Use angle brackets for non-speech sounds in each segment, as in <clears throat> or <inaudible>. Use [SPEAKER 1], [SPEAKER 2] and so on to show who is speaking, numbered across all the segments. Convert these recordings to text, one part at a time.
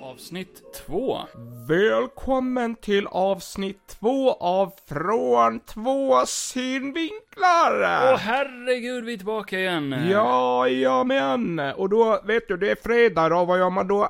[SPEAKER 1] avsnitt två.
[SPEAKER 2] Välkommen till avsnitt två av Från två synvinklar!
[SPEAKER 1] Åh herregud, vi är tillbaka igen!
[SPEAKER 2] Ja, ja men. Och då, vet du, det är fredag då, vad gör man då?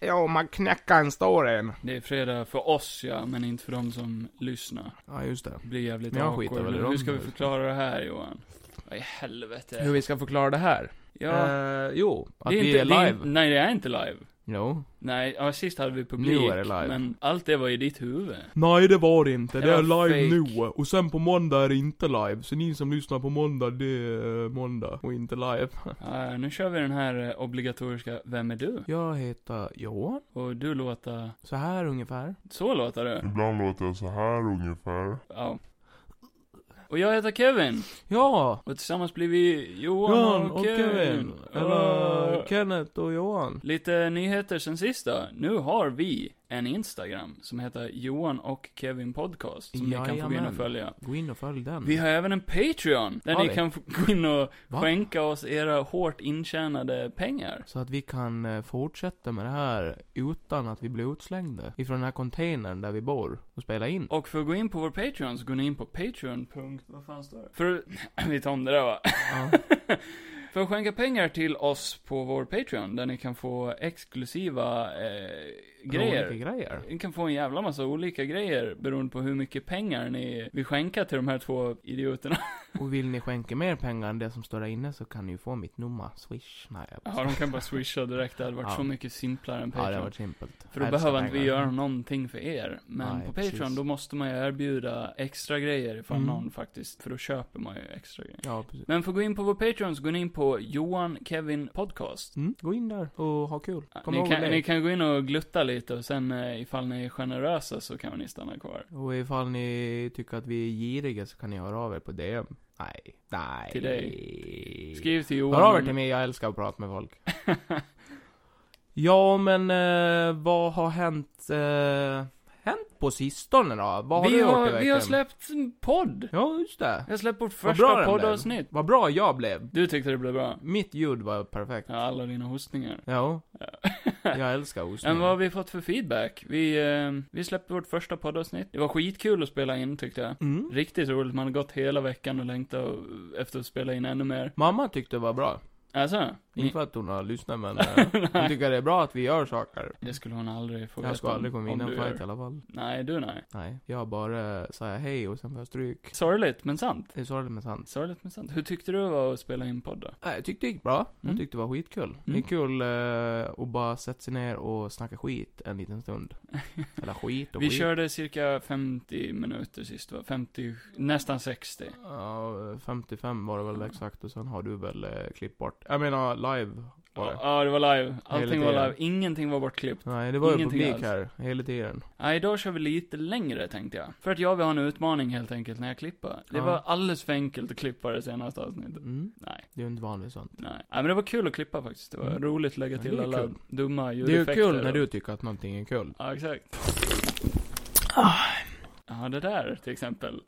[SPEAKER 2] Ja, man knäcker en stor en.
[SPEAKER 1] Det är fredag för oss ja, men inte för de som lyssnar.
[SPEAKER 2] Ja, just det.
[SPEAKER 1] Det blir jävligt
[SPEAKER 2] Men jag
[SPEAKER 1] awkward.
[SPEAKER 2] skiter väl i
[SPEAKER 1] Hur
[SPEAKER 2] dem.
[SPEAKER 1] ska vi förklara det här Johan? Vad i helvete?
[SPEAKER 2] Hur vi ska förklara det här?
[SPEAKER 1] Ja,
[SPEAKER 2] Eh, jo, att
[SPEAKER 1] det är
[SPEAKER 2] vi
[SPEAKER 1] inte,
[SPEAKER 2] är
[SPEAKER 1] det är
[SPEAKER 2] live.
[SPEAKER 1] in- nej, det är inte live.
[SPEAKER 2] Jo.
[SPEAKER 1] Nej, ja, sist hade vi publik.
[SPEAKER 2] Nu är det live.
[SPEAKER 1] Men allt det var i ditt
[SPEAKER 2] <laughs>
[SPEAKER 1] huvud.
[SPEAKER 2] Nej, det var det inte.
[SPEAKER 1] Det Det är var live fake.
[SPEAKER 2] nu. Och sen på måndag är det inte live. Så ni som lyssnar på måndag, det är måndag och inte live.
[SPEAKER 1] Ja, nu kör vi den här eh, obligatoriska Vem är du?
[SPEAKER 2] Jag heter Johan.
[SPEAKER 1] Och du låter...
[SPEAKER 2] Så här ungefär.
[SPEAKER 1] Så låter du.
[SPEAKER 3] Ibland låter jag så här ungefär.
[SPEAKER 1] Ja. Och jag heter Kevin.
[SPEAKER 2] Ja!
[SPEAKER 1] Och tillsammans blir vi Johan,
[SPEAKER 2] Johan
[SPEAKER 1] och
[SPEAKER 2] och
[SPEAKER 1] Kevin.
[SPEAKER 2] Kevin.
[SPEAKER 1] Och-
[SPEAKER 2] Eller Kenneth och Johan.
[SPEAKER 1] Lite nyheter sen sista. Nu har vi en Instagram som heter Johan och Kevin Podcast. Som ni kan få gå in
[SPEAKER 2] Jajamän.
[SPEAKER 1] och följa.
[SPEAKER 2] Gå in och följ den.
[SPEAKER 1] Vi har även en Patreon, där
[SPEAKER 2] Har
[SPEAKER 1] ni
[SPEAKER 2] vi?
[SPEAKER 1] kan få gå in och
[SPEAKER 2] Va?
[SPEAKER 1] skänka oss era hårt intjänade pengar.
[SPEAKER 2] Så att vi kan eh, fortsätta med det här utan att vi blir utslängda ifrån den här containern där vi bor och spela in.
[SPEAKER 1] Och för att gå in på vår Patreon så går ni in på Patreon. punkt- Vad fan står det? För, <clears throat> vi tar om det där va?
[SPEAKER 2] Ja.
[SPEAKER 1] För att skänka pengar till oss på vår Patreon, där ni kan få exklusiva eh, <laughs> grejer.
[SPEAKER 2] Olika grejer.
[SPEAKER 1] Ni kan få en jävla massa olika grejer beroende på hur mycket pengar ni vill skänka till de här två
[SPEAKER 2] <laughs>
[SPEAKER 1] idioterna.
[SPEAKER 2] Och vill ni skänka mer pengar än det som står där inne så kan ni ju få mitt nummer. Swish. Nej, jag
[SPEAKER 1] Ja, de kan bara swisha direkt. Det hade varit
[SPEAKER 2] Ja.
[SPEAKER 1] så mycket simplare än
[SPEAKER 2] Ja, det
[SPEAKER 1] Patreon.
[SPEAKER 2] har varit simpelt.
[SPEAKER 1] För då
[SPEAKER 2] Jag älskar
[SPEAKER 1] behöver inte vi
[SPEAKER 2] pengar.
[SPEAKER 1] göra någonting för er. Men
[SPEAKER 2] Nej,
[SPEAKER 1] på Patreon,
[SPEAKER 2] precis.
[SPEAKER 1] då måste man ju erbjuda extra grejer ifall
[SPEAKER 2] Mm.
[SPEAKER 1] någon faktiskt, för då köper man ju extra grejer.
[SPEAKER 2] Ja, precis.
[SPEAKER 1] Men för att gå in på vår Patreon så går ni in på Johan Kevin Podcast.
[SPEAKER 2] Mm, gå in där och ha kul. Kom
[SPEAKER 1] Ni
[SPEAKER 2] ihåg
[SPEAKER 1] kan,
[SPEAKER 2] det.
[SPEAKER 1] ni kan gå in och glutta lite och sen eh, ifall ni är generösa så kan ni stanna kvar.
[SPEAKER 2] Och ifall ni tycker att vi är giriga så kan ni höra av er på DM. Nej. Nej.
[SPEAKER 1] Till dig. Skriv till Johan.
[SPEAKER 2] Hör av er till mig, jag älskar att prata med folk. <laughs> ja, men eh, vad har hänt, eh, hänt på sistone då? Vad har
[SPEAKER 1] vi
[SPEAKER 2] du gjort i
[SPEAKER 1] har,
[SPEAKER 2] veckan?
[SPEAKER 1] vi har släppt en podd.
[SPEAKER 2] Ja, just det.
[SPEAKER 1] Vi har släppt vårt
[SPEAKER 2] Vad bra
[SPEAKER 1] första
[SPEAKER 2] den blev.
[SPEAKER 1] poddavsnitt.
[SPEAKER 2] Vad bra jag blev.
[SPEAKER 1] Du tyckte det blev bra?
[SPEAKER 2] Mitt ljud var perfekt.
[SPEAKER 1] Ja, alla dina hostningar.
[SPEAKER 2] Ja,
[SPEAKER 1] Men
[SPEAKER 2] <laughs> jag älskar ostning.
[SPEAKER 1] vad har vi fått för feedback? Vi, eh, vi släppte vårt första poddavsnitt. Det var skitkul att spela in tyckte jag.
[SPEAKER 2] Mm.
[SPEAKER 1] Riktigt roligt, man har gått hela veckan och längtat och- efter att spela in ännu mer.
[SPEAKER 2] Mamma tyckte det var bra.
[SPEAKER 1] Alltså?
[SPEAKER 2] Inte
[SPEAKER 1] Ni,
[SPEAKER 2] för att hon har
[SPEAKER 1] <laughs>
[SPEAKER 2] lyssnat men eh, hon tycker det är bra att vi gör saker.
[SPEAKER 1] det skulle hon aldrig få
[SPEAKER 2] Jag ska
[SPEAKER 1] om-
[SPEAKER 2] aldrig komma in i
[SPEAKER 1] om
[SPEAKER 2] en
[SPEAKER 1] du
[SPEAKER 2] fight i
[SPEAKER 1] gör.
[SPEAKER 2] alla fall.
[SPEAKER 1] Nej, du nej.
[SPEAKER 2] Nej, jag bara eh, säger hej och sen får jag stryk.
[SPEAKER 1] Sorgligt, men sant.
[SPEAKER 2] Det är sorgligt men sant.
[SPEAKER 1] Sorgligt, men sant. Hur tyckte du det var att spela in podd då?
[SPEAKER 2] Nej, Jag tyckte det gick bra.
[SPEAKER 1] Mm.
[SPEAKER 2] Jag tyckte det var skitkul. Det är
[SPEAKER 1] Mm.
[SPEAKER 2] kul eh, att bara sätta sig ner och snacka skit en liten stund. Eller skit och
[SPEAKER 1] Vi
[SPEAKER 2] skit.
[SPEAKER 1] körde cirka 50 minuter sist va? 50, nästan 60.
[SPEAKER 2] Ja, 55 var det väl exakt och sen har du väl eh, klippt bort. Jag menar live var
[SPEAKER 1] Ja,
[SPEAKER 2] det.
[SPEAKER 1] ja, det var live. Allting
[SPEAKER 2] Hela
[SPEAKER 1] var
[SPEAKER 2] tiden.
[SPEAKER 1] live. Ingenting var bortklippt.
[SPEAKER 2] Nej, det var ju
[SPEAKER 1] Ingenting
[SPEAKER 2] publik
[SPEAKER 1] alls.
[SPEAKER 2] här hela tiden.
[SPEAKER 1] Nej, idag kör vi lite längre tänkte jag. För att jag vill ha en utmaning helt enkelt när jag klipper. Det
[SPEAKER 2] Ja.
[SPEAKER 1] var alldeles för enkelt att klippa det senaste avsnittet.
[SPEAKER 2] Mm.
[SPEAKER 1] Nej,
[SPEAKER 2] Det är ju inte vanligt sånt.
[SPEAKER 1] nej. Nej, men det var kul att klippa faktiskt. Det var
[SPEAKER 2] Mm.
[SPEAKER 1] roligt att lägga
[SPEAKER 2] Ja,
[SPEAKER 1] till
[SPEAKER 2] det är
[SPEAKER 1] alla
[SPEAKER 2] kul.
[SPEAKER 1] dumma
[SPEAKER 2] Det är ju
[SPEAKER 1] ljudeffekter.
[SPEAKER 2] kul när
[SPEAKER 1] och-
[SPEAKER 2] du tycker att någonting är kul.
[SPEAKER 1] Ja, exakt. Ja, det där till
[SPEAKER 2] <laughs>
[SPEAKER 1] exempel.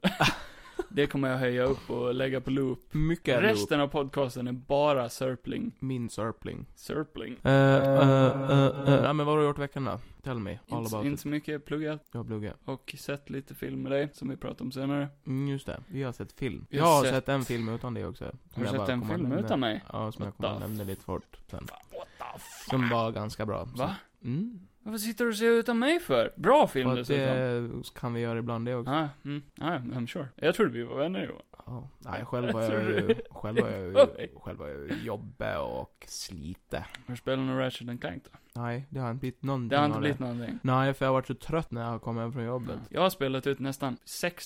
[SPEAKER 1] det kommer jag höja upp och lägga på loop.
[SPEAKER 2] Mycket är Resten...
[SPEAKER 1] Resten av podcasten är bara sörpling.
[SPEAKER 2] min sörpling.
[SPEAKER 1] Sörpling.
[SPEAKER 2] Eh, eh, eh, eh. Ja, men vad har du gjort i veckan då? Tell me. All
[SPEAKER 1] Inte,
[SPEAKER 2] about
[SPEAKER 1] inte
[SPEAKER 2] it.
[SPEAKER 1] så mycket pluggat
[SPEAKER 2] Jag har pluggat.
[SPEAKER 1] och sett lite film med dig, som vi pratade om senare.
[SPEAKER 2] Mm, just det. Vi har sett film.
[SPEAKER 1] Vi
[SPEAKER 2] Jag
[SPEAKER 1] har
[SPEAKER 2] har
[SPEAKER 1] sett-
[SPEAKER 2] sett en film utan dig också.
[SPEAKER 1] Har du sett en film
[SPEAKER 2] utan
[SPEAKER 1] utan mig?
[SPEAKER 2] Ja, som jag
[SPEAKER 1] What
[SPEAKER 2] kommer
[SPEAKER 1] the
[SPEAKER 2] att nämna lite fort
[SPEAKER 1] Fan,
[SPEAKER 2] sen.
[SPEAKER 1] what the fuck?
[SPEAKER 2] Som var ganska bra.
[SPEAKER 1] Va?
[SPEAKER 2] Så, mm.
[SPEAKER 1] Varför sitter du och ser utan mig för? Bra film
[SPEAKER 2] För att eh,
[SPEAKER 1] dessutom.
[SPEAKER 2] det kan vi göra ibland det också.
[SPEAKER 1] Ah, mm, ah, I'm sure. Jag trodde vi var vänner Johan.
[SPEAKER 2] Ja. Nej,
[SPEAKER 1] <laughs>
[SPEAKER 2] själv har jag
[SPEAKER 1] Sorry.
[SPEAKER 2] ju, själv har
[SPEAKER 1] <laughs>
[SPEAKER 2] jag ju, själv har jag ju jobbat och slite.
[SPEAKER 1] Har du spelat någon Ratchet and Clank då?
[SPEAKER 2] Nej, det har inte blivit någonting
[SPEAKER 1] Det har inte
[SPEAKER 2] av
[SPEAKER 1] blivit någonting.
[SPEAKER 2] Nej, för jag har varit så trött när jag kom hem från jobbet.
[SPEAKER 1] Jag har spelat ut nästan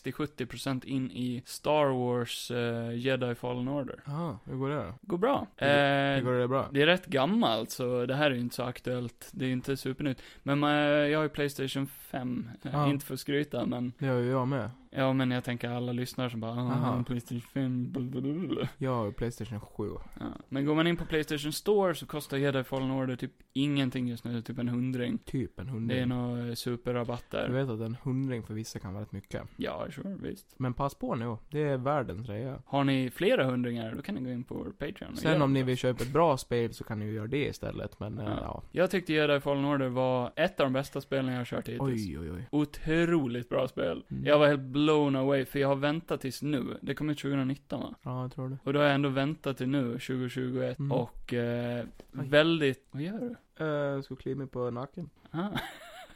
[SPEAKER 1] 60-70% in i Star Wars eh, Jedi Fallen Order.
[SPEAKER 2] Jaha, hur går det då?
[SPEAKER 1] Går bra.
[SPEAKER 2] Hur-
[SPEAKER 1] Eh,
[SPEAKER 2] Hur går det bra?
[SPEAKER 1] Det är rätt gammalt, så det här är ju inte så aktuellt. Det är ju inte supernytt. Men man, jag har ju Playstation 5. eh,
[SPEAKER 2] Ja.
[SPEAKER 1] Inte för att skryta, men
[SPEAKER 2] Det gör ju jag med.
[SPEAKER 1] Ja, men jag tänker alla lyssnare som bara, ah,
[SPEAKER 2] Aha.
[SPEAKER 1] Playstation 5, blablabla.
[SPEAKER 2] Jag har Playstation 7.
[SPEAKER 1] ja. Men går man in på Playstation Store så kostar Jedi Fallen Order typ ingenting just nu, typ en hundring.
[SPEAKER 2] Typ en
[SPEAKER 1] Det är
[SPEAKER 2] hundring.
[SPEAKER 1] nog eh, superrabatt
[SPEAKER 2] Du
[SPEAKER 1] där.
[SPEAKER 2] vet att en hundring för vissa kan vara rätt mycket.
[SPEAKER 1] Ja, sure, visst.
[SPEAKER 2] Men pass på nu. Det är världens rea.
[SPEAKER 1] Har ni flera hundringar, då kan ni gå in på vår Patreon. och
[SPEAKER 2] Sen
[SPEAKER 1] hjälpa
[SPEAKER 2] om ni
[SPEAKER 1] oss.
[SPEAKER 2] vill köpa ett bra spel så kan ni ju göra det istället. Men eh,
[SPEAKER 1] Ja.
[SPEAKER 2] ja.
[SPEAKER 1] Jag tyckte Jedi Fallen Order var ett av de bästa spelen jag har kört hittills.
[SPEAKER 2] Oj, oj, oj.
[SPEAKER 1] Otroligt bra spel.
[SPEAKER 2] Mm.
[SPEAKER 1] Jag var helt blown away, för jag har väntat tills nu. Det kom ut 2019 va?
[SPEAKER 2] Ja, jag tror det.
[SPEAKER 1] Och då har jag ändå väntat till nu, 2021.
[SPEAKER 2] Mm.
[SPEAKER 1] Och eh,
[SPEAKER 2] Oj.
[SPEAKER 1] väldigt... Vad gör du?
[SPEAKER 2] Uh, ska klia mig på nacken.
[SPEAKER 1] Ah.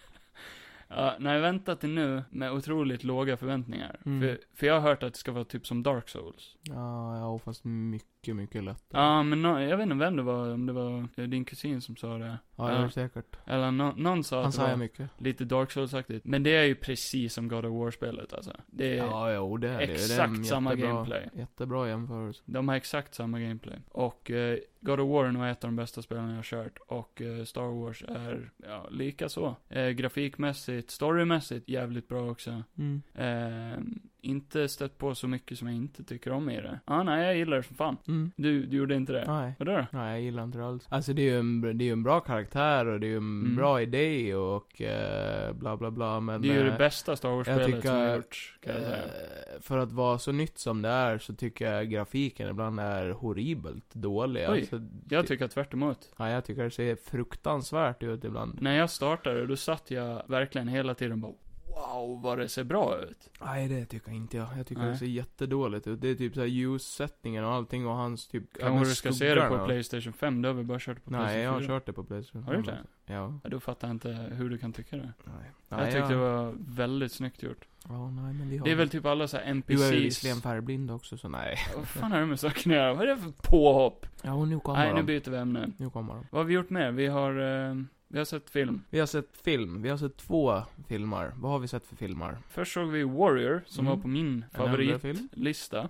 [SPEAKER 1] <laughs> ja, när jag väntat till nu med otroligt låga förväntningar.
[SPEAKER 2] Mm.
[SPEAKER 1] För, för jag har hört att det ska vara typ som Dark Souls.
[SPEAKER 2] Ja, ja, fast mycket, mycket lättare.
[SPEAKER 1] Ja, men nå- jag vet inte vem det var, om det var eh, din kusin som sa det.
[SPEAKER 2] Ja,
[SPEAKER 1] Ja.
[SPEAKER 2] jag är säkert.
[SPEAKER 1] Eller nå- någon sa
[SPEAKER 2] Han
[SPEAKER 1] att det var
[SPEAKER 2] säger mycket.
[SPEAKER 1] lite Dark Souls-aktigt. Men det är ju precis som God of War-spelet alltså. Det är,
[SPEAKER 2] Ja, jo, det är det. det. är en
[SPEAKER 1] exakt samma gameplay.
[SPEAKER 2] Jättebra jämförelse.
[SPEAKER 1] De har exakt samma gameplay. Och eh, God of War är nog ett av de bästa spelen jag har kört. Och eh, Star Wars är, ja, lika så. Eh, grafikmässigt, storymässigt, jävligt bra också.
[SPEAKER 2] Mm.
[SPEAKER 1] Eh, inte stött på så mycket som jag inte tycker om i det. Ah, nej, jag gillar det som fan.
[SPEAKER 2] Mm.
[SPEAKER 1] Du, du gjorde inte det?
[SPEAKER 2] Nej.
[SPEAKER 1] Vadå då?
[SPEAKER 2] Nej, jag gillar inte det alls. Alltså det är ju en, det är ju en bra karaktär och det är ju en
[SPEAKER 1] Mm.
[SPEAKER 2] bra idé och eh, bla bla bla men...
[SPEAKER 1] Det är ju
[SPEAKER 2] eh,
[SPEAKER 1] det bästa Star Wars-spelet
[SPEAKER 2] jag
[SPEAKER 1] som har
[SPEAKER 2] tycker-
[SPEAKER 1] gjorts, kan jag säga.
[SPEAKER 2] eh, för att vara så nytt som det är så tycker jag grafiken ibland är horribelt dålig.
[SPEAKER 1] Oj.
[SPEAKER 2] Alltså,
[SPEAKER 1] Jag tycker tvärt emot.
[SPEAKER 2] ja, jag tycker det ser fruktansvärt ut ibland.
[SPEAKER 1] När jag startade, då satt jag verkligen hela tiden bara Wow, vad det ser bra ut.
[SPEAKER 2] Nej, det tycker inte jag. Jag tycker
[SPEAKER 1] Nej.
[SPEAKER 2] det ser jättedåligt ut. Det är typ såhär ljussättningen och allting och hans typ... ja, men
[SPEAKER 1] Kanske du ska se det på
[SPEAKER 2] skuggorna.
[SPEAKER 1] Playstation 5, då har vi bara kört det på
[SPEAKER 2] Nej, jag
[SPEAKER 1] Playstation
[SPEAKER 2] har
[SPEAKER 1] 4.
[SPEAKER 2] kört det på Playstation.
[SPEAKER 1] Har du gjort
[SPEAKER 2] fem, Ja.
[SPEAKER 1] Ja, då fattar jag inte hur du kan tycka det.
[SPEAKER 2] Nej.
[SPEAKER 1] jag tyckte det var väldigt snyggt gjort.
[SPEAKER 2] Ja, nej men vi har...
[SPEAKER 1] Det är väl typ alla så här
[SPEAKER 2] Du är ju
[SPEAKER 1] NPCs.
[SPEAKER 2] visserligen färgblind också, så nej.
[SPEAKER 1] Vad fan är det med saken att göra? Vad är det för påhopp?
[SPEAKER 2] Ja, och nu kommer
[SPEAKER 1] Nej,
[SPEAKER 2] de.
[SPEAKER 1] nu byter vi ämne.
[SPEAKER 2] Nu kommer de.
[SPEAKER 1] Vad har vi gjort mer? Vi har, eh, vi har sett film.
[SPEAKER 2] Vi har sett film. Vi har sett två filmer. Vad har vi sett för filmer?
[SPEAKER 1] Först såg vi Warrior, som
[SPEAKER 2] Mm.
[SPEAKER 1] var på min
[SPEAKER 2] En andra
[SPEAKER 1] favoritlista.
[SPEAKER 2] film.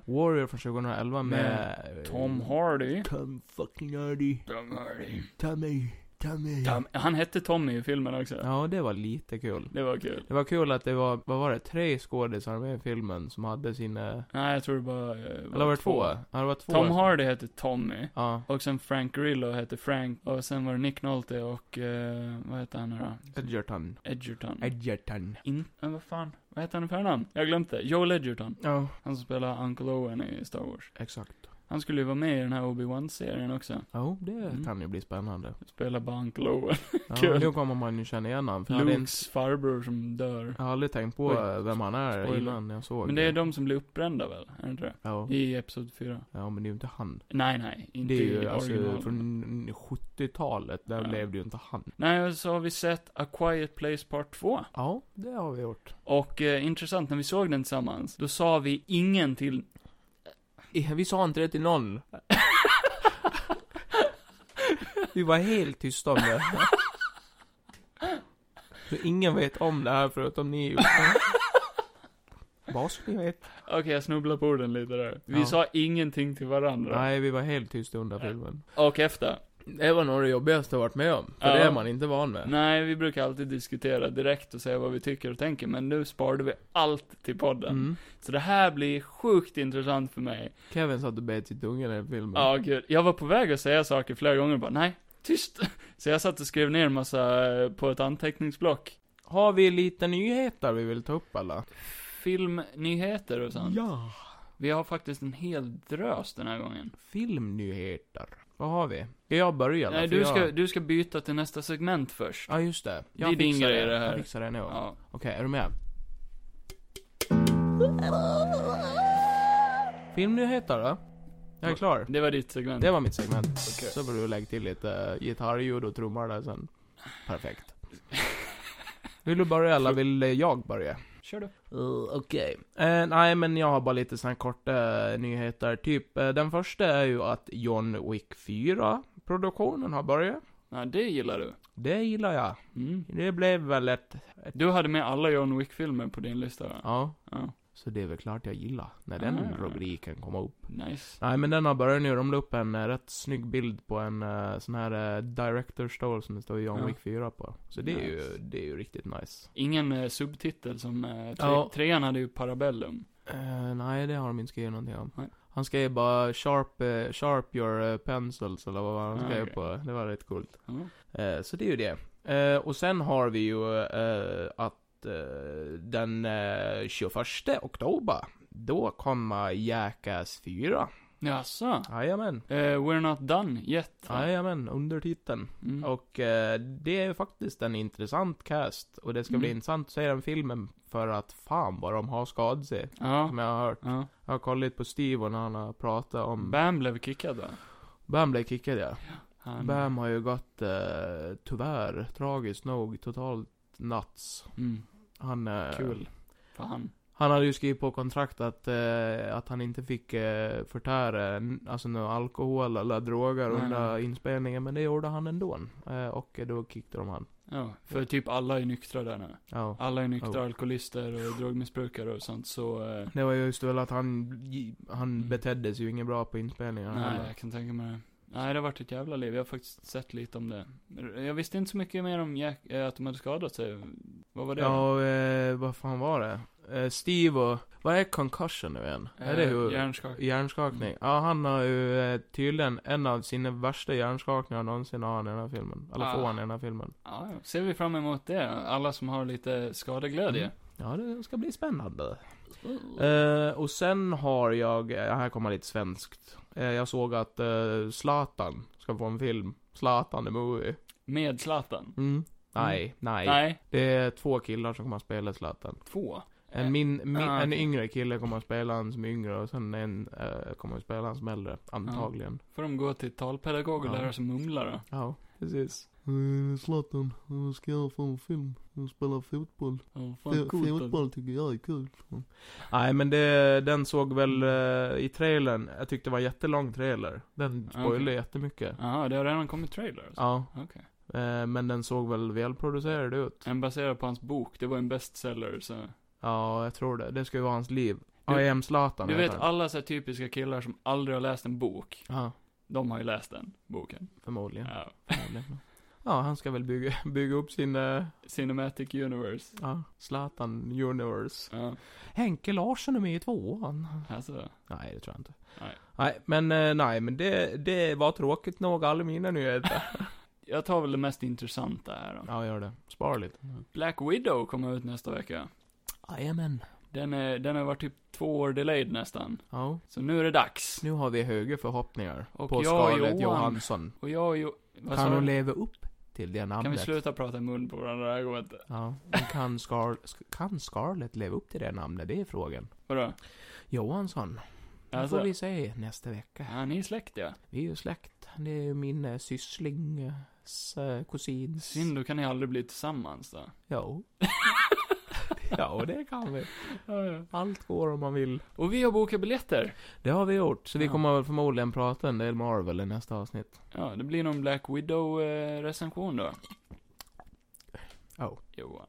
[SPEAKER 2] Warrior från 2011 med... eh,
[SPEAKER 1] Med Tom Hardy.
[SPEAKER 2] Tom fucking Hardy.
[SPEAKER 1] Tom Hardy.
[SPEAKER 2] Tommy. Tommy.
[SPEAKER 1] Tom, han hette Tommy i filmen också.
[SPEAKER 2] Ja, det var lite kul.
[SPEAKER 1] Det var kul.
[SPEAKER 2] Det var kul att det var, vad var det, tre skådisar med i filmen som hade sina...
[SPEAKER 1] Nej, jag tror det bara... eh,
[SPEAKER 2] Eller var det två? Ja, det var två.
[SPEAKER 1] Tom Hardy hette Tommy.
[SPEAKER 2] Ja.
[SPEAKER 1] Och sen Frank Grillo hette Frank. Och sen var det Nick Nolte och, eh, vad hette han nu då?
[SPEAKER 2] Edgerton.
[SPEAKER 1] Edgerton.
[SPEAKER 2] Edgerton.
[SPEAKER 1] In, men vad fan, vad heter han i förnamn? Jag har glömt det. Joel Edgerton.
[SPEAKER 2] Ja,
[SPEAKER 1] Han som spelar Uncle Owen i Star Wars.
[SPEAKER 2] exakt.
[SPEAKER 1] Han skulle ju vara med i den här Obi-Wan-serien också.
[SPEAKER 2] Ja, det
[SPEAKER 1] Mm.
[SPEAKER 2] kan ju bli spännande.
[SPEAKER 1] Spela bara Uncle Owen.
[SPEAKER 2] Ja,
[SPEAKER 1] Kul.
[SPEAKER 2] nu kommer man ju känna igen honom. För jag hade inte-
[SPEAKER 1] Lukes farbror som dör.
[SPEAKER 2] Jag har aldrig tänkt på
[SPEAKER 1] Oj,
[SPEAKER 2] eh, vem han är
[SPEAKER 1] spoiler.
[SPEAKER 2] innan jag såg
[SPEAKER 1] Men det är de som blir uppbrända väl? Är det inte det?
[SPEAKER 2] Ja.
[SPEAKER 1] I Episod 4.
[SPEAKER 2] ja, men det är ju inte han.
[SPEAKER 1] Nej, nej. Inte
[SPEAKER 2] Det är ju
[SPEAKER 1] i
[SPEAKER 2] alltså
[SPEAKER 1] original.
[SPEAKER 2] från 70-talet, där
[SPEAKER 1] Ja.
[SPEAKER 2] blev det ju inte han.
[SPEAKER 1] Nej, och så har vi sett A Quiet Place Part 2.
[SPEAKER 2] Ja, det har vi gjort.
[SPEAKER 1] Och eh, intressant, när vi såg den tillsammans, då sa vi ingen till...
[SPEAKER 2] Eh, Vi sa inte det till någon. vi var helt tysta om det. Så ingen vet om det här förutom ni. Vad ska ni veta?
[SPEAKER 1] Okej, jag snubblar på orden lite där. Vi
[SPEAKER 2] Ja.
[SPEAKER 1] sa ingenting till varandra.
[SPEAKER 2] Nej, vi var helt tysta under filmen.
[SPEAKER 1] Och efter.
[SPEAKER 2] Det var nog det jobbigaste jag varit med om. För
[SPEAKER 1] Ja.
[SPEAKER 2] det är man inte van med.
[SPEAKER 1] Nej, vi brukar alltid diskutera direkt och säga vad vi tycker och tänker, men nu sparade vi allt till podden.
[SPEAKER 2] Mm.
[SPEAKER 1] Så det här blir sjukt intressant för mig.
[SPEAKER 2] Kevin satt och bet sitt tunga i den här filmen.
[SPEAKER 1] Ja, gud. Jag var på väg att säga saker flera gånger och bara, nej, tyst. <laughs> Så jag satt och skrev ner en massa eh, på ett anteckningsblock.
[SPEAKER 2] Har vi lite nyheter vi vill ta upp alla?
[SPEAKER 1] Filmnyheter och sånt.
[SPEAKER 2] Ja.
[SPEAKER 1] Vi har faktiskt en hel drös den här gången.
[SPEAKER 2] Filmnyheter. Vad har vi? Ska jag börja eller?
[SPEAKER 1] Nej,
[SPEAKER 2] För
[SPEAKER 1] du ska,
[SPEAKER 2] Jag...
[SPEAKER 1] du ska byta till nästa segment först.
[SPEAKER 2] Ja, just det.
[SPEAKER 1] Det är din
[SPEAKER 2] fixar
[SPEAKER 1] grej, det här.
[SPEAKER 2] Jag fixar det nu.
[SPEAKER 1] Ja.
[SPEAKER 2] Okej, är du med? Filmnyheter då? Jag är klar.
[SPEAKER 1] Det var ditt segment.
[SPEAKER 2] Det var mitt segment.
[SPEAKER 1] Okej.
[SPEAKER 2] Så får du lägga till lite eh, gitarrljud och trummor där sen.
[SPEAKER 1] <laughs>
[SPEAKER 2] Perfekt. Vill du börja eller vill eh, jag börja?
[SPEAKER 1] Kör du.
[SPEAKER 2] Uh, Okej. Eh, nej, men jag har bara lite såna här korta eh, nyheter. Typ, eh, den första är ju att John Wick 4-produktionen har börjat.
[SPEAKER 1] Ja, det gillar du.
[SPEAKER 2] Det gillar jag.
[SPEAKER 1] Mm.
[SPEAKER 2] Det blev väl ett...
[SPEAKER 1] Du hade med alla John Wick-filmer på din lista, va?
[SPEAKER 2] Ja.
[SPEAKER 1] Ja.
[SPEAKER 2] Så det är väl klart jag gillar när den
[SPEAKER 1] Ah.
[SPEAKER 2] rubriken kommer upp.
[SPEAKER 1] Nice.
[SPEAKER 2] Nej men den har börjat nu, de la upp en eh, rätt snygg bild på en eh, sån här eh, Director's Stole som det står John
[SPEAKER 1] Ja.
[SPEAKER 2] Wick 4 på. Så det är, ju,
[SPEAKER 1] Nice.
[SPEAKER 2] det är ju riktigt nice.
[SPEAKER 1] Ingen eh, subtitel som, eh, tre,
[SPEAKER 2] Ja.
[SPEAKER 1] trean hade ju Parabellum.
[SPEAKER 2] Eh, nej, det har de inte skrivit någonting om.
[SPEAKER 1] Nej.
[SPEAKER 2] Han skrev bara sharp, eh, sharp your eh, pencils eller vad var han
[SPEAKER 1] Ah,
[SPEAKER 2] skrev
[SPEAKER 1] okej.
[SPEAKER 2] på. Det var rätt coolt.
[SPEAKER 1] Ja.
[SPEAKER 2] Eh, så det är ju det. Eh, och sen har vi ju eh, att eh, den eh, 21 oktober, då kommer Jackass 4.
[SPEAKER 1] Jaså?
[SPEAKER 2] Jajamän.
[SPEAKER 1] Eh, we're not done yet.
[SPEAKER 2] Jajamän, undertiteln.
[SPEAKER 1] Mm.
[SPEAKER 2] Och eh, det är ju faktiskt en intressant cast. Och det ska bli
[SPEAKER 1] Mm.
[SPEAKER 2] intressant att se den filmen. För att fan vad de har skadat sig.
[SPEAKER 1] Ja.
[SPEAKER 2] Som jag har hört.
[SPEAKER 1] ja.
[SPEAKER 2] Jag har kollat på Steve och när han har pratat om... Bam,
[SPEAKER 1] Bam blev kickad va?
[SPEAKER 2] blev kickad ja.
[SPEAKER 1] Han,
[SPEAKER 2] Bam har ju gått, eh, tyvärr, tragiskt nog, totalt nuts.
[SPEAKER 1] Mm.
[SPEAKER 2] Han... Eh,
[SPEAKER 1] Kul. För han.
[SPEAKER 2] Han hade ju skrivit på kontrakt att, eh, att han inte fick eh, förtära n- alltså, någon alkohol eller droger
[SPEAKER 1] Nej,
[SPEAKER 2] under
[SPEAKER 1] nej.
[SPEAKER 2] inspelningen. Men det gjorde han ändå. Eh, och då kickade de han.
[SPEAKER 1] Ja. För typ alla är nyktra där nu.
[SPEAKER 2] Ja.
[SPEAKER 1] Alla är nyktra
[SPEAKER 2] Oh.
[SPEAKER 1] alkoholister och drogmissbrukare och sånt så... Eh,
[SPEAKER 2] Det var just väl att han, han
[SPEAKER 1] Mm.
[SPEAKER 2] betedde sig ju inget bra på inspelningarna
[SPEAKER 1] nej,
[SPEAKER 2] heller.
[SPEAKER 1] jag kan tänka mig det. Nej, det har varit ett jävla liv. Jag har faktiskt sett lite om det. Jag visste inte så mycket mer om Jack, eh, att de hade skadat sig. Vad var det?
[SPEAKER 2] Ja, eh, vad fan var det? Eh, Steve och, vad är concussion nu igen?
[SPEAKER 1] då?
[SPEAKER 2] är det
[SPEAKER 1] Eh,
[SPEAKER 2] hur?
[SPEAKER 1] Hjärnskakning.
[SPEAKER 2] Hjärnskakning.
[SPEAKER 1] Mm.
[SPEAKER 2] Ja, han har ju eh, tydligen en av sina värsta hjärnskakningar någonsin har han i den här filmen. Eller får
[SPEAKER 1] Ah.
[SPEAKER 2] han i den här filmen.
[SPEAKER 1] Ja, ja. ser vi fram emot det. Alla som har lite skadeglädje.
[SPEAKER 2] Ja, det ska bli spännande.
[SPEAKER 1] Mm.
[SPEAKER 2] Eh, och sen har jag, eh, här kommer lite svenskt. Eh, jag såg att eh, Zlatan ska få en film. Zlatan the Movie.
[SPEAKER 1] Med Zlatan.
[SPEAKER 2] Mm. Nej, nej.
[SPEAKER 1] Nej,
[SPEAKER 2] Det är två killar som kommer att spela Zlatan.
[SPEAKER 1] två.
[SPEAKER 2] En, Eh, min, min,
[SPEAKER 1] Ah,
[SPEAKER 2] en
[SPEAKER 1] okej.
[SPEAKER 2] yngre kille kommer att spela han som är yngre och sen en eh, kommer att spela han som är äldre, antagligen.
[SPEAKER 1] Får de gå till talpedagog och
[SPEAKER 2] Ja.
[SPEAKER 1] lära sig mumla då?
[SPEAKER 2] Ja, precis.
[SPEAKER 4] Eh, Zlatan, jag ska göra fan en film. Jag spelar fotboll.
[SPEAKER 1] Ja, fan,
[SPEAKER 4] Fe-
[SPEAKER 1] coolt. då.
[SPEAKER 4] Fotboll tycker jag är kul.
[SPEAKER 2] Nej men det, den såg väl eh, i trailern, jag tyckte det var en jättelång trailer. Den
[SPEAKER 1] Ah,
[SPEAKER 2] spoilade
[SPEAKER 1] okej.
[SPEAKER 2] jättemycket.
[SPEAKER 1] Jaha, det har redan kommit trailers.
[SPEAKER 2] Ja.
[SPEAKER 1] Okej.
[SPEAKER 2] Eh, men den såg väl välproducerad ut.
[SPEAKER 1] En baserad på hans bok. Det var en bestseller så.
[SPEAKER 2] Ja, jag tror det. Det ska ju vara hans liv.
[SPEAKER 1] Du-
[SPEAKER 2] I am Zlatan
[SPEAKER 1] Du
[SPEAKER 2] heter
[SPEAKER 1] vet
[SPEAKER 2] den.
[SPEAKER 1] alla så här typiska killar som aldrig har läst en bok.
[SPEAKER 2] Ja,
[SPEAKER 1] De har ju läst den boken.
[SPEAKER 2] förmodligen.
[SPEAKER 1] Ja.
[SPEAKER 2] förmodligen. Ja, han ska väl bygga, <laughs> bygga upp sin, eh,
[SPEAKER 1] Cinematic Universe.
[SPEAKER 2] ja, Zlatan universe.
[SPEAKER 1] Ja,
[SPEAKER 2] Henke Larsson är med i tvåan.
[SPEAKER 1] alltså. <laughs>
[SPEAKER 2] Nej, det tror jag inte.
[SPEAKER 1] Nej.
[SPEAKER 2] men, eh, nej, men det, det var tråkigt nog, alla mina nyheter.
[SPEAKER 1] Jag tar väl det mest intressanta här då.
[SPEAKER 2] ja, gör det. Spara lite.
[SPEAKER 1] Black Widow kommer ut nästa vecka.
[SPEAKER 2] Jajamän.
[SPEAKER 1] Den, är, den har varit typ två år delayed nästan.
[SPEAKER 2] Ja,
[SPEAKER 1] Så nu är det dags.
[SPEAKER 2] nu har vi höga förhoppningar
[SPEAKER 1] Och
[SPEAKER 2] på
[SPEAKER 1] jag och
[SPEAKER 2] Scarlett
[SPEAKER 1] Johan.
[SPEAKER 2] Johansson.
[SPEAKER 1] Och jag och jo, vad
[SPEAKER 2] Kan
[SPEAKER 1] sa
[SPEAKER 2] hon
[SPEAKER 1] du?
[SPEAKER 2] leva upp till det namnet?
[SPEAKER 1] Kan vi sluta prata i mun på varandra? Det här går inte.
[SPEAKER 2] Ja, men kan, Scar sk- kan Scarlett leva upp till det namnet? Det är frågan.
[SPEAKER 1] Vadå?
[SPEAKER 2] Johansson, det
[SPEAKER 1] Alltså,
[SPEAKER 2] får vi se nästa vecka.
[SPEAKER 1] ja, ni är släkt ja.
[SPEAKER 2] Vi är ju släkt. Det är ju min eh, sysslings eh, kusins...
[SPEAKER 1] Synd, då kan ni aldrig bli tillsammans då.
[SPEAKER 2] Jo. <laughs> ja, det kan vi.
[SPEAKER 1] Ja, ja.
[SPEAKER 2] Allt går om man vill.
[SPEAKER 1] Och vi har bokat biljetter.
[SPEAKER 2] Det har vi gjort, så vi
[SPEAKER 1] Ja.
[SPEAKER 2] kommer väl förmodligen prata en del Marvel i nästa avsnitt.
[SPEAKER 1] Ja, det blir någon Black Widow-recension då.
[SPEAKER 2] Oh.
[SPEAKER 1] Johan.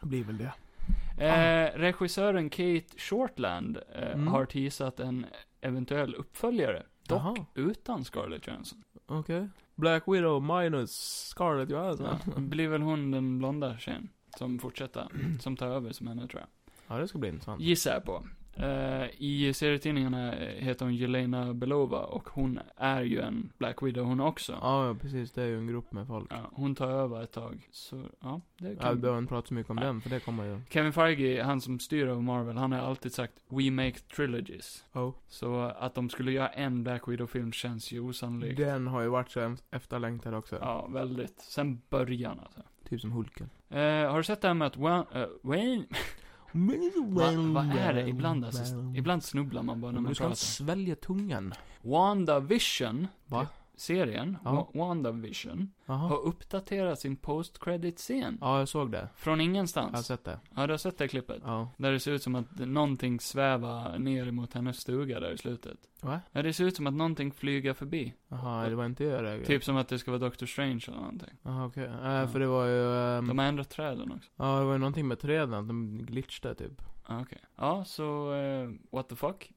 [SPEAKER 2] Det blir väl det.
[SPEAKER 1] Eh, regissören Kate Shortland eh,
[SPEAKER 2] Mm.
[SPEAKER 1] har teasat en eventuell uppföljare. Dock
[SPEAKER 2] Jaha.
[SPEAKER 1] utan Scarlett Johansson.
[SPEAKER 2] Okej. Black Widow minus Scarlett Johansson.
[SPEAKER 1] Ja, blir väl hon den blonda tjejen som fortsätter, som tar över som henne tror jag.
[SPEAKER 2] Ja, det ska bli intressant.
[SPEAKER 1] Gissar jag på. Eh, I serietidningarna heter hon Jelena Belova och hon är ju en Black Widow hon också.
[SPEAKER 2] Ja, ja, precis. Det är ju en grupp med folk.
[SPEAKER 1] Ja, hon tar över ett tag. Så, ja, det
[SPEAKER 2] Ja, vi
[SPEAKER 1] kan...
[SPEAKER 2] behöver inte prata så mycket om
[SPEAKER 1] Nej.
[SPEAKER 2] den, för det kommer ju...
[SPEAKER 1] Kevin Feige, han som styr över Marvel, han har alltid sagt We make trilogies.
[SPEAKER 2] Oh.
[SPEAKER 1] Så att de skulle göra en Black Widow-film känns ju osannolikt.
[SPEAKER 2] Den har ju varit så en- efterlängtad också.
[SPEAKER 1] Ja, väldigt. Sen början alltså.
[SPEAKER 2] Typ som Hulken.
[SPEAKER 1] Eh, har du sett det här med att Wa- eh,
[SPEAKER 2] <laughs>
[SPEAKER 1] Wayne... Va, vad är det? Ibland, alltså, ibland snubblar man bara när
[SPEAKER 2] Men
[SPEAKER 1] man
[SPEAKER 2] du ska inte
[SPEAKER 1] pratar.
[SPEAKER 2] svälja tungan.
[SPEAKER 1] WandaVision
[SPEAKER 2] Va?
[SPEAKER 1] serien,
[SPEAKER 2] Ja.
[SPEAKER 1] Wa- WandaVision, har
[SPEAKER 2] Jaha.
[SPEAKER 1] uppdaterat sin post-credit-scen.
[SPEAKER 2] Ja, Alltså- jag såg det.
[SPEAKER 1] Från
[SPEAKER 2] Jag har
[SPEAKER 1] ingenstans.
[SPEAKER 2] sett det.
[SPEAKER 1] Ja, du har sett det klippet?
[SPEAKER 2] Ja.
[SPEAKER 1] Där det ser ut som att någonting svävar ner mot hennes stuga där i slutet.
[SPEAKER 2] Va?
[SPEAKER 1] Ja, det ser ut som att någonting flyger förbi.
[SPEAKER 2] Jaha, det var inte jag det.
[SPEAKER 1] Typ som att det ska vara Doctor Strange eller någonting.
[SPEAKER 2] Jaha, okej. Nej, för det var ju... ehm,
[SPEAKER 1] De har ändrat träden också.
[SPEAKER 2] Ja, det var ju någonting med träden, att de glitchade typ.
[SPEAKER 1] Ja, okej. Ja, så, eh, what the fuck?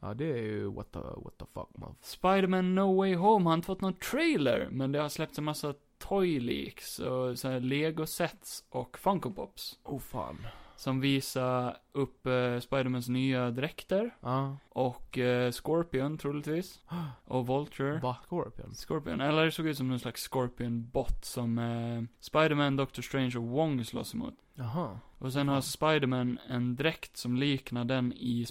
[SPEAKER 2] Ja, det är ju what the, what the fuck man.
[SPEAKER 1] Spider-Man No Way Home har inte fått någon trailer, men det har släppts en massa toy leaks och så här lego-sets och Funko Pops.
[SPEAKER 2] Oh fan.
[SPEAKER 1] Som visar upp eh, Spidermans nya dräkter
[SPEAKER 2] Ja.
[SPEAKER 1] och eh, Scorpion troligtvis. Och Vulture.
[SPEAKER 2] Va? Scorpion?
[SPEAKER 1] Scorpion, eller det såg ut som någon slags Scorpion-bot som eh, Spiderman, Doctor Strange och Wong slåss emot.
[SPEAKER 2] Jaha.
[SPEAKER 1] Och sen har
[SPEAKER 2] Fan.
[SPEAKER 1] Spiderman en dräkt som liknar den i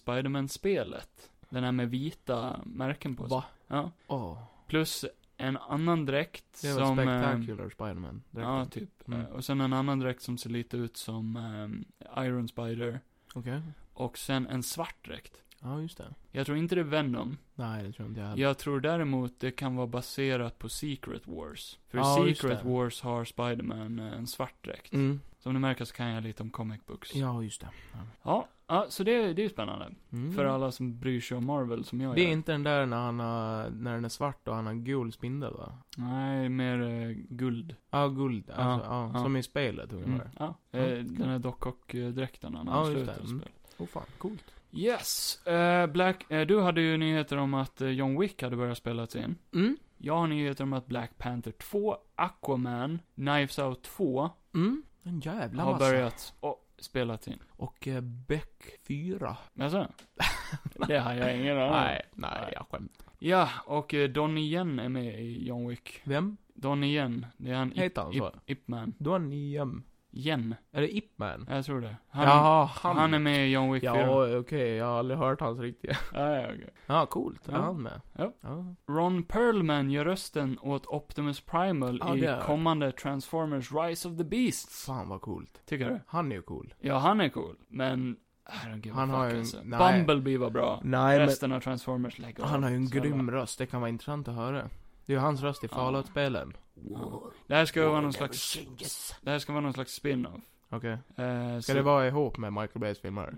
[SPEAKER 1] Spiderman-spelet. Den här med vita märken på sig.
[SPEAKER 2] Va?
[SPEAKER 1] Ja.
[SPEAKER 2] Åh.
[SPEAKER 1] Plus en annan dräkt
[SPEAKER 2] Det var
[SPEAKER 1] som... eh,
[SPEAKER 2] Spectacular Spiderman. direkt.
[SPEAKER 1] Ja, typ.
[SPEAKER 2] Mm.
[SPEAKER 1] Eh, Och sen en annan dräkt som ser lite ut som eh, Iron Spider.
[SPEAKER 2] Okej.
[SPEAKER 1] Och sen en svart dräkt.
[SPEAKER 2] Ja, just det.
[SPEAKER 1] Jag tror inte det är Venom.
[SPEAKER 2] Nej, det tror jag inte jag heller.
[SPEAKER 1] Jag tror däremot det kan vara baserat på Secret Wars. För i
[SPEAKER 2] Ja, just
[SPEAKER 1] Secret
[SPEAKER 2] det.
[SPEAKER 1] Wars har Spiderman eh, en svart dräkt.
[SPEAKER 2] Mm.
[SPEAKER 1] Som ni märker så kan jag lite om comic books.
[SPEAKER 2] Ja, just det. Ja.
[SPEAKER 1] Ja, ja, så det, det är ju spännande.
[SPEAKER 2] Mm.
[SPEAKER 1] För alla som bryr sig om Marvel som jag
[SPEAKER 2] Det
[SPEAKER 1] gör.
[SPEAKER 2] är inte den där när han har, när den är svart och han har gul spindel va?
[SPEAKER 1] Nej, mer eh, guld.
[SPEAKER 2] Ja, guld. Alltså, ja,
[SPEAKER 1] ja.
[SPEAKER 2] som i spelet
[SPEAKER 1] Mm.
[SPEAKER 2] ungefär.
[SPEAKER 1] Ja, eh,
[SPEAKER 2] Ja.
[SPEAKER 1] den här eh, dockhock-dräkten han
[SPEAKER 2] Ja,
[SPEAKER 1] har i
[SPEAKER 2] just
[SPEAKER 1] slutet
[SPEAKER 2] det.
[SPEAKER 1] av
[SPEAKER 2] Mm.
[SPEAKER 1] spelet.
[SPEAKER 2] Åh Oh fan, coolt.
[SPEAKER 1] Yes! Eh, Black, eh, du hade ju nyheter om att eh, John Wick hade börjat spelas in.
[SPEAKER 2] Mm.
[SPEAKER 1] Jag har nyheter om att Black Panther 2, Aquaman, Knives Out 2
[SPEAKER 2] Mm. En jävla
[SPEAKER 1] har
[SPEAKER 2] massa.
[SPEAKER 1] börjat och spelat in.
[SPEAKER 2] Och eh, Beck 4.
[SPEAKER 1] Alltså, det har jag ingen aning om.
[SPEAKER 2] Nej, nej, jag skämtar.
[SPEAKER 1] Ja, och eh, Donnie Yen är med i John Wick.
[SPEAKER 2] Vem
[SPEAKER 1] Donnie Yen, det är han Ip,
[SPEAKER 2] heter han
[SPEAKER 1] Ip,
[SPEAKER 2] så?
[SPEAKER 1] Ip Man.
[SPEAKER 2] Donnie Yen.
[SPEAKER 1] Yen,
[SPEAKER 2] Är det Ip Man?
[SPEAKER 1] jag tror det. Han,
[SPEAKER 2] Jaha,
[SPEAKER 1] han.
[SPEAKER 2] han.
[SPEAKER 1] är med i John Wick 4.
[SPEAKER 2] Ja,
[SPEAKER 1] Ja,
[SPEAKER 2] okej, jag har aldrig hört hans riktiga.
[SPEAKER 1] ja, okej.
[SPEAKER 2] Ja, coolt.
[SPEAKER 1] Ja.
[SPEAKER 2] Är han med?
[SPEAKER 1] Ja.
[SPEAKER 2] Ja.
[SPEAKER 1] Ron Perlman gör rösten åt Optimus Primal
[SPEAKER 2] Ja, det
[SPEAKER 1] i
[SPEAKER 2] är-
[SPEAKER 1] kommande Transformers Rise of the Beasts.
[SPEAKER 2] Fan vad coolt.
[SPEAKER 1] Tycker du?
[SPEAKER 2] Han är ju cool.
[SPEAKER 1] Ja, han är cool, men... I don't give
[SPEAKER 2] Han
[SPEAKER 1] a
[SPEAKER 2] har
[SPEAKER 1] fuck
[SPEAKER 2] ju-
[SPEAKER 1] alltså.
[SPEAKER 2] nej.
[SPEAKER 1] Bumblebee var bra.
[SPEAKER 2] Nej, men
[SPEAKER 1] Resten av Transformers lägger
[SPEAKER 2] han
[SPEAKER 1] av. alltså.
[SPEAKER 2] har ju en
[SPEAKER 1] Snälla.
[SPEAKER 2] grym röst. Det kan vara intressant att höra. Det är ju hans röst i
[SPEAKER 1] Ja.
[SPEAKER 2] Fallout-spelen.
[SPEAKER 1] Ja. Det här ska
[SPEAKER 2] Oh,
[SPEAKER 1] vara någon slags... Det här ska vara någon slags spin-off.
[SPEAKER 2] Okej.
[SPEAKER 1] Eh,
[SPEAKER 2] Ska det vara ihop med Michael Bays filmer?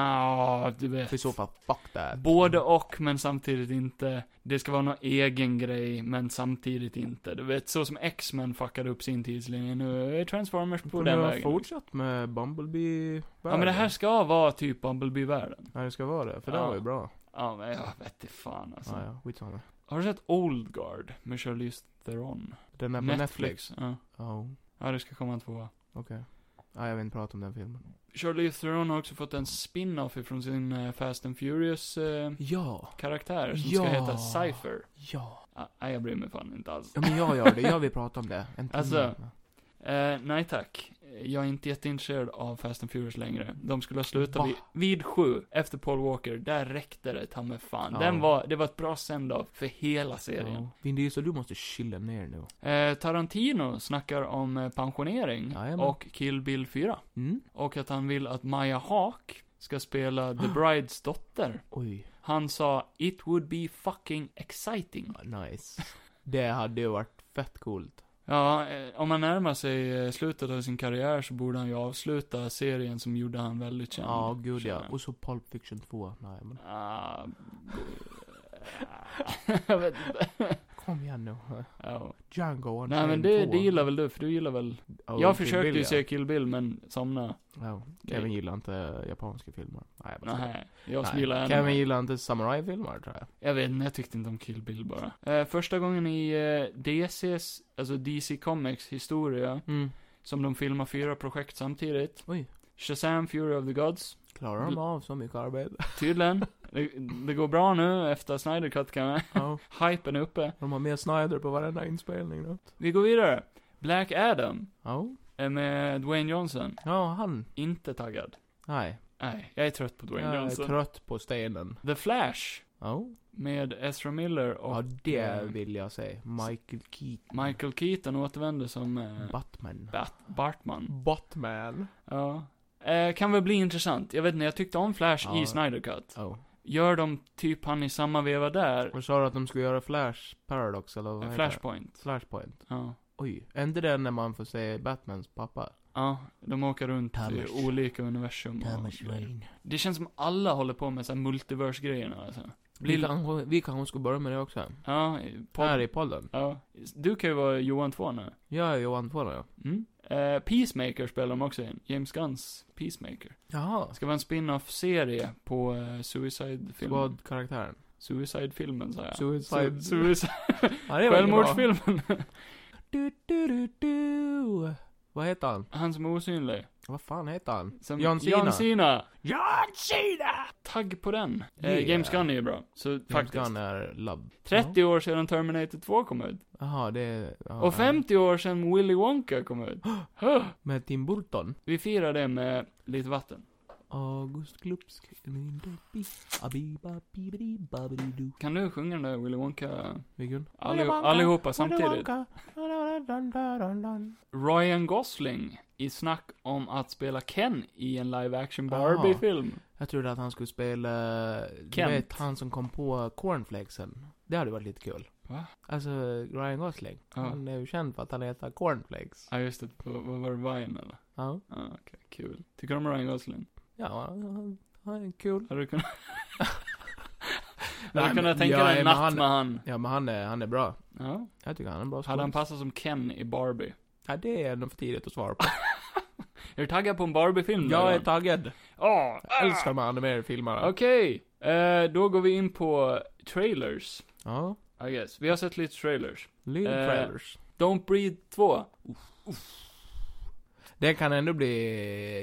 [SPEAKER 1] Nja, du vet.
[SPEAKER 2] För i så fall, fuck that.
[SPEAKER 1] Både och, men samtidigt inte. Det ska vara någon egen grej, men samtidigt inte. Du vet, så som X-Men fuckade upp sin tidslinje, nu är Transformers på
[SPEAKER 2] Kunde
[SPEAKER 1] den
[SPEAKER 2] ha
[SPEAKER 1] vägen.
[SPEAKER 2] fortsatt med bumblebee
[SPEAKER 1] Ja, men det här ska vara typ Bumblebee-världen.
[SPEAKER 2] Ja, det ska vara det. För
[SPEAKER 1] Ja.
[SPEAKER 2] det var ju bra.
[SPEAKER 1] Ja, men jag vet inte fan alltså.
[SPEAKER 2] Ja, ja. Skitsamma.
[SPEAKER 1] Har du sett Old Guard med Charlize Theron?
[SPEAKER 2] Den är på Netflix.
[SPEAKER 1] Ja.
[SPEAKER 2] Ja,
[SPEAKER 1] ja, det ska komma en tvåa.
[SPEAKER 2] okej. Ja, jag vill inte prata om den filmen.
[SPEAKER 1] Charlize Theron har också fått en spin-off ifrån sin eh, Fast and Furious eh,
[SPEAKER 2] Ja.
[SPEAKER 1] karaktär som
[SPEAKER 2] Ja.
[SPEAKER 1] ska heta Cypher.
[SPEAKER 2] Ja.
[SPEAKER 1] Ah, Nej, jag bryr mig fan inte alls.
[SPEAKER 2] Ja, men jag gör det. Jag vill prata om det. En timme.
[SPEAKER 1] Alltså. Eh, nej tack. Jag är inte jätteintresserad av Fast and Furious längre. De skulle ha slutat
[SPEAKER 2] Va?
[SPEAKER 1] vid, vid sju, efter Paul Walker. Där räckte det ta mig fan.
[SPEAKER 2] Ja.
[SPEAKER 1] Den var, det var ett bra send-off för hela serien.
[SPEAKER 2] Ja. Vin Diesel, du måste chilla ner nu.
[SPEAKER 1] Eh, Tarantino snackar om eh, pensionering
[SPEAKER 2] Jajamän.
[SPEAKER 1] och Kill Bill 4.
[SPEAKER 2] Mm.
[SPEAKER 1] Och att han vill att Maya Hawk ska spela
[SPEAKER 2] <gasps>
[SPEAKER 1] The Brides dotter.
[SPEAKER 2] Oj.
[SPEAKER 1] Han sa 'It would be fucking exciting'
[SPEAKER 2] Ja, Nice. Det hade ju varit fett coolt.
[SPEAKER 1] Ja, eh, om man närmar sig eh, slutet av sin karriär så borde han ju avsluta serien som gjorde han väldigt känd.
[SPEAKER 2] Ja, gud ja.
[SPEAKER 1] känner jag.
[SPEAKER 2] Och så Pulp Fiction 2. Nej, men.
[SPEAKER 1] Ah, <laughs> jag vet inte.
[SPEAKER 2] Kom igen nu.
[SPEAKER 1] Ja.
[SPEAKER 2] Django
[SPEAKER 1] <laughs> Nej men det, det gillar väl du, för du gillar väl... jag försökte ju se Kill Bill men somnade.
[SPEAKER 2] Ja, Kevin gillar inte japanska filmer. Nej, jag bara skojar.
[SPEAKER 1] Nej, jag som
[SPEAKER 2] Nej,
[SPEAKER 1] gillar anime.
[SPEAKER 2] Kevin gillar inte samurai-filmer, tror jag.
[SPEAKER 1] Jag vet inte, jag tyckte inte om Kill Bill bara. Eh, första gången i eh, DC's, alltså DC Comics historia,
[SPEAKER 2] Mm.
[SPEAKER 1] som de filmar fyra projekt samtidigt.
[SPEAKER 2] Oj.
[SPEAKER 1] Shazam, Fury of the Gods.
[SPEAKER 2] Klarar de av så mycket arbete?
[SPEAKER 1] Tydligen. Det, det går bra nu efter Snyder Cut kan jag.
[SPEAKER 2] ja.
[SPEAKER 1] Hypen är uppe.
[SPEAKER 2] De har med Snyder på varenda inspelning nu.
[SPEAKER 1] Vi går vidare. Black Adam.
[SPEAKER 2] Ja.
[SPEAKER 1] eh, Med Dwayne Johnson.
[SPEAKER 2] Ja, han.
[SPEAKER 1] Inte taggad.
[SPEAKER 2] Nej.
[SPEAKER 1] Nej, jag är trött på Dwayne
[SPEAKER 2] jag är
[SPEAKER 1] Johnson.
[SPEAKER 2] trött på stenen.
[SPEAKER 1] The Flash.
[SPEAKER 2] Ja.
[SPEAKER 1] Med Ezra Miller och
[SPEAKER 2] Ja, det
[SPEAKER 1] eh,
[SPEAKER 2] vill jag säga. Michael Keaton.
[SPEAKER 1] Michael Keaton återvänder som
[SPEAKER 2] Mm.
[SPEAKER 1] eh,
[SPEAKER 2] Batman.
[SPEAKER 1] Bat- Bartman.
[SPEAKER 2] Batman.
[SPEAKER 1] Ja. Eh, kan väl bli intressant. Jag vet inte, jag tyckte om Flash
[SPEAKER 2] Ja.
[SPEAKER 1] i Snyder Cut.
[SPEAKER 2] Oh.
[SPEAKER 1] Gör de typ han i samma veva där?
[SPEAKER 2] Vad sa du att de skulle göra Flash Paradox eller
[SPEAKER 1] Eh,
[SPEAKER 2] vad heter det?
[SPEAKER 1] Flashpoint.
[SPEAKER 2] Flashpoint.
[SPEAKER 1] Ja.
[SPEAKER 2] Oj, är inte det när man får se Batmans pappa?
[SPEAKER 1] Ja, de åker runt
[SPEAKER 2] Thomas.
[SPEAKER 1] i olika universum. Och det känns som alla håller på med så här multiverse-grejerna alltså. Blir-
[SPEAKER 2] Vi kanske, vi kanske ska börja med det också.
[SPEAKER 1] Ja, i- podd-
[SPEAKER 2] Här i podden.
[SPEAKER 1] ja. Du kan ju vara Johan 2 nu.
[SPEAKER 2] Jag är Johan Tvåla, ja.
[SPEAKER 1] Mm. Eh, Peacemaker spelar de också in. James Gunns Peacemaker.
[SPEAKER 2] Jaha.
[SPEAKER 1] Det ska vara en spin-off-serie på eh, Suicide-filmen.
[SPEAKER 2] Squad-karaktären.
[SPEAKER 1] Suicide-filmen sa jag.
[SPEAKER 2] Suicide-
[SPEAKER 1] Su-
[SPEAKER 2] <laughs>
[SPEAKER 1] suicide.
[SPEAKER 2] Ja, det var ju bra.
[SPEAKER 1] Självmordsfilmen. <laughs>
[SPEAKER 2] Du, du, du, du. Vad heter han?
[SPEAKER 1] Han som är osynlig.
[SPEAKER 2] Vad fan heter han?
[SPEAKER 1] Som
[SPEAKER 2] John Cena.
[SPEAKER 1] John Cena.
[SPEAKER 2] John Cena!
[SPEAKER 1] Tagg på den.
[SPEAKER 2] Yeah.
[SPEAKER 1] Eh, James Gunn är ju bra. Så
[SPEAKER 2] James
[SPEAKER 1] faktiskt.
[SPEAKER 2] Gunn är love.
[SPEAKER 1] 30 år sedan Terminator 2 kom ut.
[SPEAKER 2] Jaha, det är... ja,
[SPEAKER 1] Och 50 år sedan Willy Wonka kom
[SPEAKER 2] <gasps>
[SPEAKER 1] ut. Huh.
[SPEAKER 2] Med Tim Burton.
[SPEAKER 1] Vi firar det med lite vatten.
[SPEAKER 2] August Glupsk. Abiba-bibidi-babidi-doo.
[SPEAKER 1] Kan du sjunga den där Willy Wonka?
[SPEAKER 2] Vilken?
[SPEAKER 1] Alli- allihopa samtidigt. Ryan Gosling i snack om att spela Ken i en live action
[SPEAKER 2] Ah.
[SPEAKER 1] Barbie-film.
[SPEAKER 2] Jag trodde att han skulle spela... Du
[SPEAKER 1] Kent.
[SPEAKER 2] vet, han som kom på cornflakesen. Det hade varit lite kul.
[SPEAKER 1] Va?
[SPEAKER 2] Alltså, Ryan Gosling.
[SPEAKER 1] Ja.
[SPEAKER 2] Han är ju känd för att han heter cornflakes.
[SPEAKER 1] Ja, just det. På, vad var det? Vine, eller?
[SPEAKER 2] Ja.
[SPEAKER 1] Ja, okej. Kul. Tycker du om Ryan Gosling?
[SPEAKER 2] Ja, han han är kul.
[SPEAKER 1] Har du
[SPEAKER 2] <laughs>
[SPEAKER 1] kunnat...
[SPEAKER 2] Nej,
[SPEAKER 1] Har du
[SPEAKER 2] men-
[SPEAKER 1] kunnat tänka
[SPEAKER 2] ja,
[SPEAKER 1] dig en
[SPEAKER 2] men
[SPEAKER 1] natt
[SPEAKER 2] han-
[SPEAKER 1] med han?
[SPEAKER 2] Ja, men han är, han är bra.
[SPEAKER 1] Ja.
[SPEAKER 2] Jag tycker han är en bra
[SPEAKER 1] Hade han
[SPEAKER 2] skådis.
[SPEAKER 1] passat som Ken i Barbie?
[SPEAKER 2] Ja, det är nog för tidigt
[SPEAKER 1] <laughs>
[SPEAKER 2] att svara på.
[SPEAKER 1] Är du taggad på en Barbie-film? nu,
[SPEAKER 2] Jag är
[SPEAKER 1] Johan?
[SPEAKER 2] taggad.
[SPEAKER 1] Ja!
[SPEAKER 2] Jag älskar de här animerade filmerna.
[SPEAKER 1] Okej, eh, då går vi in på trailers.
[SPEAKER 2] Ja.
[SPEAKER 1] I guess. Vi har sett lite trailers.
[SPEAKER 2] Little
[SPEAKER 1] Eh.
[SPEAKER 2] trailers.
[SPEAKER 1] Don't Breathe 2.
[SPEAKER 2] Det kan ändå bli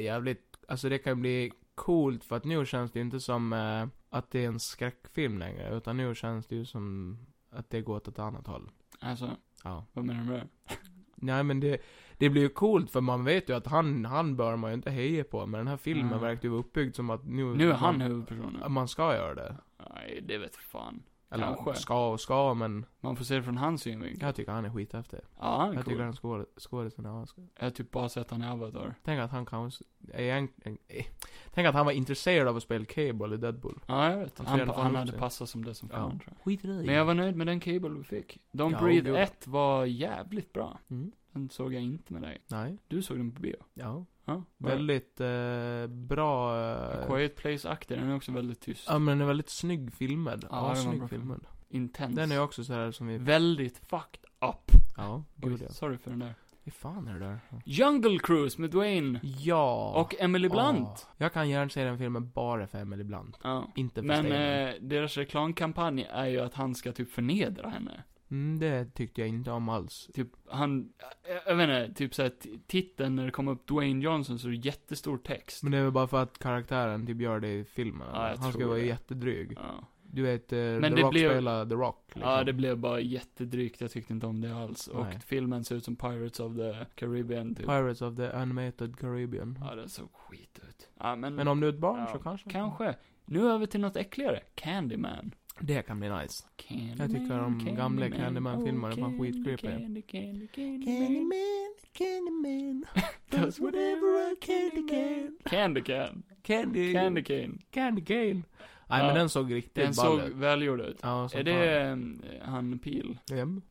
[SPEAKER 2] jävligt... Alltså det kan bli coolt för att nu känns det ju inte som eh, att det är en skräckfilm längre. Utan nu känns det ju som att det går åt ett annat håll.
[SPEAKER 1] Alltså,
[SPEAKER 2] Ja.
[SPEAKER 1] vad menar du med det?
[SPEAKER 2] Nej men det, det blir ju coolt för man vet ju att han, han bör man ju inte heja på. Men den här filmen
[SPEAKER 1] Mm.
[SPEAKER 2] verkar ju vara uppbyggd som att nu...
[SPEAKER 1] Nu är han
[SPEAKER 2] man,
[SPEAKER 1] huvudpersonen.
[SPEAKER 2] man ska göra det.
[SPEAKER 1] Nej, det vet fan.
[SPEAKER 2] Eller
[SPEAKER 1] Kanske.
[SPEAKER 2] ska och ska men
[SPEAKER 1] Man får se det från hans synvinkel.
[SPEAKER 2] jag tycker han är skithäftig.
[SPEAKER 1] Ja, han är
[SPEAKER 2] Jag tycker
[SPEAKER 1] cool.
[SPEAKER 2] han skåd- skådisen är ask-
[SPEAKER 1] Jag har typ bara sett han i Avatar.
[SPEAKER 2] Tänk att han kanske, egentligen, eh, tänk att han var intresserad av att spela Cable i Deadpool.
[SPEAKER 1] Ja, jag vet.
[SPEAKER 2] Han
[SPEAKER 1] Han,
[SPEAKER 2] ser i alla fall
[SPEAKER 1] han
[SPEAKER 2] ut
[SPEAKER 1] hade
[SPEAKER 2] sig.
[SPEAKER 1] passat som det som
[SPEAKER 2] Ja.
[SPEAKER 1] fan, tror jag.
[SPEAKER 2] Skit i det.
[SPEAKER 1] Men jag var nöjd med den cable vi fick. Don't
[SPEAKER 2] Ja,
[SPEAKER 1] Breathe
[SPEAKER 2] jo.
[SPEAKER 1] 1 var jävligt bra.
[SPEAKER 2] Mm.
[SPEAKER 1] Den såg jag inte med dig.
[SPEAKER 2] Nej.
[SPEAKER 1] Du såg den på bio.
[SPEAKER 2] Ja.
[SPEAKER 1] Ja, var det?
[SPEAKER 2] Väldigt eh, bra.
[SPEAKER 1] A
[SPEAKER 2] Eh,
[SPEAKER 1] Quiet Place-aktig, den är också väldigt tyst.
[SPEAKER 2] ja men den är väldigt snygg filmad.
[SPEAKER 1] Ja, den
[SPEAKER 2] Ja,
[SPEAKER 1] var bra
[SPEAKER 2] snygg
[SPEAKER 1] film.
[SPEAKER 2] filmad.
[SPEAKER 1] Intens.
[SPEAKER 2] Den är också så här som vi,
[SPEAKER 1] Väldigt fucked up.
[SPEAKER 2] ja,
[SPEAKER 1] Oj,
[SPEAKER 2] gud ja.
[SPEAKER 1] sorry för den där.
[SPEAKER 2] Vad fan är det där?
[SPEAKER 1] Jungle Cruise med Dwayne
[SPEAKER 2] Ja.
[SPEAKER 1] och Emily Blunt.
[SPEAKER 2] Åh. Jag kan gärna se den filmen bara för Emily Blunt.
[SPEAKER 1] Ja.
[SPEAKER 2] Inte för
[SPEAKER 1] Men
[SPEAKER 2] Steven.
[SPEAKER 1] eh, deras reklamkampanj är ju att han ska typ förnedra henne.
[SPEAKER 2] Mm, det tyckte jag inte om alls.
[SPEAKER 1] Typ, han, jag, jag vet inte, typ såhär t- titeln när det kom upp Dwayne Johnson så är det jättestor text.
[SPEAKER 2] Men det är väl bara för att karaktären typ gör det i filmen.
[SPEAKER 1] Ja, jag
[SPEAKER 2] Han ska
[SPEAKER 1] tror
[SPEAKER 2] vara
[SPEAKER 1] det.
[SPEAKER 2] jättedryg.
[SPEAKER 1] Ja.
[SPEAKER 2] Du vet, eh,
[SPEAKER 1] Men
[SPEAKER 2] The
[SPEAKER 1] det
[SPEAKER 2] Rock
[SPEAKER 1] blir-
[SPEAKER 2] spelar The Rock. Liksom.
[SPEAKER 1] ja, det blev bara jättedrygt, jag tyckte inte om det alls. Och
[SPEAKER 2] Nej.
[SPEAKER 1] filmen ser ut som Pirates of the Caribbean typ.
[SPEAKER 2] Pirates of the Animated Caribbean.
[SPEAKER 1] ja, det såg skit ut. Ja, men,
[SPEAKER 2] Men om du är ett barn
[SPEAKER 1] Ja,
[SPEAKER 2] så kanske.
[SPEAKER 1] kanske. Nu över till något äckligare. Candyman.
[SPEAKER 2] Det kan bli nice.
[SPEAKER 1] Candyman
[SPEAKER 2] Jag tycker de gamla Candyman-filmerna är fan skitcreepy.
[SPEAKER 1] Candy, candy, candy,
[SPEAKER 2] Candyman, Candyman.
[SPEAKER 1] <laughs> does whatever a candy can. Candy can.
[SPEAKER 2] Candy,
[SPEAKER 1] Candy cane.
[SPEAKER 2] candy cane. Nej men
[SPEAKER 1] Ja.
[SPEAKER 2] den såg riktigt
[SPEAKER 1] Den
[SPEAKER 2] ball
[SPEAKER 1] såg
[SPEAKER 2] ut.
[SPEAKER 1] välgjord ut.
[SPEAKER 2] Ja, som
[SPEAKER 1] Är det eh, han Pil?
[SPEAKER 2] fan. Vem?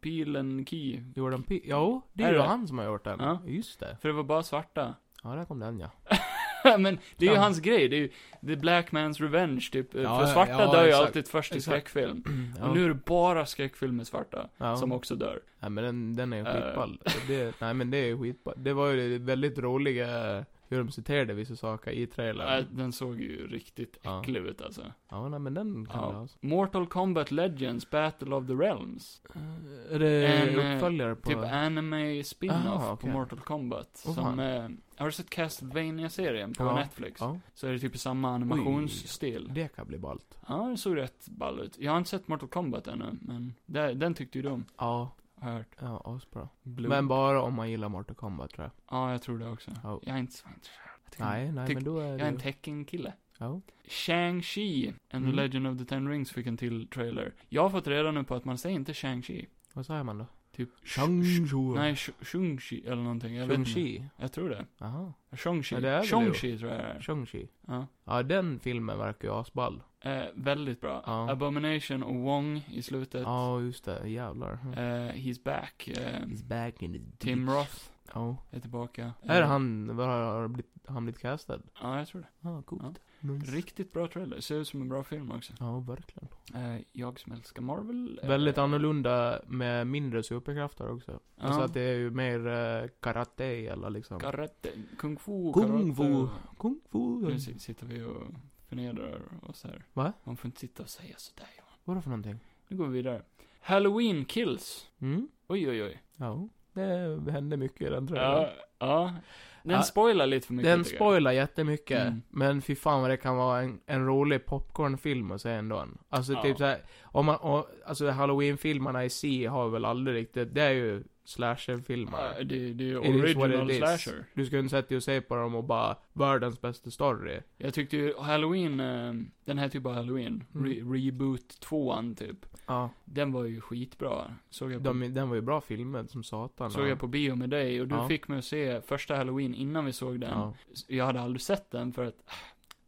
[SPEAKER 1] Pilen Key?
[SPEAKER 2] Jordan P. Jo, det
[SPEAKER 1] Är
[SPEAKER 2] är ju
[SPEAKER 1] det?
[SPEAKER 2] han som har gjort den.
[SPEAKER 1] Ja.
[SPEAKER 2] Just det.
[SPEAKER 1] För det var bara svarta.
[SPEAKER 2] Ja, där
[SPEAKER 1] <clears throat>
[SPEAKER 2] kom den ja.
[SPEAKER 1] <laughs> Men det är ju
[SPEAKER 2] Ja.
[SPEAKER 1] hans grej, det är ju The Black Man's Revenge typ. Eh,
[SPEAKER 2] Ja,
[SPEAKER 1] För svarta
[SPEAKER 2] ja,
[SPEAKER 1] dör ju
[SPEAKER 2] exakt.
[SPEAKER 1] alltid först i
[SPEAKER 2] Exakt.
[SPEAKER 1] skräckfilm.
[SPEAKER 2] ja.
[SPEAKER 1] Och nu är det bara skräckfilm med svarta,
[SPEAKER 2] ja.
[SPEAKER 1] som också dör.
[SPEAKER 2] Nej men den, den är ju
[SPEAKER 1] Eh.
[SPEAKER 2] skitball. Det, nej men det är ju skitball. Det var ju väldigt roliga hur de citerade vissa saker i
[SPEAKER 1] Nej,
[SPEAKER 2] trailern.
[SPEAKER 1] Äh, Den såg ju riktigt
[SPEAKER 2] Ja.
[SPEAKER 1] äcklig ut alltså.
[SPEAKER 2] Ja nej men den kan
[SPEAKER 1] Ja.
[SPEAKER 2] vi ha.
[SPEAKER 1] Mortal Kombat Legends Battle of the Realms.
[SPEAKER 2] Eh, Är det
[SPEAKER 1] En, eh,
[SPEAKER 2] uppföljare på...
[SPEAKER 1] Typ anime spin-off
[SPEAKER 2] Aha,
[SPEAKER 1] på
[SPEAKER 2] okej.
[SPEAKER 1] Mortal Kombat.
[SPEAKER 2] Åh,
[SPEAKER 1] som,
[SPEAKER 2] fan.
[SPEAKER 1] eh, har du sett Castlevania-serien på
[SPEAKER 2] Ja,
[SPEAKER 1] Netflix?
[SPEAKER 2] ja,
[SPEAKER 1] Så är det typ samma animationsstil.
[SPEAKER 2] det kan bli ballt.
[SPEAKER 1] Ja, det såg rätt ball ut. Jag har inte sett Mortal Kombat ännu, men det, den tyckte ju de,
[SPEAKER 2] Ja,
[SPEAKER 1] har jag hört.
[SPEAKER 2] ja asbra.
[SPEAKER 1] Blue.
[SPEAKER 2] Men bara om man gillar Mortal Kombat tror jag.
[SPEAKER 1] Ja, jag tror det också.
[SPEAKER 2] Ja.
[SPEAKER 1] Jag är inte så intresserad. Jag tycker-
[SPEAKER 2] Nej, nej
[SPEAKER 1] tyck-
[SPEAKER 2] men då är
[SPEAKER 1] Jag är en
[SPEAKER 2] det...
[SPEAKER 1] tecken-kille.
[SPEAKER 2] Ja.
[SPEAKER 1] Shang-Chi and
[SPEAKER 2] Mm.
[SPEAKER 1] the Legend of the Ten Rings fick en till trailer. Jag har fått reda nu på att man säger inte Shang-Chi.
[SPEAKER 2] Vad säger man då?
[SPEAKER 1] Typ...
[SPEAKER 2] Shang-Chu.
[SPEAKER 1] Nej, Sh- Shang-Chi eller någonting. Jag vet inte.
[SPEAKER 2] Shang-Chi.
[SPEAKER 1] Jag tror det.
[SPEAKER 2] Jaha.
[SPEAKER 1] Shang-Chi.
[SPEAKER 2] Ja, det är väl det.
[SPEAKER 1] Shang-Chi tror jag det är.
[SPEAKER 2] Shang-Chi.
[SPEAKER 1] Ja.
[SPEAKER 2] Ja, den filmen verkar ju asball.
[SPEAKER 1] Eh, väldigt bra.
[SPEAKER 2] Ja.
[SPEAKER 1] Abomination och Wong i slutet.
[SPEAKER 2] Ja, just det. Jävlar. Mm.
[SPEAKER 1] Eh, he's back. Eh,
[SPEAKER 2] He's back in the
[SPEAKER 1] Tim
[SPEAKER 2] ditch.
[SPEAKER 1] Roth
[SPEAKER 2] Ja.
[SPEAKER 1] är tillbaka.
[SPEAKER 2] Är
[SPEAKER 1] Eh,
[SPEAKER 2] han, var, har blivit, han blivit castad?
[SPEAKER 1] Ja, jag tror det.
[SPEAKER 2] Ja, ah, coolt. Nice.
[SPEAKER 1] Riktigt bra trailer. Ser ut som en bra film också.
[SPEAKER 2] Ja, verkligen.
[SPEAKER 1] Eh, jag som älskar Marvel. eh,
[SPEAKER 2] Väldigt annorlunda med mindre superkrafter också.
[SPEAKER 1] ja.
[SPEAKER 2] Alltså att det är ju mer eh, karate eller liksom.
[SPEAKER 1] Karate, kung fu,
[SPEAKER 2] Kung fu.
[SPEAKER 1] karate.
[SPEAKER 2] Kung fu.
[SPEAKER 1] Nu si- sitter vi och förnedrar oss här.
[SPEAKER 2] Va?
[SPEAKER 1] Man får inte sitta och säga sådär Johan.
[SPEAKER 2] Vadå för någonting?
[SPEAKER 1] Nu går vi vidare. Halloween kills.
[SPEAKER 2] Mm?
[SPEAKER 1] Oj, oj, oj.
[SPEAKER 2] Ja. Det hände mycket i den trailern.
[SPEAKER 1] Ja, ja. Den
[SPEAKER 2] Ja.
[SPEAKER 1] spoilar lite för mycket.
[SPEAKER 2] Den
[SPEAKER 1] tycker jag.
[SPEAKER 2] spoilar jättemycket,
[SPEAKER 1] Mm.
[SPEAKER 2] men fy fan vad det kan vara en, en rolig popcornfilm att se ändå. Alltså
[SPEAKER 1] Ja.
[SPEAKER 2] typ såhär, om man, och, alltså halloweenfilmerna i sig har väl aldrig riktigt, det är ju slasherfilmer.
[SPEAKER 1] Ja, det, det är ju
[SPEAKER 2] It is what
[SPEAKER 1] original
[SPEAKER 2] it is.
[SPEAKER 1] slasher.
[SPEAKER 2] Du skulle inte sätta dig och se på dem och bara, världens bästa story.
[SPEAKER 1] Jag tyckte ju halloween, eh, den här typen av halloween,
[SPEAKER 2] Mm.
[SPEAKER 1] re reboot 2an typ.
[SPEAKER 2] Ja.
[SPEAKER 1] Den var ju skitbra. Såg jag på,
[SPEAKER 2] De, den var ju bra filmad som satan.
[SPEAKER 1] såg jag på bio med dig och du
[SPEAKER 2] Ja.
[SPEAKER 1] fick mig att se första halloween innan vi såg den.
[SPEAKER 2] ja.
[SPEAKER 1] Jag hade aldrig sett den för att, äh,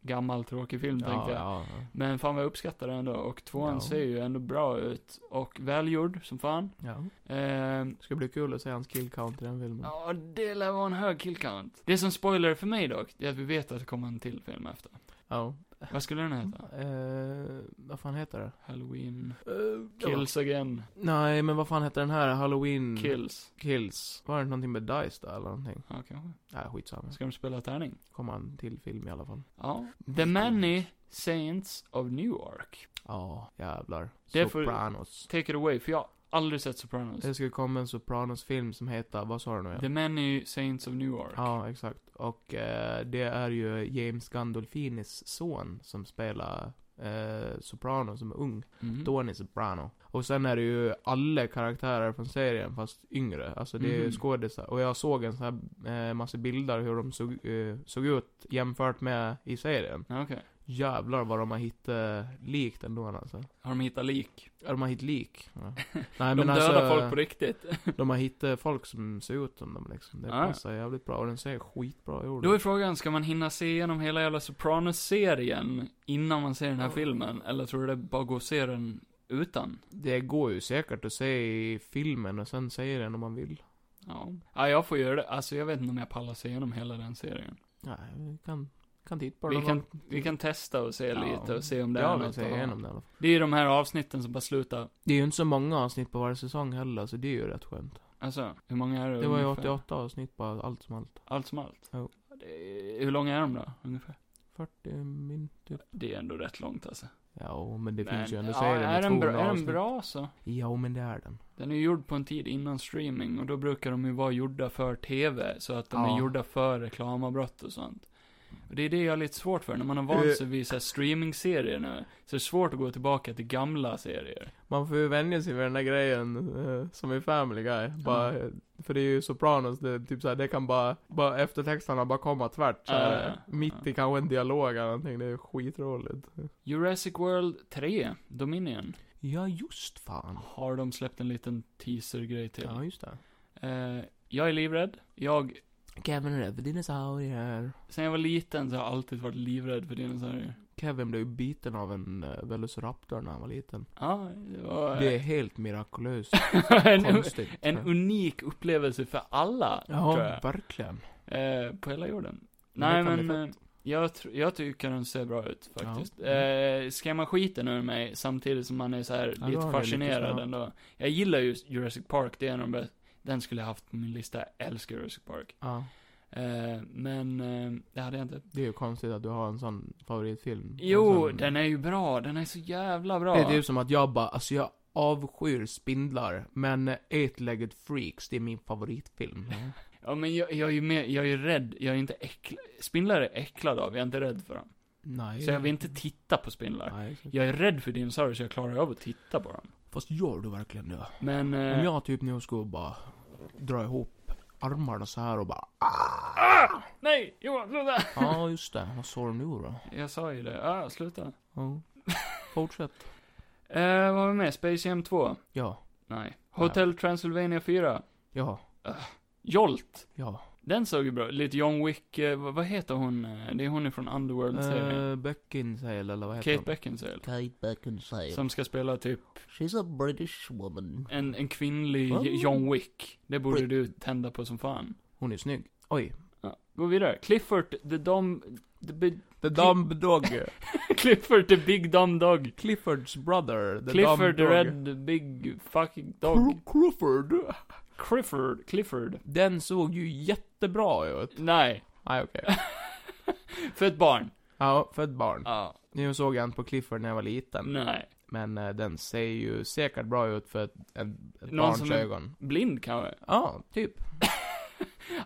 [SPEAKER 1] gammal tråkig film
[SPEAKER 2] ja,
[SPEAKER 1] tänkte jag.
[SPEAKER 2] ja, ja.
[SPEAKER 1] Men fan vad jag uppskattar den ändå. Och tvåan
[SPEAKER 2] Ja.
[SPEAKER 1] ser ju ändå bra ut. Och välgjord som fan.
[SPEAKER 2] ja.
[SPEAKER 1] Ehm,
[SPEAKER 2] Det ska bli kul att se hans kill count i den filmen.
[SPEAKER 1] Ja, det lär vara en hög kill count. Det som spoiler för mig dock, det är att vi vet att det kommer en till film efter.
[SPEAKER 2] Ja.
[SPEAKER 1] Vad skulle den heta?
[SPEAKER 2] Eh, vad fan heter det?
[SPEAKER 1] Halloween...
[SPEAKER 2] Kills.
[SPEAKER 1] Kills again.
[SPEAKER 2] Nej, men vad fan heter den här? Halloween...
[SPEAKER 1] Kills.
[SPEAKER 2] Kills. Var det någonting med Dice då, eller någonting?
[SPEAKER 1] Ja, kanske.
[SPEAKER 2] Nej, skitsamma.
[SPEAKER 1] Ska de spela tärning?
[SPEAKER 2] Kommer en till film i alla fall.
[SPEAKER 1] Ja. The Many Saints of Newark.
[SPEAKER 2] Ja, jävlar.
[SPEAKER 1] Det är för-
[SPEAKER 2] Sopranos.
[SPEAKER 1] Take it away, för jag har aldrig sett Sopranos.
[SPEAKER 2] Det ska komma en Sopranos-film som heter, vad sa du nu?
[SPEAKER 1] The Many Saints of Newark.
[SPEAKER 2] Ja, exakt. Och eh, det är ju James Gandolfinis son som spelar eh, Soprano som är ung.
[SPEAKER 1] Mhm.
[SPEAKER 2] Tony Soprano. Och sen är det ju alla karaktärer från serien fast yngre. Alltså det är
[SPEAKER 1] Mhm.
[SPEAKER 2] ju skådisar. Och jag såg en sån här eh, massa bilder hur de såg, eh, såg ut jämfört med i serien.
[SPEAKER 1] Ja, Okej.
[SPEAKER 2] Jävlar vad de har hittat eh, likt ändå alltså.
[SPEAKER 1] Har de hittat lik?
[SPEAKER 2] Ja, de har hittat lik.
[SPEAKER 1] <laughs>
[SPEAKER 2] Ja. Nej,
[SPEAKER 1] de
[SPEAKER 2] men
[SPEAKER 1] dödar
[SPEAKER 2] alltså,
[SPEAKER 1] folk på riktigt.
[SPEAKER 2] De har hittat folk som ser ut som dem liksom. Det
[SPEAKER 1] Ja.
[SPEAKER 2] passar jävligt bra och den ser skitbra ut.
[SPEAKER 1] Då är frågan, ska man hinna se igenom hela jävla Sopranos-serien innan man ser den här
[SPEAKER 2] Ja.
[SPEAKER 1] filmen? Eller tror du det bara går att se den utan?
[SPEAKER 2] Det går ju säkert att se i filmen och sen säga den om man vill.
[SPEAKER 1] Ja. ja, jag får göra det. Alltså jag vet inte om jag pallar se igenom hela den serien.
[SPEAKER 2] Nej, vi kan, kan titta på
[SPEAKER 1] Vi
[SPEAKER 2] den. om
[SPEAKER 1] kan,
[SPEAKER 2] man-
[SPEAKER 1] vi kan testa och se
[SPEAKER 2] Ja.
[SPEAKER 1] lite och se om det
[SPEAKER 2] Ja,
[SPEAKER 1] är
[SPEAKER 2] vi
[SPEAKER 1] något
[SPEAKER 2] ser
[SPEAKER 1] att ha.
[SPEAKER 2] igenom den i alla fall.
[SPEAKER 1] Det är ju de här avsnitten som bara slutar.
[SPEAKER 2] Det är ju inte så många avsnitt på varje säsong heller, så det är ju rätt skönt.
[SPEAKER 1] Alltså, hur många är det?
[SPEAKER 2] Det var ju
[SPEAKER 1] ungefär?
[SPEAKER 2] 88 avsnitt på allt som allt.
[SPEAKER 1] Allt som allt.
[SPEAKER 2] Ja.
[SPEAKER 1] Det är, hur långa är de då, ungefär?
[SPEAKER 2] 40 min typ.
[SPEAKER 1] Det är ändå rätt långt alltså.
[SPEAKER 2] Ja, men det
[SPEAKER 1] Men,
[SPEAKER 2] finns ju ändå
[SPEAKER 1] ja,
[SPEAKER 2] serier
[SPEAKER 1] är
[SPEAKER 2] med
[SPEAKER 1] den, bra,
[SPEAKER 2] 200
[SPEAKER 1] är den
[SPEAKER 2] avsnitt.
[SPEAKER 1] bra så?
[SPEAKER 2] Ja, men det är den.
[SPEAKER 1] Den är ju gjord på en tid innan streaming och då brukar de ju vara gjorda för TV, så att de är
[SPEAKER 2] Ja.
[SPEAKER 1] gjorda för reklamavbrott och sånt. Och det är det jag har lite svårt för, när man har vant sig vid så här streaming-serier nu, så är det svårt att gå tillbaka till gamla serier.
[SPEAKER 2] Man får ju vänja sig vid den där grejen eh, som i Family Guy. Bara, eh, För det är ju Sopranos, det, är typ såhär, det kan bara, bara eftertexterna bara komma tvärt såhär,
[SPEAKER 1] Ja, ja, ja.
[SPEAKER 2] Mitt i kanske en dialog eller någonting, det är ju skitroligt.
[SPEAKER 1] Jurassic World 3, Dominion,
[SPEAKER 2] Ja, just fan.
[SPEAKER 1] har de släppt en liten teaser-grej till.
[SPEAKER 2] Ja, just det.
[SPEAKER 1] Eh, jag är livrädd. Jag,
[SPEAKER 2] Kevin är för dinosaurier.
[SPEAKER 1] sen jag var liten så har jag alltid varit livrädd för dinosaurier.
[SPEAKER 2] Kevin blev ju biten av en eh, Velociraptor när han var liten.
[SPEAKER 1] Ja, det var...
[SPEAKER 2] Det är helt mirakulöst
[SPEAKER 1] <laughs> en,
[SPEAKER 2] konstigt.
[SPEAKER 1] en unik upplevelse för alla, tror jag.
[SPEAKER 2] Ja, verkligen.
[SPEAKER 1] Eh, på hela jorden.
[SPEAKER 2] Det
[SPEAKER 1] Nej
[SPEAKER 2] kan bli
[SPEAKER 1] men, eh, jag, tr- jag tycker den ser bra ut faktiskt.
[SPEAKER 2] Ja.
[SPEAKER 1] Eh, skrämmer skiten ur mig samtidigt som man är så här
[SPEAKER 2] då har
[SPEAKER 1] lite
[SPEAKER 2] den lite
[SPEAKER 1] fascinerad
[SPEAKER 2] sådär.
[SPEAKER 1] ändå. Jag gillar ju Jurassic Park, det är en av de bästa. Den skulle jag haft på min lista, jag älskar Jurassic Park.
[SPEAKER 2] Ja,
[SPEAKER 1] Eh, men, eh, det hade jag inte.
[SPEAKER 2] det är ju konstigt att du har en sån favoritfilm.
[SPEAKER 1] Jo,
[SPEAKER 2] Och sen-
[SPEAKER 1] den är ju bra, den är så jävla bra.
[SPEAKER 2] Det är ju som att jag bara, alltså jag avskyr spindlar, men eh, Eight-Legged Freaks, det är min favoritfilm.
[SPEAKER 1] Ja men jag, jag är ju mer, jag är ju rädd, jag är inte äcklad, spindlar är jag äcklad av, jag är inte rädd för dem.
[SPEAKER 2] Nej.
[SPEAKER 1] Så jag vill inte titta på spindlar.
[SPEAKER 2] Nej, exakt.
[SPEAKER 1] Jag är rädd för dinosaurier så jag klarar av att titta på dem.
[SPEAKER 2] Fast gör du verkligen det?
[SPEAKER 1] Men, eh,
[SPEAKER 2] Om jag typ nu skulle bara dra ihop armarna så här och bara,
[SPEAKER 1] Ah! Nej, Johan, sluta!
[SPEAKER 2] ja just det, vad sa du nu då?
[SPEAKER 1] Jag sa ju det. Ah, sluta. <laughs>
[SPEAKER 2] Ja. Fortsätt.
[SPEAKER 1] Eh, vad var vi med? Space Jam 2?
[SPEAKER 2] Ja,
[SPEAKER 1] Nej. Hotel Transylvania 4?
[SPEAKER 2] ja,
[SPEAKER 1] Jolt?
[SPEAKER 2] ja.
[SPEAKER 1] Den såg ju bra Lite John Wick, eh, vad, vad heter hon? Eh, Det är hon från Underworld-serien.
[SPEAKER 2] Uh, Beckinsale eller vad heter
[SPEAKER 1] Kate
[SPEAKER 2] hon?
[SPEAKER 1] Beckinsale.
[SPEAKER 5] Kate Beckinsale.
[SPEAKER 1] Som ska spela typ
[SPEAKER 5] She's a British woman.
[SPEAKER 1] en, en kvinnlig
[SPEAKER 5] Oh.
[SPEAKER 1] John Wick. Det borde du tända på som fan.
[SPEAKER 2] Hon är snygg. Oj.
[SPEAKER 1] Ja. Gå vidare. Clifford the Dom... The big, <laughs>
[SPEAKER 2] The Dumb Dog.
[SPEAKER 1] Clifford the Big Dumb Dog.
[SPEAKER 2] <laughs> Cliffords brother. The
[SPEAKER 1] Clifford
[SPEAKER 2] dumb
[SPEAKER 1] the
[SPEAKER 2] dog.
[SPEAKER 1] Red the Big Fucking Dog.
[SPEAKER 2] Cro- Crawford.
[SPEAKER 1] Clifford. Clifford.
[SPEAKER 2] Den såg ju jättebra ut.
[SPEAKER 1] Nej.
[SPEAKER 2] Nej, okej.
[SPEAKER 1] För ett barn.
[SPEAKER 2] Ja, för ett barn.
[SPEAKER 1] Ja.
[SPEAKER 2] Nu såg jag inte på Clifford när jag var liten.
[SPEAKER 1] Nej.
[SPEAKER 2] Men eh, den ser ju säkert bra ut för ett, ett, ett
[SPEAKER 1] Någon
[SPEAKER 2] barns
[SPEAKER 1] som är-
[SPEAKER 2] ögon.
[SPEAKER 1] Blind kanske? <laughs>
[SPEAKER 2] Ja, typ.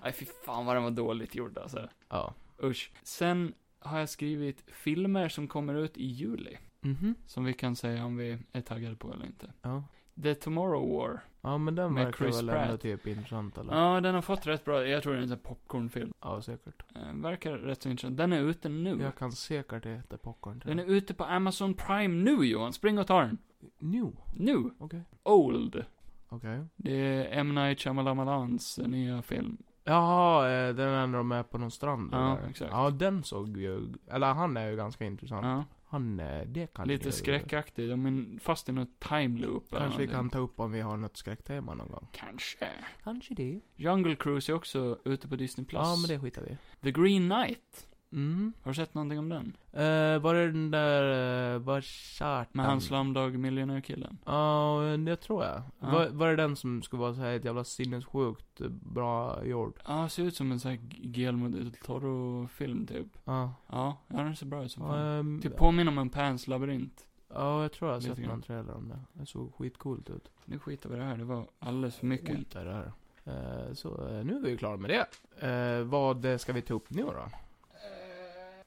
[SPEAKER 1] Nej, fy fan vad den var dåligt gjord alltså.
[SPEAKER 2] Ja.
[SPEAKER 1] Usch. Sen har jag skrivit filmer som kommer ut i juli.
[SPEAKER 2] Mhm.
[SPEAKER 1] Som vi kan säga om vi är taggade på eller inte.
[SPEAKER 2] Ja.
[SPEAKER 1] The Tomorrow War.
[SPEAKER 2] Ja, men den
[SPEAKER 1] Med
[SPEAKER 2] verkar
[SPEAKER 1] Chris
[SPEAKER 2] väl ändå
[SPEAKER 1] Pratt.
[SPEAKER 2] typ intressant eller?
[SPEAKER 1] Ja, den har fått rätt bra, jag tror det är en sån här popcornfilm.
[SPEAKER 2] Ja, säkert.
[SPEAKER 1] Eh, verkar rätt så intressant. Den är ute nu.
[SPEAKER 2] Jag kan säkert äta popcorn till
[SPEAKER 1] Den är ute på Amazon Prime nu Johan, spring och ta den.
[SPEAKER 2] Nu?
[SPEAKER 1] Nu.
[SPEAKER 2] Okej.
[SPEAKER 1] Old.
[SPEAKER 2] Okej.
[SPEAKER 1] Det är M. Night Shyamalan's nya film.
[SPEAKER 2] Jaha, eh, den är när de är på någon strand
[SPEAKER 1] Ja,
[SPEAKER 2] eller?
[SPEAKER 1] exakt.
[SPEAKER 2] Ja, den såg ju... Eller han är ju ganska intressant.
[SPEAKER 1] Ja,
[SPEAKER 2] Han, eh, det kan ju,
[SPEAKER 1] lite skräckaktig. De är fast i något time loop. eller
[SPEAKER 2] Kanske vi kan
[SPEAKER 1] någonting.
[SPEAKER 2] ta upp om vi har något skräcktema någon gång.
[SPEAKER 1] Kanske.
[SPEAKER 2] Kanske det.
[SPEAKER 1] Jungle Cruise är också ute på Disney+. Plus.
[SPEAKER 2] Ja, men det skitar vi i.
[SPEAKER 1] The Green Knight.
[SPEAKER 2] Mm.
[SPEAKER 1] Har du sett någonting om den?
[SPEAKER 2] Eh, var det den där, eh, var charten?
[SPEAKER 1] Med han Slumdog Millionaire-killen.
[SPEAKER 2] Ja, det tror jag.
[SPEAKER 1] Ja.
[SPEAKER 2] Var, var det den som skulle vara så här ett jävla sinnessjukt bra gjord?
[SPEAKER 1] Ja, ser ut som en sån här Guillermo del Toro-film typ.
[SPEAKER 2] Ja.
[SPEAKER 1] Ja, ja den ser bra ut som fan.
[SPEAKER 2] Ehm,
[SPEAKER 1] Typ påminner om en Pans labyrint.
[SPEAKER 2] Ja, jag tror jag har
[SPEAKER 1] Lite
[SPEAKER 2] sett någon
[SPEAKER 1] grann.
[SPEAKER 2] trailer om det. Det såg skitcoolt ut.
[SPEAKER 1] Nu skiter vi i det här, det var alldeles för mycket.
[SPEAKER 2] Skit är det här. Eh, så eh, nu är vi ju klara med det. Eh, vad eh, ska vi ta upp nu då?
[SPEAKER 1] Eh,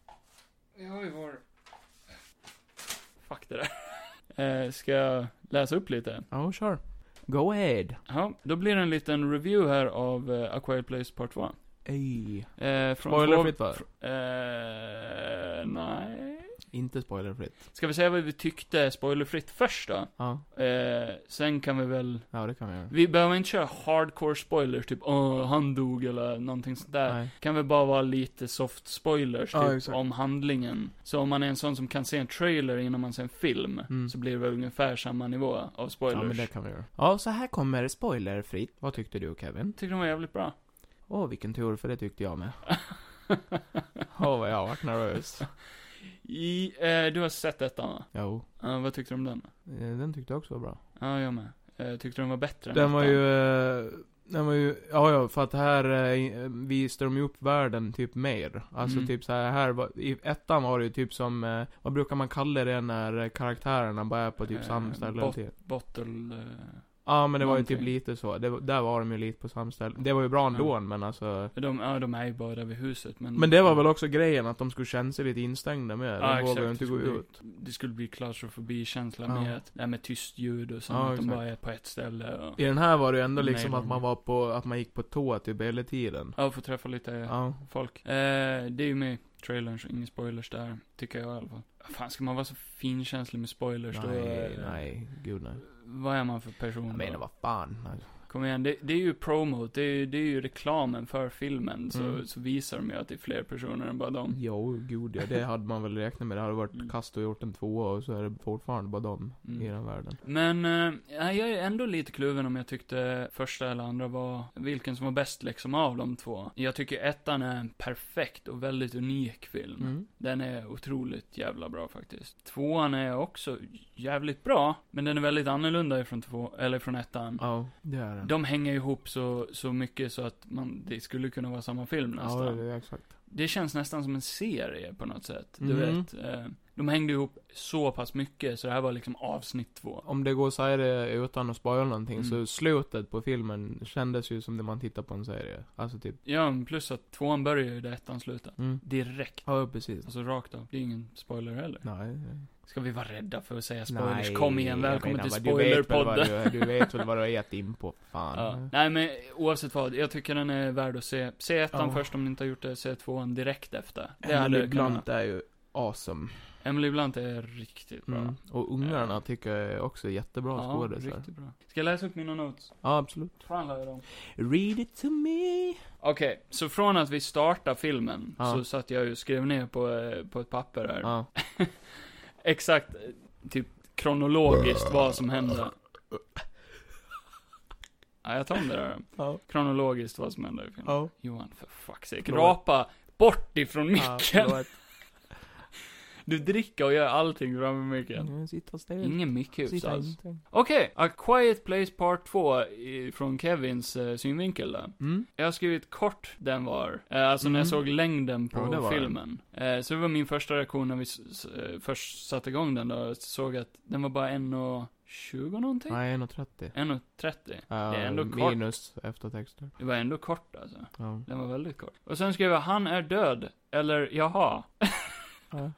[SPEAKER 1] vi har ju vår... Fuck det där. Eh, ska jag läsa upp lite?
[SPEAKER 2] Ja, sure. Go ahead.
[SPEAKER 1] Ja, då blir det en liten review här av eh, A Quiet Place Part 2.
[SPEAKER 2] Ey.
[SPEAKER 1] Eh, från
[SPEAKER 2] Spoilerfritt
[SPEAKER 1] två-
[SPEAKER 2] va?
[SPEAKER 1] Eh, nej.
[SPEAKER 2] Inte spoilerfritt.
[SPEAKER 1] Ska vi säga vad vi tyckte spoilerfritt först då?
[SPEAKER 2] Ja,
[SPEAKER 1] Eh, sen kan vi väl...
[SPEAKER 2] ja det kan vi göra.
[SPEAKER 1] Vi behöver inte köra hardcore spoilers, typ åh, han dog eller någonting sånt där.
[SPEAKER 2] Nej.
[SPEAKER 1] Kan väl bara vara lite soft spoilers,
[SPEAKER 2] Ja,
[SPEAKER 1] typ,
[SPEAKER 2] exakt.
[SPEAKER 1] om handlingen. Så om man är en sån som kan se en trailer innan man ser en film,
[SPEAKER 2] Mm.
[SPEAKER 1] så blir det väl ungefär samma nivå av spoilers.
[SPEAKER 2] Ja, men det kan vi göra. Ja, så här kommer spoilerfritt. Vad tyckte du Kevin?
[SPEAKER 1] Tyckte de var jävligt bra.
[SPEAKER 2] Åh, vilken tur för det tyckte jag
[SPEAKER 1] <laughs>
[SPEAKER 2] med. Åh, vad jag varit nervös.
[SPEAKER 1] I, eh, du har sett ettan va?
[SPEAKER 2] Jo,
[SPEAKER 1] Ja, vad tyckte du om den?
[SPEAKER 2] eh, den tyckte jag också var bra.
[SPEAKER 1] Ja, jag med. Eh, tyckte du den var bättre än
[SPEAKER 2] Den var
[SPEAKER 1] ettan?
[SPEAKER 2] ju, eh, den var ju, ja ja, för att här eh, visade de ju upp världen typ mer. Alltså
[SPEAKER 1] Mm.
[SPEAKER 2] typ så här, här var, i ettan var det ju typ som, eh, vad brukar man kalla det när eh, karaktärerna bara är på typ
[SPEAKER 1] Eh,
[SPEAKER 2] samma ställe hela
[SPEAKER 1] bot-
[SPEAKER 2] tiden?
[SPEAKER 1] Bottle... Eh,
[SPEAKER 2] Ja men det var ju typ
[SPEAKER 1] någonting. Mm.
[SPEAKER 2] lite så, det, var- där var de ju lite på samma ställe. Det var ju bra ändå men alltså.
[SPEAKER 1] de, ja, de är ju bara där vid huset, men...
[SPEAKER 2] Men det var väl också grejen, att de skulle känna sig lite instängda med.
[SPEAKER 1] Mm. Ja,
[SPEAKER 2] De vågade ju
[SPEAKER 1] exakt.
[SPEAKER 2] inte gå
[SPEAKER 1] Det skulle
[SPEAKER 2] ut.
[SPEAKER 1] bli- Det skulle bli klaustrofobi-känsla
[SPEAKER 2] Ja.
[SPEAKER 1] med att, det här med tyst ljud och sånt,
[SPEAKER 2] Ja,
[SPEAKER 1] att de
[SPEAKER 2] exakt.
[SPEAKER 1] bara är på ett ställe och...
[SPEAKER 2] I den här var det ju ändå liksom
[SPEAKER 1] Nej,
[SPEAKER 2] att man
[SPEAKER 1] nej.
[SPEAKER 2] var på, att man gick på tå typ hela tiden.
[SPEAKER 1] Ja, får träffa lite
[SPEAKER 2] Ja.
[SPEAKER 1] folk. Eh, det är ju med i trailern, så inga spoilers där. Tycker jag i alla fall. Fan, ska man vara så finkänslig med spoilers då?
[SPEAKER 2] Nej,
[SPEAKER 1] eh,
[SPEAKER 2] nej, gud nej.
[SPEAKER 1] Vad är man för person
[SPEAKER 2] Jag menar
[SPEAKER 1] då?
[SPEAKER 2] vad
[SPEAKER 1] <laughs>
[SPEAKER 2] fan.
[SPEAKER 1] Kom igen, det, det är ju promo, det är, ju- det är ju reklamen för filmen. Så,
[SPEAKER 2] Mm.
[SPEAKER 1] så visar de ju att det är fler personer än bara dem.
[SPEAKER 2] Jo, gud ja, det hade man väl räknat med. Det hade
[SPEAKER 1] Mm.
[SPEAKER 2] varit kast och gjort en tvåa och så är det fortfarande bara dem
[SPEAKER 1] Mm.
[SPEAKER 2] i den världen.
[SPEAKER 1] Men, eh, nej, jag är ändå lite kluven om jag tyckte första eller andra var, vilken som var bäst liksom av de två. Jag tycker ettan är en perfekt och väldigt unik film.
[SPEAKER 2] Mm.
[SPEAKER 1] Den är otroligt jävla bra faktiskt. Tvåan är också jävligt bra, men den är väldigt annorlunda ifrån två, eller från ettan.
[SPEAKER 2] Ja, det är den.
[SPEAKER 1] De hänger ihop så, så mycket så att man, det skulle kunna vara samma film
[SPEAKER 2] Ja,
[SPEAKER 1] nästan.
[SPEAKER 2] det är exakt.
[SPEAKER 1] Det känns nästan som en serie på något sätt. Du
[SPEAKER 2] Mhm.
[SPEAKER 1] vet. eh, De hängde ihop så pass mycket så det här var liksom avsnitt två.
[SPEAKER 2] Om det går att säga det utan att spoila någonting,
[SPEAKER 1] Mm.
[SPEAKER 2] så slutet på filmen kändes ju som det man tittar på en serie. Alltså typ,
[SPEAKER 1] Ja, men plus att tvåan börjar ju där ettan slutar.
[SPEAKER 2] mm.
[SPEAKER 1] Direkt.
[SPEAKER 2] Ja, precis.
[SPEAKER 1] Alltså rakt av. Det är ingen spoiler heller.
[SPEAKER 2] Nej.
[SPEAKER 1] Ska vi vara rädda för att säga spoilers?
[SPEAKER 2] Nej,
[SPEAKER 1] Kom igen,
[SPEAKER 2] jag
[SPEAKER 1] välkommen
[SPEAKER 2] menar,
[SPEAKER 1] till
[SPEAKER 2] du vet väl vad
[SPEAKER 1] spoilerpodden.
[SPEAKER 2] Du, du vet väl vad du har gett in på, fan.
[SPEAKER 1] Ja. Nej men oavsett vad, jag tycker den är värd att se. Se ettan
[SPEAKER 2] Ja.
[SPEAKER 1] först om ni inte har gjort det, se tvåan direkt efter. Det
[SPEAKER 2] Det hade
[SPEAKER 1] hade
[SPEAKER 2] ibland
[SPEAKER 1] kunnat.
[SPEAKER 2] är ju awesome.
[SPEAKER 1] Emily Blunt är riktigt bra.
[SPEAKER 2] Mm. Och ungarna tycker jag också är jättebra
[SPEAKER 1] ja,
[SPEAKER 2] skådisar.
[SPEAKER 1] riktigt bra. Ska jag läsa upp mina notes?
[SPEAKER 2] Ja, absolut.
[SPEAKER 1] Fan la jag dem?
[SPEAKER 2] Read it to me.
[SPEAKER 1] Okej, så från att vi startade filmen
[SPEAKER 2] Ja.
[SPEAKER 1] så satt jag ju och skrev ner på, eh, på ett papper här.
[SPEAKER 2] Ja.
[SPEAKER 1] Exakt, eh, typ kronologiskt vad som hände. Ja, jag tar om det där då.
[SPEAKER 2] Ja.
[SPEAKER 1] Kronologiskt vad som hände i filmen.
[SPEAKER 2] Ja.
[SPEAKER 1] Johan, för fuck's sake.
[SPEAKER 2] Förlåt.
[SPEAKER 1] Rapa bort ifrån micken.
[SPEAKER 2] förlåt.
[SPEAKER 1] du dricker och gör allting framför micken.
[SPEAKER 2] Mm, Sitta still.
[SPEAKER 1] Ingen mickhus
[SPEAKER 2] Sitta
[SPEAKER 1] alls.
[SPEAKER 2] inte.
[SPEAKER 1] Okej, A Quiet Place Part 2 i- från Kevins eh, synvinkel där.
[SPEAKER 2] Mm.
[SPEAKER 1] Jag har skrivit kort den var, eh, alltså när jag
[SPEAKER 2] Mm.
[SPEAKER 1] såg längden på
[SPEAKER 2] Ja, det var den.
[SPEAKER 1] filmen. Eh, så det var min första reaktion när vi s- s- eh, först satte igång den då, och såg att den var bara 1,20 någonting?
[SPEAKER 2] Nej, 1,30.
[SPEAKER 1] 1,30.
[SPEAKER 2] Ja,
[SPEAKER 1] är ändå kort.
[SPEAKER 2] minus eftertexter.
[SPEAKER 1] Det var ändå kort alltså.
[SPEAKER 2] Ja.
[SPEAKER 1] Den var väldigt kort. Och sen skrev jag 'Han är död' eller 'Jaha'
[SPEAKER 2] Ja.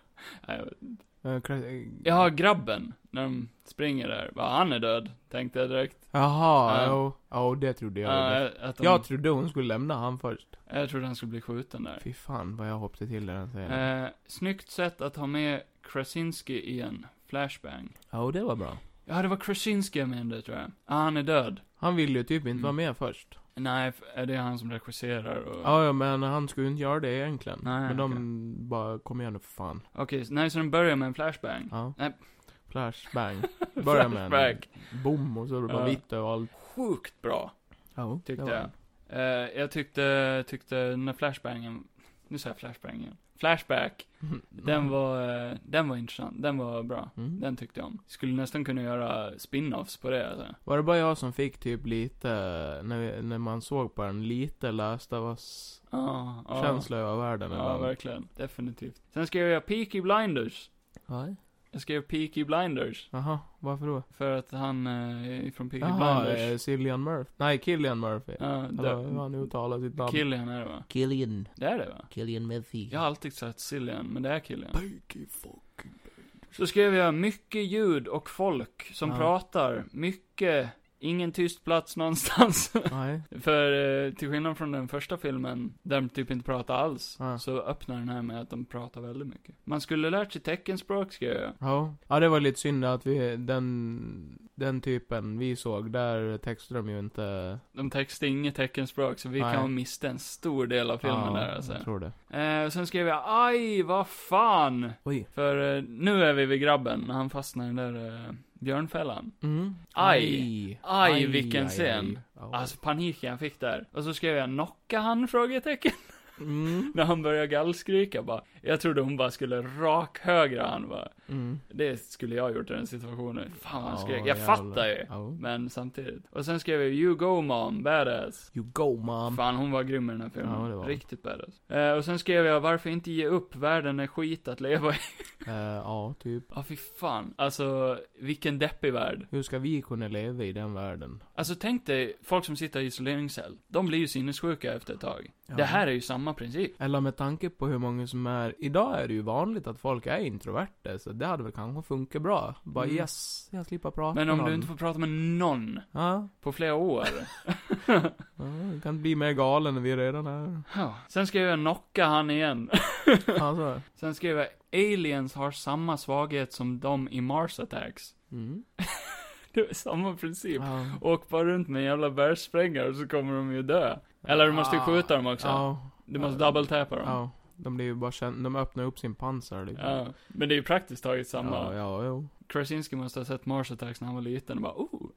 [SPEAKER 1] Nej, jag vet-
[SPEAKER 2] Eh, cra-
[SPEAKER 1] Jaha, grabben. När de springer där. Bara, han är död, tänkte jag direkt.
[SPEAKER 2] Jaha,
[SPEAKER 1] Ja.
[SPEAKER 2] jo. Ja, det trodde jag.
[SPEAKER 1] Ja,
[SPEAKER 2] det.
[SPEAKER 1] att de,
[SPEAKER 2] Jag trodde hon skulle lämna han först.
[SPEAKER 1] jag trodde han skulle bli skjuten där.
[SPEAKER 2] Fy fan vad jag hoppade till i den scenen.
[SPEAKER 1] Eh, snyggt sätt att ha med Krasinski i en flashbang.
[SPEAKER 2] Ja, och det var bra.
[SPEAKER 1] Ja, det var Krasinski jag menade, tror jag. Ja, han är död.
[SPEAKER 2] Han ville ju typ inte
[SPEAKER 1] Mm.
[SPEAKER 2] vara med först.
[SPEAKER 1] Nej, f- det är han som regisserar och...
[SPEAKER 2] Ja, ja, men han skulle ju inte göra det egentligen.
[SPEAKER 1] Nej,
[SPEAKER 2] men de bara, kom igen nu för fan.
[SPEAKER 1] Okej, så- nej, så den börjar med en flashbang.
[SPEAKER 2] Ja.
[SPEAKER 1] Nej. <laughs>
[SPEAKER 2] Flashbang. Börja med en
[SPEAKER 1] Flashback.
[SPEAKER 2] bom och så är det bara
[SPEAKER 1] Ja.
[SPEAKER 2] vitt överallt.
[SPEAKER 1] Sjukt bra,
[SPEAKER 2] Ja, det
[SPEAKER 1] tyckte
[SPEAKER 2] var
[SPEAKER 1] jag.
[SPEAKER 2] den.
[SPEAKER 1] Eh, jag tyckte, tyckte den där flashbangen... Nu sa jag flashbangen. Flashback. <laughs> Den var, eh, den var intressant. Den var bra.
[SPEAKER 2] <laughs> Mm.
[SPEAKER 1] Den tyckte jag om. Skulle nästan kunna göra spin-offs på det alltså.
[SPEAKER 2] Var det bara jag som fick typ lite, när, vi- när man såg på den, lite Last of Us-känsla
[SPEAKER 1] Ja, ja.
[SPEAKER 2] över världen?
[SPEAKER 1] Ja, verkligen. Definitivt. Sen skrev jag Peaky Blinders.
[SPEAKER 2] verkligen.
[SPEAKER 1] Jag skrev Peaky Blinders.
[SPEAKER 2] Jaha, varför då?
[SPEAKER 1] För att han eh, från Peaky
[SPEAKER 2] Jaha,
[SPEAKER 1] Blinders.
[SPEAKER 2] eh, Cillian Murphy. Nej, Killian Murphy.
[SPEAKER 1] ja,
[SPEAKER 2] Eller hur
[SPEAKER 1] dö-
[SPEAKER 2] han uttalar sitt namn.
[SPEAKER 1] Killian är det va?
[SPEAKER 5] Killian.
[SPEAKER 1] Det är det va?
[SPEAKER 5] Killian Murphy.
[SPEAKER 1] Jag har alltid sagt Cillian, men det är Killian. Så skrev jag mycket ljud och folk som
[SPEAKER 2] Ja.
[SPEAKER 1] pratar. Mycket, ingen tyst plats någonstans. <laughs>
[SPEAKER 2] Nej.
[SPEAKER 1] För eh, till skillnad från den första filmen, där de typ inte pratar alls,
[SPEAKER 2] Ja.
[SPEAKER 1] så öppnar den här med att de pratar väldigt mycket. Man skulle lärt sig teckenspråk, skrev jag.
[SPEAKER 2] Ja. ja, det var lite synd att vi, den, den typen vi såg, där textade de ju inte.
[SPEAKER 1] De textade inget teckenspråk, så vi
[SPEAKER 2] Nej.
[SPEAKER 1] kan ha missat en stor del av filmen där alltså.
[SPEAKER 2] jag tror det.
[SPEAKER 1] Eh, sen skrev jag, aj, vad fan!
[SPEAKER 2] Oj.
[SPEAKER 1] För eh, nu är vi vid grabben, när han fastnar i den där eh, björnfällan.
[SPEAKER 2] Mm.
[SPEAKER 1] Aj. Aj,
[SPEAKER 2] Aj,
[SPEAKER 1] vilken
[SPEAKER 2] aj,
[SPEAKER 1] scen.
[SPEAKER 2] aj. Ja.
[SPEAKER 1] Alltså paniken jag fick där. Och så skrev jag, knocka han? Frågetecken. <laughs>
[SPEAKER 2] Mm.
[SPEAKER 1] när han började gallskrika bara. Jag trodde hon bara skulle rak högra han bara.
[SPEAKER 2] Mm.
[SPEAKER 1] Det skulle jag ha gjort i den situationen. Fan vad han
[SPEAKER 2] Ja,
[SPEAKER 1] skrek. Jag
[SPEAKER 2] jävlar.
[SPEAKER 1] fattar ju.
[SPEAKER 2] Ja.
[SPEAKER 1] Men samtidigt. Och sen skrev jag, you go mom, badass.
[SPEAKER 2] You go mom.
[SPEAKER 1] Fan, hon var grym i den här filmen.
[SPEAKER 2] Ja, det var hon.
[SPEAKER 1] Riktigt badass. Eh, och sen skrev jag, varför inte ge upp? Världen är skit att leva i. <laughs>
[SPEAKER 2] Eh, ja, typ.
[SPEAKER 1] Ja, fy fan. Alltså, vilken deppig värld.
[SPEAKER 2] Hur ska vi kunna leva i den världen?
[SPEAKER 1] Alltså, tänk dig folk som sitter i isoleringscell. De blir ju sinnessjuka efter ett tag. Det här är ju samma princip.
[SPEAKER 2] Eller med tanke på hur många som är, idag är det ju vanligt att folk är introverta, så det hade väl kanske funkat bra. Bara
[SPEAKER 1] Mm.
[SPEAKER 2] yes, jag slipper prata
[SPEAKER 1] Men
[SPEAKER 2] med
[SPEAKER 1] om du
[SPEAKER 2] någon.
[SPEAKER 1] inte får prata med någon
[SPEAKER 2] Ja,
[SPEAKER 1] på flera
[SPEAKER 2] <laughs>
[SPEAKER 1] år.
[SPEAKER 2] ja, det kan bli mer galen än vi
[SPEAKER 1] <laughs>
[SPEAKER 2] redan är.
[SPEAKER 1] Ja. Sen skrev jag, knocka han igen. <laughs>
[SPEAKER 2] Alltså.
[SPEAKER 1] Sen skrev jag, aliens har samma svaghet som de i Mars Attacks. <laughs>
[SPEAKER 2] Mm.
[SPEAKER 1] Det är samma princip.
[SPEAKER 2] Ja.
[SPEAKER 1] Åk bara runt med en jävla bergsprängare så kommer de ju dö. Eller du måste ju
[SPEAKER 2] Ah.
[SPEAKER 1] skjuta dem också.
[SPEAKER 2] Ja.
[SPEAKER 1] Du måste double tappa dem. Ja.
[SPEAKER 2] Ja. De blir ju bara känd, de öppnar upp sin pansar liksom.
[SPEAKER 1] Men det är ju praktiskt taget samma.
[SPEAKER 2] Ja, ja, jo.
[SPEAKER 1] Krasinski måste ha sett Mars Attacks när han var liten och bara oh.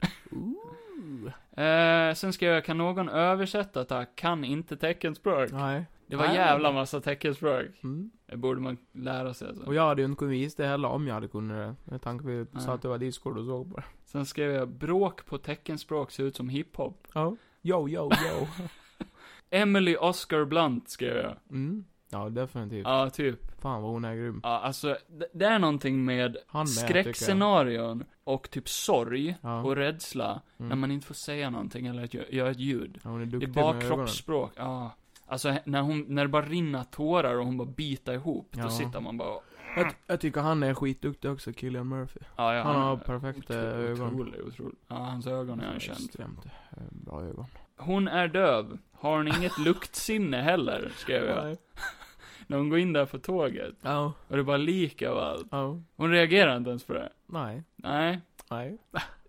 [SPEAKER 1] Eh, sen skrev jag, kan någon översätta tack? Kan inte teckenspråk.
[SPEAKER 2] Nej.
[SPEAKER 1] Det var
[SPEAKER 2] Nej.
[SPEAKER 1] jävla massa teckenspråk.
[SPEAKER 2] Mm.
[SPEAKER 1] Det borde man lära sig alltså.
[SPEAKER 2] Och jag hade ju inte kunnat visa det heller om jag hade kunnat det. Med tanke på att vi
[SPEAKER 1] Nej.
[SPEAKER 2] sa att det var Discord och såg på det.
[SPEAKER 1] Sen skrev jag, bråk på teckenspråk ser ut som hiphop.
[SPEAKER 2] Ja. Yo, yo,
[SPEAKER 1] <laughs>
[SPEAKER 2] yo.
[SPEAKER 1] Emily Oscar Blunt skrev jag.
[SPEAKER 2] Mm. Ja, definitivt.
[SPEAKER 1] Ja, typ.
[SPEAKER 2] Fan vad hon är grym.
[SPEAKER 1] Ja, alltså, det, det är någonting med
[SPEAKER 2] Han med,
[SPEAKER 1] skräckscenarion och typ sorg
[SPEAKER 2] tycker jag. Ja.
[SPEAKER 1] och rädsla
[SPEAKER 2] Mm.
[SPEAKER 1] när man inte får säga någonting eller att gö- göra ett ljud.
[SPEAKER 2] ja, hon är
[SPEAKER 1] Det är
[SPEAKER 2] duktig
[SPEAKER 1] bara
[SPEAKER 2] med ögonen.
[SPEAKER 1] kroppsspråk. Ja. Alltså he- när, hon, när det bara rinner tårar och hon bara bitar ihop, då
[SPEAKER 2] Ja.
[SPEAKER 1] sitter man bara och-
[SPEAKER 2] Jag, ty- jag tycker han är skitduktig också, Killian Murphy.
[SPEAKER 1] ja, ja,
[SPEAKER 2] Han har
[SPEAKER 1] är
[SPEAKER 2] perfekta
[SPEAKER 1] otro-
[SPEAKER 2] eh, ögon.
[SPEAKER 1] Otrolig, otrolig. Ja, hans ögon är han känd.
[SPEAKER 2] Extremt eh, bra ögon. <laughs>
[SPEAKER 1] Hon är döv. Har hon inget luktsinne heller, skrev jag. När hon går in där på tåget,
[SPEAKER 2] Ja.
[SPEAKER 1] och det är bara lik överallt.
[SPEAKER 2] Ja.
[SPEAKER 1] Hon reagerar inte ens på det.
[SPEAKER 2] Nej.
[SPEAKER 1] Nej.
[SPEAKER 2] Nej.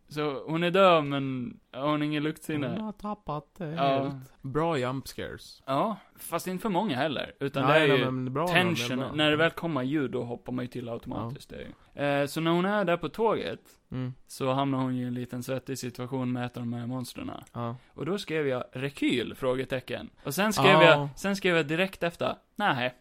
[SPEAKER 1] Så hon är döv, men hon har ingen luktsinne.
[SPEAKER 2] Hon har tappat det
[SPEAKER 1] Ja.
[SPEAKER 2] helt. Bra jump scares.
[SPEAKER 1] Ja, fast inte för många heller. Utan
[SPEAKER 2] Nej,
[SPEAKER 1] det är ju
[SPEAKER 2] men bra
[SPEAKER 1] tension.
[SPEAKER 2] de är bra.
[SPEAKER 1] När det väl kommer ljud, då hoppar man ju till automatiskt. Det är ju. Eh, så när hon är där på tåget,
[SPEAKER 2] Mm.
[SPEAKER 1] så hamnar hon ju i en liten svettig situation med ett av de här monstren.
[SPEAKER 2] Ja.
[SPEAKER 1] Och då skrev jag rekyl? Frågetecken. Och sen skrev
[SPEAKER 2] Ja.
[SPEAKER 1] jag, sen skrev jag direkt efter, nej.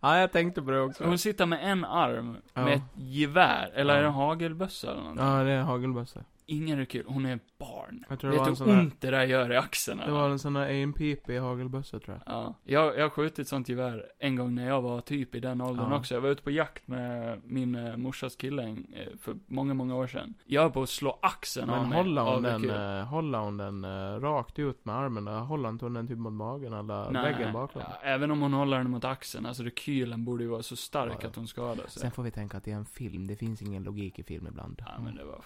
[SPEAKER 2] ja, jag tänkte på det
[SPEAKER 1] Så
[SPEAKER 2] också.
[SPEAKER 1] hon sitter med en arm,
[SPEAKER 2] Ja.
[SPEAKER 1] med ett gevär, eller
[SPEAKER 2] Ja.
[SPEAKER 1] är det en hagelbössa eller någonting?
[SPEAKER 2] Ja, det är hagelbössa.
[SPEAKER 1] Ingen rekyl, hon är barn.
[SPEAKER 2] Jag tror det
[SPEAKER 1] Vet
[SPEAKER 2] var
[SPEAKER 1] du
[SPEAKER 2] en
[SPEAKER 1] hur
[SPEAKER 2] sån där...
[SPEAKER 1] ont det där gör i axeln?
[SPEAKER 2] Det var en sån där AMPP hagelbössa tror jag.
[SPEAKER 1] Ja, jag, jag har skjutit sånt gevär en gång när jag var typ i den åldern
[SPEAKER 2] Ja.
[SPEAKER 1] också. Jag var ute på jakt med min eh, morsas kille eh, för många, många år sedan. Jag höll på att slå axeln
[SPEAKER 2] Men
[SPEAKER 1] av mig.
[SPEAKER 2] håller hon,
[SPEAKER 1] av
[SPEAKER 2] den,
[SPEAKER 1] rekyl.
[SPEAKER 2] eh, håller hon den eh, rakt ut med armen? eller Håller inte hon den typ mot magen eller
[SPEAKER 1] Nej,
[SPEAKER 2] väggen bakom?
[SPEAKER 1] ja, även om hon håller den mot axeln, alltså rekylen borde ju vara så stark
[SPEAKER 2] Ja, ja.
[SPEAKER 1] att hon skadar sig.
[SPEAKER 2] Sen får vi tänka att det är en film. Det finns ingen logik i film ibland.
[SPEAKER 1] Ja, men det var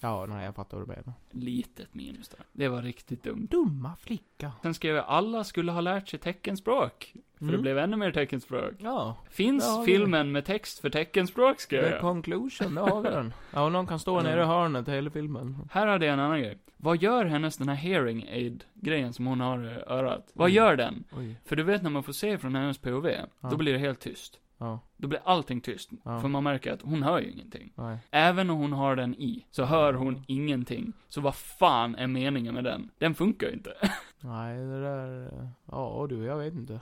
[SPEAKER 2] Ja, nej, jag fattar vad du menar.
[SPEAKER 1] litet minus där. Det var riktigt dumt.
[SPEAKER 2] Dumma flicka.
[SPEAKER 1] Sen skrev jag alla skulle ha lärt sig teckenspråk. För det
[SPEAKER 2] Mm.
[SPEAKER 1] blev ännu mer teckenspråk.
[SPEAKER 2] Ja.
[SPEAKER 1] Finns
[SPEAKER 2] Ja, det-
[SPEAKER 1] filmen med text för teckenspråk, skrev
[SPEAKER 2] The
[SPEAKER 1] jag.
[SPEAKER 2] conclusion, där har vi den. Ja, och någon kan stå
[SPEAKER 1] Mm.
[SPEAKER 2] nere i hörnet hela filmen.
[SPEAKER 1] Här hade jag en annan grej. Vad gör hennes, den här hearing aid-grejen som hon har i örat? Vad
[SPEAKER 2] Mm.
[SPEAKER 1] gör den?
[SPEAKER 2] Oj.
[SPEAKER 1] För du vet när man får se från hennes POV, då
[SPEAKER 2] Ja.
[SPEAKER 1] blir det helt tyst.
[SPEAKER 2] Ja,
[SPEAKER 1] Då blir allting tyst.
[SPEAKER 2] Ja.
[SPEAKER 1] För man märker att hon hör ju ingenting.
[SPEAKER 2] nej.
[SPEAKER 1] Även om hon har den i, så hör hon ingenting. Så vad fan är meningen med den? Den funkar ju inte. <laughs>
[SPEAKER 2] Nej, det där... eh, Ja, du, jag vet inte.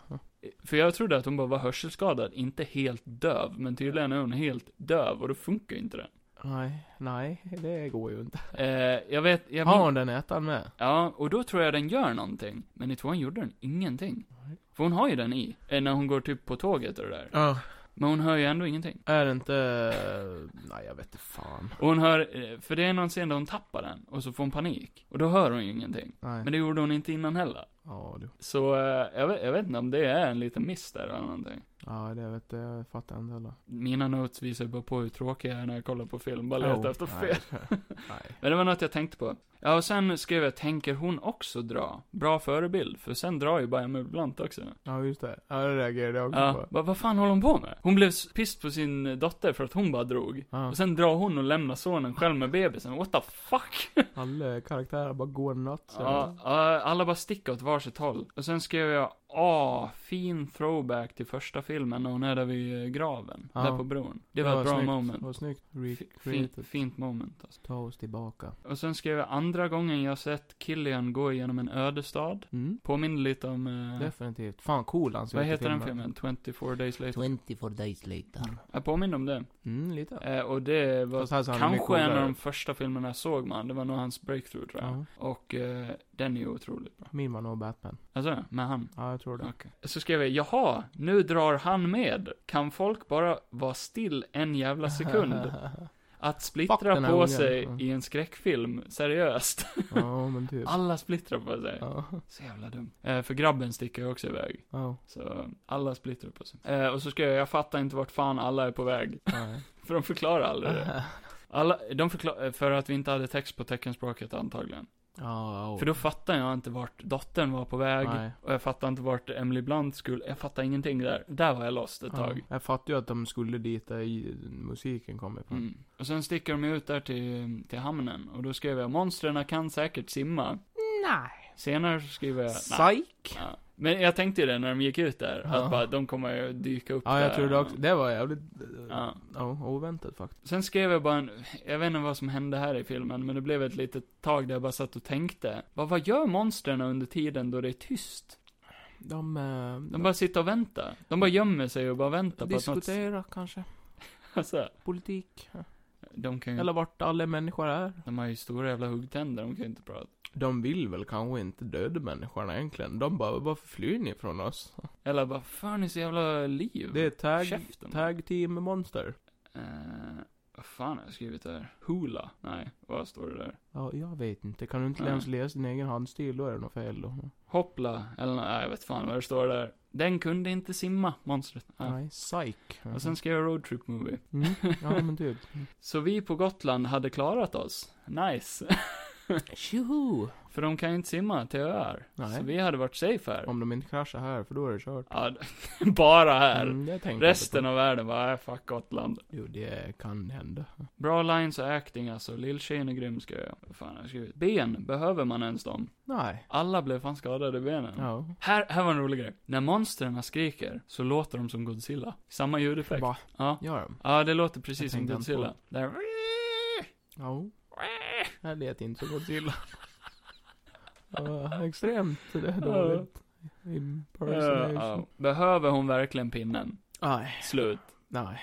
[SPEAKER 1] För jag trodde att hon bara var hörselskadad, inte helt döv. Men tydligen är hon helt döv och då funkar ju inte den.
[SPEAKER 2] Nej, nej, det går ju inte.
[SPEAKER 1] Eh, jag vet, jag
[SPEAKER 2] Har hon den ettan med?
[SPEAKER 1] Ja, och då tror jag den gör någonting. Men i tvåan gjorde den ingenting. För hon har ju den i, eh, när hon går typ på tåget och det där.
[SPEAKER 2] Ja.
[SPEAKER 1] Men hon hör ju ändå ingenting.
[SPEAKER 2] Är det inte... eh, Nej, jag vet inte fan.
[SPEAKER 1] Och hon hör, eh, för det är någon scen där hon tappar den, och så får hon panik. Och då hör hon ju ingenting.
[SPEAKER 2] Nej.
[SPEAKER 1] Men det gjorde hon inte innan heller.
[SPEAKER 2] Ja, du.
[SPEAKER 1] Så eh, jag, vet, jag vet inte om det är en liten miss där eller någonting.
[SPEAKER 2] Ja, det vet jag. Jag fattar inte heller.
[SPEAKER 1] Mina notes visar ju bara på hur tråkig jag är när jag kollar på film, bara letar
[SPEAKER 2] Oh,
[SPEAKER 1] efter fel.
[SPEAKER 2] nej. Nej.
[SPEAKER 1] Men det var något jag tänkte på. Ja, och sen skrev jag, tänker hon också dra? Bra förebild, för sen drar ju bara Emil Blunt också.
[SPEAKER 2] Ja, just det. Ja, det reagerade jag också
[SPEAKER 1] Ja,
[SPEAKER 2] på.
[SPEAKER 1] vad, vad fan håller hon på med? Hon blev s- pissed på sin eh, dotter för att hon bara drog.
[SPEAKER 2] Ja.
[SPEAKER 1] Och sen drar hon och lämnar sonen själv med bebisen, what the fuck? <laughs>
[SPEAKER 2] Alla karaktärer bara går nuts.
[SPEAKER 1] Ja, ja, alla bara sticker åt varsitt håll. Och sen skrev jag, ah, fin throwback till första filmen när hon är där vid eh, graven,
[SPEAKER 2] Ja.
[SPEAKER 1] där på bron. Det var, ett bra
[SPEAKER 2] snyggt. Det
[SPEAKER 1] moment.
[SPEAKER 2] var snyggt.
[SPEAKER 1] Fi- Fint,
[SPEAKER 2] Recreated.
[SPEAKER 1] fint moment alltså.
[SPEAKER 2] Ta oss tillbaka.
[SPEAKER 1] Och sen skrev jag, andra gången jag sett Killian gå igenom en ödestad.
[SPEAKER 2] Mm.
[SPEAKER 1] Påminner lite om, eh,
[SPEAKER 2] Definitivt. Fan cool alltså, han ser
[SPEAKER 1] vad
[SPEAKER 2] ut i
[SPEAKER 1] heter den filmen? 24 days later.
[SPEAKER 5] 24 days later.
[SPEAKER 1] Jag påminner om den.
[SPEAKER 2] Mm, lite.
[SPEAKER 1] Eh, och det var
[SPEAKER 2] Fast här ser han mycket
[SPEAKER 1] Kanske en av
[SPEAKER 2] coolare
[SPEAKER 1] de
[SPEAKER 2] ut.
[SPEAKER 1] första filmerna jag såg man. Det var nog hans breakthrough tror jag.
[SPEAKER 2] Ja.
[SPEAKER 1] Och eh, den är ju otroligt bra.
[SPEAKER 2] Min var nog Batman.
[SPEAKER 1] Alltså, med han.
[SPEAKER 2] Ja, jag tror det.
[SPEAKER 1] Så skrev jag, jaha, nu drar han med. Kan folk bara vara still en jävla sekund? Att
[SPEAKER 2] Fuck den
[SPEAKER 1] splittra
[SPEAKER 2] här
[SPEAKER 1] på
[SPEAKER 2] ungen.
[SPEAKER 1] sig
[SPEAKER 2] Ja.
[SPEAKER 1] i en skräckfilm, seriöst.
[SPEAKER 2] <laughs> <laughs> ja, men typ.
[SPEAKER 1] Alla splittrar på sig.
[SPEAKER 2] Ja.
[SPEAKER 1] Så jävla dumt. Eh, för grabben sticker ju också iväg.
[SPEAKER 2] Ja.
[SPEAKER 1] Så alla splittrar på sig. Eh, och så skrev jag, jag fattar inte vart fan alla är på väg. <laughs>
[SPEAKER 2] Nej.
[SPEAKER 1] För de förklarar aldrig det. Alla, de förklarar, för att vi inte hade text på teckenspråket antagligen.
[SPEAKER 2] <laughs> Ja,
[SPEAKER 1] För då fattar jag inte vart dottern var på väg.
[SPEAKER 2] Nej.
[SPEAKER 1] Och jag fattar inte vart Emily Blunt skulle, jag fattar ingenting där. Där var jag lost ett
[SPEAKER 2] Ja.
[SPEAKER 1] tag.
[SPEAKER 2] Jag fattar ju att de skulle dit där i- musiken kom ifrån.
[SPEAKER 1] Mm. Och sen sticker de ut där till, till hamnen. Och då skrev jag, monstren kan säkert simma.
[SPEAKER 2] Nej.
[SPEAKER 1] Senare så skriver jag, nej.
[SPEAKER 2] Psych.
[SPEAKER 1] Ja. Men jag tänkte ju det när de gick ut där,
[SPEAKER 2] Ja.
[SPEAKER 1] att bara, de kommer ju dyka upp
[SPEAKER 2] Ja,
[SPEAKER 1] där.
[SPEAKER 2] jag tror det också. Det var jävligt... Ja.
[SPEAKER 1] Ja.
[SPEAKER 2] oväntat faktiskt.
[SPEAKER 1] Sen skrev jag bara en, jag vet inte vad som hände här i filmen, men det blev ett litet tag där jag bara satt och tänkte. Vad, vad gör monstren under tiden då det är tyst?
[SPEAKER 2] De... eh,
[SPEAKER 1] De bara sitter och väntar. De bara gömmer sig och bara väntar på att något...
[SPEAKER 2] Diskutera kanske.
[SPEAKER 1] <laughs> Alltså,
[SPEAKER 2] Politik.
[SPEAKER 1] de kan ju...
[SPEAKER 2] Eller vart alla människor är.
[SPEAKER 1] De har ju stora jävla huggtänder, de kan ju inte prata.
[SPEAKER 2] De vill väl kanske inte döda människorna egentligen. De bara, varför flyr ni från oss?
[SPEAKER 1] Eller bara, fan ni är så jävla liv.
[SPEAKER 2] Det är tag,
[SPEAKER 1] Käften.
[SPEAKER 2] tag team monster.
[SPEAKER 1] Eh, vad fan har jag skrivit där? Hula? Nej, vad står det där?
[SPEAKER 2] Ja, jag vet inte. Kan du inte
[SPEAKER 1] Nej.
[SPEAKER 2] ens läsa din egen handstil, då är det något fel då.
[SPEAKER 1] Hoppla, eller nå- nej, jag vet fan vad det står där. Den kunde inte simma, monstret. Ja.
[SPEAKER 2] Nej, psyk.
[SPEAKER 1] Och sen skrev jag road trip movie.
[SPEAKER 2] Mm. Ja, men typ.
[SPEAKER 1] Så vi på Gotland hade klarat oss. Nice. <laughs>
[SPEAKER 2] Tjoho!
[SPEAKER 1] För de kan ju inte simma till öar.
[SPEAKER 2] Nej.
[SPEAKER 1] Så vi hade varit safe här.
[SPEAKER 2] Om de inte kraschar här, för då är det kört.
[SPEAKER 1] Ja, <laughs> bara här.
[SPEAKER 2] Mm, det tänkte jag
[SPEAKER 1] Resten
[SPEAKER 2] inte
[SPEAKER 1] av världen bara, äh, fuck Gotland.
[SPEAKER 2] på. Jo, det kan hända.
[SPEAKER 1] Bra lines och acting alltså. Lilltjejen är grym ska jag. Vad fan har jag skrivit? Ben, behöver man ens dem?
[SPEAKER 2] Nej.
[SPEAKER 1] Alla blev fan skadade i benen.
[SPEAKER 2] Ja.
[SPEAKER 1] Här, här var en rolig grej. När monstren skriker så låter de som Godzilla. Samma ljudeffekt.
[SPEAKER 2] Bara,
[SPEAKER 1] Ja.
[SPEAKER 2] gör de?
[SPEAKER 1] ja, det låter
[SPEAKER 2] Jag
[SPEAKER 1] precis som
[SPEAKER 2] tänkte inte på
[SPEAKER 1] Godzilla. Där.
[SPEAKER 2] Ja. Det lät inte så Godzilla. Ja, extremt dåligt. Impersonation.
[SPEAKER 1] Ja, behöver hon verkligen pinnen?
[SPEAKER 2] Nej, <laughs>
[SPEAKER 1] Slut.
[SPEAKER 2] nej.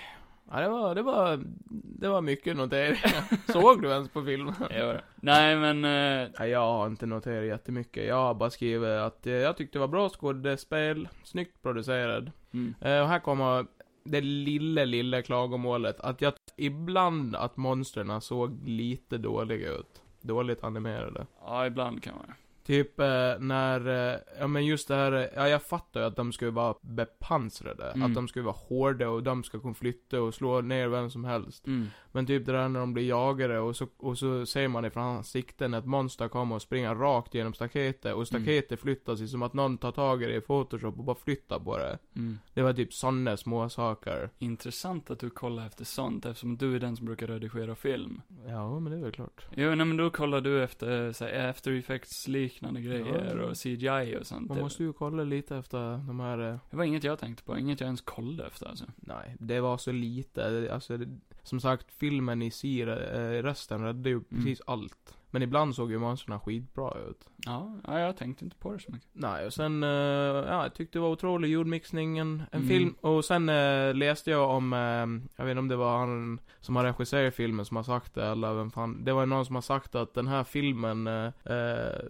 [SPEAKER 2] Ja, det var, det var, det var mycket <laughs> noteringar. Såg du ens på filmen?
[SPEAKER 1] Det var det. Nej men, eh,
[SPEAKER 2] Nej, jag har inte noterat jättemycket. Jag har bara skrivit att eh, jag tyckte det var bra skådespel, snyggt producerad.
[SPEAKER 1] mm.
[SPEAKER 2] Eh, Och här kommer det lilla, lilla klagomålet. Att jag tyckte ibland att monstren såg lite dåliga ut. Dåligt animerade.
[SPEAKER 1] ja ibland kan man.
[SPEAKER 2] Typ eh, när, eh, ja men just det här, eh, ja jag fattar ju att de skulle vara bepansrade.
[SPEAKER 1] Mm.
[SPEAKER 2] Att de skulle vara hårda och de ska kunna flytta och slå ner vem som helst.
[SPEAKER 1] Mm.
[SPEAKER 2] Men typ det där när de blir jagade och så, och så ser man ifrån hans sikten att monster kommer och springer rakt genom staketet. Och staketet flyttar sig som att någon tar tag i det i photoshop och bara flyttar på det.
[SPEAKER 1] Mm.
[SPEAKER 2] Det var typ sådana små saker.
[SPEAKER 1] Intressant att du kollar efter sånt eftersom du är den som brukar redigera film.
[SPEAKER 2] Ja, men det är väl klart.
[SPEAKER 1] Jo, nej men då kollar du efter eh, så här, after effects liknande grejer
[SPEAKER 2] Ja.
[SPEAKER 1] och CGI och sånt. typ.
[SPEAKER 2] Man måste ju kolla lite efter de här... eh,
[SPEAKER 1] Det var inget jag tänkte på, inget jag ens kollade efter alltså.
[SPEAKER 2] Nej, det var så lite. Det- Alltså, det, som sagt, filmen i sig, eh, resten räddade ju precis allt. Men ibland såg ju monstren skitbra ut.
[SPEAKER 1] Ja, ja, jag tänkte inte på det så mycket.
[SPEAKER 2] Nej, och sen, eh, ja, jag tyckte det var otrolig ljudmixningen, en
[SPEAKER 1] Mm.
[SPEAKER 2] film. Och sen eh, läste jag om, eh, jag vet inte om det var han som har regisserat filmen som har sagt det, eller vem fan. Det var någon som har sagt att den här filmen, eh, eh,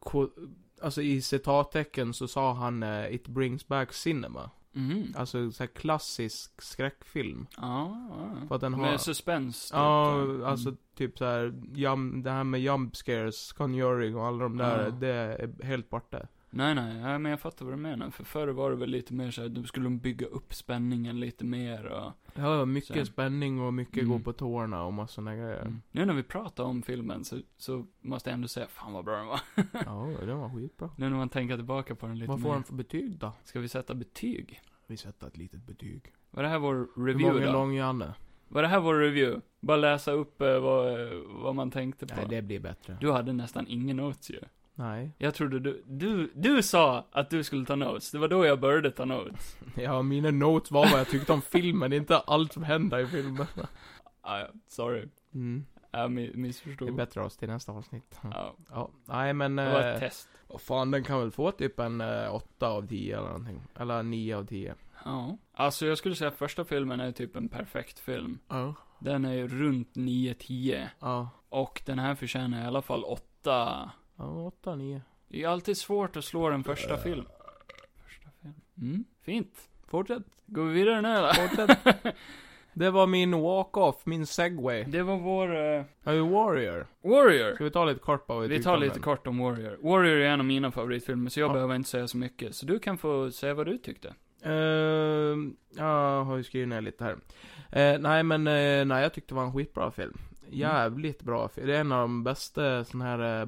[SPEAKER 2] ko- alltså i citattecken så sa han eh, 'It brings back cinema'
[SPEAKER 1] Mhm.
[SPEAKER 2] Alltså så här klassisk skräckfilm.
[SPEAKER 1] Ja, ja.
[SPEAKER 2] För att den har...
[SPEAKER 1] Med suspens. typ,
[SPEAKER 2] Ja,
[SPEAKER 1] så. Mm.
[SPEAKER 2] alltså typ så här, jump, det här med jump scares, conjuring och alla de där,
[SPEAKER 1] Ja.
[SPEAKER 2] det är helt borta.
[SPEAKER 1] Nej, nej, ja, men jag fattar vad du menar. För förr var det väl lite mer såhär, då skulle de bygga upp spänningen lite mer och...
[SPEAKER 2] Ja, mycket
[SPEAKER 1] Sen.
[SPEAKER 2] spänning och mycket
[SPEAKER 1] Mm.
[SPEAKER 2] gå på tårna och massa sådana grejer.
[SPEAKER 1] Nu när vi pratar om filmen så, så måste jag ändå säga, fan vad bra den var. <laughs>
[SPEAKER 2] Ja, det var skitbra.
[SPEAKER 1] nu när man tänker tillbaka på den lite
[SPEAKER 2] Vad får
[SPEAKER 1] mer.
[SPEAKER 2] den för betyg då?
[SPEAKER 1] Ska vi sätta betyg?
[SPEAKER 2] Vi sätter ett litet betyg.
[SPEAKER 1] Var det här vår
[SPEAKER 2] Hur
[SPEAKER 1] review
[SPEAKER 2] många
[SPEAKER 1] då?
[SPEAKER 2] lång Janne?
[SPEAKER 1] Var det här vår review? Bara läsa upp eh, vad, eh, vad man tänkte på.
[SPEAKER 2] Nej, det blir bättre.
[SPEAKER 1] Du hade nästan ingen notes ju.
[SPEAKER 2] Nej. <laughs>
[SPEAKER 1] Jag trodde du, du, du sa att du skulle ta notes. Det var då jag började ta notes.
[SPEAKER 2] <laughs> Ja, mina notes var vad jag tyckte om filmen, inte allt som hände i filmen.
[SPEAKER 1] Ah, ja, sorry.
[SPEAKER 2] Mm.
[SPEAKER 1] Jag mi-
[SPEAKER 2] Det är
[SPEAKER 1] missförstod.
[SPEAKER 2] bättre oss till nästa avsnitt.
[SPEAKER 1] Ja,
[SPEAKER 2] Ja, nej men...
[SPEAKER 1] det var ett
[SPEAKER 2] eh,
[SPEAKER 1] test.
[SPEAKER 2] Och fan, den kan väl få typ en eh, 8 av 10 eller någonting. Eller 9 av 10.
[SPEAKER 1] Ja. Alltså jag skulle säga att första filmen är typ en perfekt film.
[SPEAKER 2] Ja.
[SPEAKER 1] Den är ju runt 9-10.
[SPEAKER 2] Ja.
[SPEAKER 1] Och den här förtjänar i alla fall 8.
[SPEAKER 2] Ja, 8, 9.
[SPEAKER 1] Det är ju alltid svårt att slå den första film. Första film. Mm, fint.
[SPEAKER 2] Fortsätt,
[SPEAKER 1] Går vi vidare nu eller?
[SPEAKER 2] <laughs> fortsätt. det var min walk-off, min segway.
[SPEAKER 1] Det var vår... eh,
[SPEAKER 2] Ja, ju Warrior.
[SPEAKER 1] Warrior.
[SPEAKER 2] Ska vi ta lite kort på vad vi
[SPEAKER 1] Vi
[SPEAKER 2] tyckte
[SPEAKER 1] tar
[SPEAKER 2] om
[SPEAKER 1] lite
[SPEAKER 2] den?
[SPEAKER 1] kort om Warrior. Warrior är en av mina favoritfilmer, så jag
[SPEAKER 2] Ja.
[SPEAKER 1] behöver inte säga så mycket. Så du kan få säga vad du tyckte.
[SPEAKER 2] Ehm, jag har ju skrivit ner lite här. Eh, nej men, eh, nej jag tyckte det var en skitbra film.
[SPEAKER 1] Mm.
[SPEAKER 2] Jävligt bra film. Det är en av de bästa sån här eh,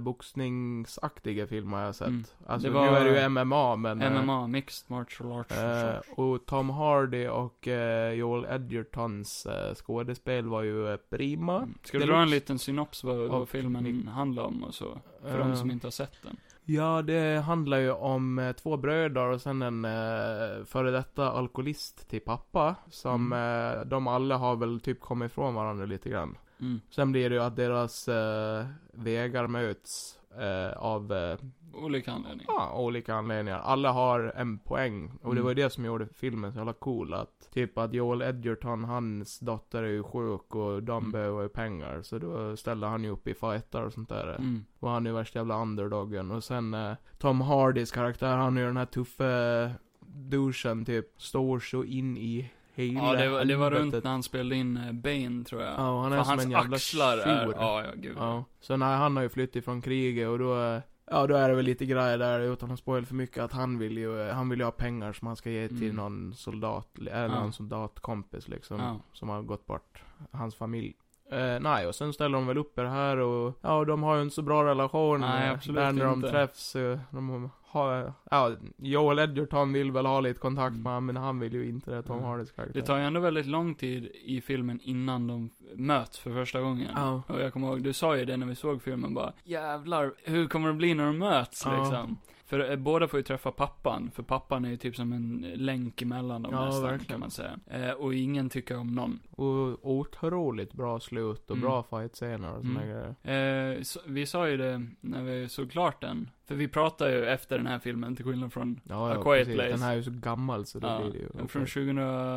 [SPEAKER 2] boxningsaktiga filmer jag har sett.
[SPEAKER 1] Mm.
[SPEAKER 2] Alltså
[SPEAKER 1] Det
[SPEAKER 2] nu
[SPEAKER 1] var-
[SPEAKER 2] är det ju MMA men... eh,
[SPEAKER 1] MMA, Mixed Martial Arts.
[SPEAKER 2] Eh, och Tom Hardy och eh, Joel Edgertons eh, skådespel var ju eh, prima.
[SPEAKER 1] Mm. Ska du
[SPEAKER 2] Deluxe.
[SPEAKER 1] dra en liten synops vad, vad
[SPEAKER 2] Och
[SPEAKER 1] filmen
[SPEAKER 2] mitt-
[SPEAKER 1] handlar om och så? För
[SPEAKER 2] Mm. Eh,
[SPEAKER 1] de som inte har sett den.
[SPEAKER 2] Ja, det handlar ju om eh, två bröder och sen en eh, före detta alkoholist till pappa. Som eh, de alla har väl typ kommit ifrån varandra lite grann.
[SPEAKER 1] Mm.
[SPEAKER 2] Sen blir det ju att deras eh, vägar möts eh, av eh,
[SPEAKER 1] Olika anledningar.
[SPEAKER 2] Ja, olika anledningar. Alla har en poäng. Och det
[SPEAKER 1] Mm.
[SPEAKER 2] var ju det som gjorde filmen så jävla cool. Att, typ att Joel Edgerton, hans dotter är ju sjuk och de
[SPEAKER 1] Mm.
[SPEAKER 2] behöver ju pengar. Så då ställde han ju upp i fighter och sånt där.
[SPEAKER 1] Mm.
[SPEAKER 2] Och han är ju värsta jävla underdogen. Och sen eh, Tom Hardys karaktär, han är ju den här tuffe eh, douchen typ. Står så in i hela
[SPEAKER 1] Ja, det var, det var runt
[SPEAKER 2] helvetet.
[SPEAKER 1] när han spelade in eh, Bane, tror jag.
[SPEAKER 2] Ja, och han är
[SPEAKER 1] För
[SPEAKER 2] som
[SPEAKER 1] hans
[SPEAKER 2] en jävla
[SPEAKER 1] axlar är...
[SPEAKER 2] tjur.
[SPEAKER 1] Ja, ja, gud.
[SPEAKER 2] Ja. Så när han har ju flytt ifrån kriget och då, eh, ja då är det väl lite grejer där utan att spoila för mycket att han vill ju, eh, han vill ju ha pengar som han ska ge till
[SPEAKER 1] Mm.
[SPEAKER 2] någon soldat, eller
[SPEAKER 1] Ja.
[SPEAKER 2] någon soldatkompis liksom.
[SPEAKER 1] Ja.
[SPEAKER 2] Som har gått bort, hans familj. Eh, nej, och sen ställer de väl upp i det här och, ja, de har ju inte så bra relation.
[SPEAKER 1] Nej,
[SPEAKER 2] eh,
[SPEAKER 1] absolut
[SPEAKER 2] Där när de
[SPEAKER 1] inte.
[SPEAKER 2] träffs, eh, de har, ja, Joel Edgerton vill väl ha lite kontakt
[SPEAKER 1] Mm.
[SPEAKER 2] med honom, men han vill ju inte det, Tom
[SPEAKER 1] Mm.
[SPEAKER 2] Hardys karaktär.
[SPEAKER 1] Det tar ju ändå väldigt lång tid i filmen innan de möts för första gången.
[SPEAKER 2] Ja.
[SPEAKER 1] Och jag kommer ihåg, du sa ju det när vi såg filmen bara, jävlar, hur kommer det bli när de möts
[SPEAKER 2] Ja.
[SPEAKER 1] liksom? För eh, båda får ju träffa pappan, för pappan är ju typ som en länk emellan dem
[SPEAKER 2] Ja,
[SPEAKER 1] nästan,
[SPEAKER 2] verkligen.
[SPEAKER 1] kan man säga. Eh, och ingen tycker om någon.
[SPEAKER 2] Och otroligt bra slut och
[SPEAKER 1] Mm.
[SPEAKER 2] bra fight-scener och såna
[SPEAKER 1] Mm.
[SPEAKER 2] grejer.
[SPEAKER 1] Eh, så, vi sa ju det när vi såg klart den, för vi pratar ju efter den här filmen, till skillnad från,
[SPEAKER 2] Ja,
[SPEAKER 1] A
[SPEAKER 2] ja
[SPEAKER 1] Quiet
[SPEAKER 2] precis.
[SPEAKER 1] Place.
[SPEAKER 2] Den här är ju så gammal så det
[SPEAKER 1] ja,
[SPEAKER 2] blir det ju.
[SPEAKER 1] från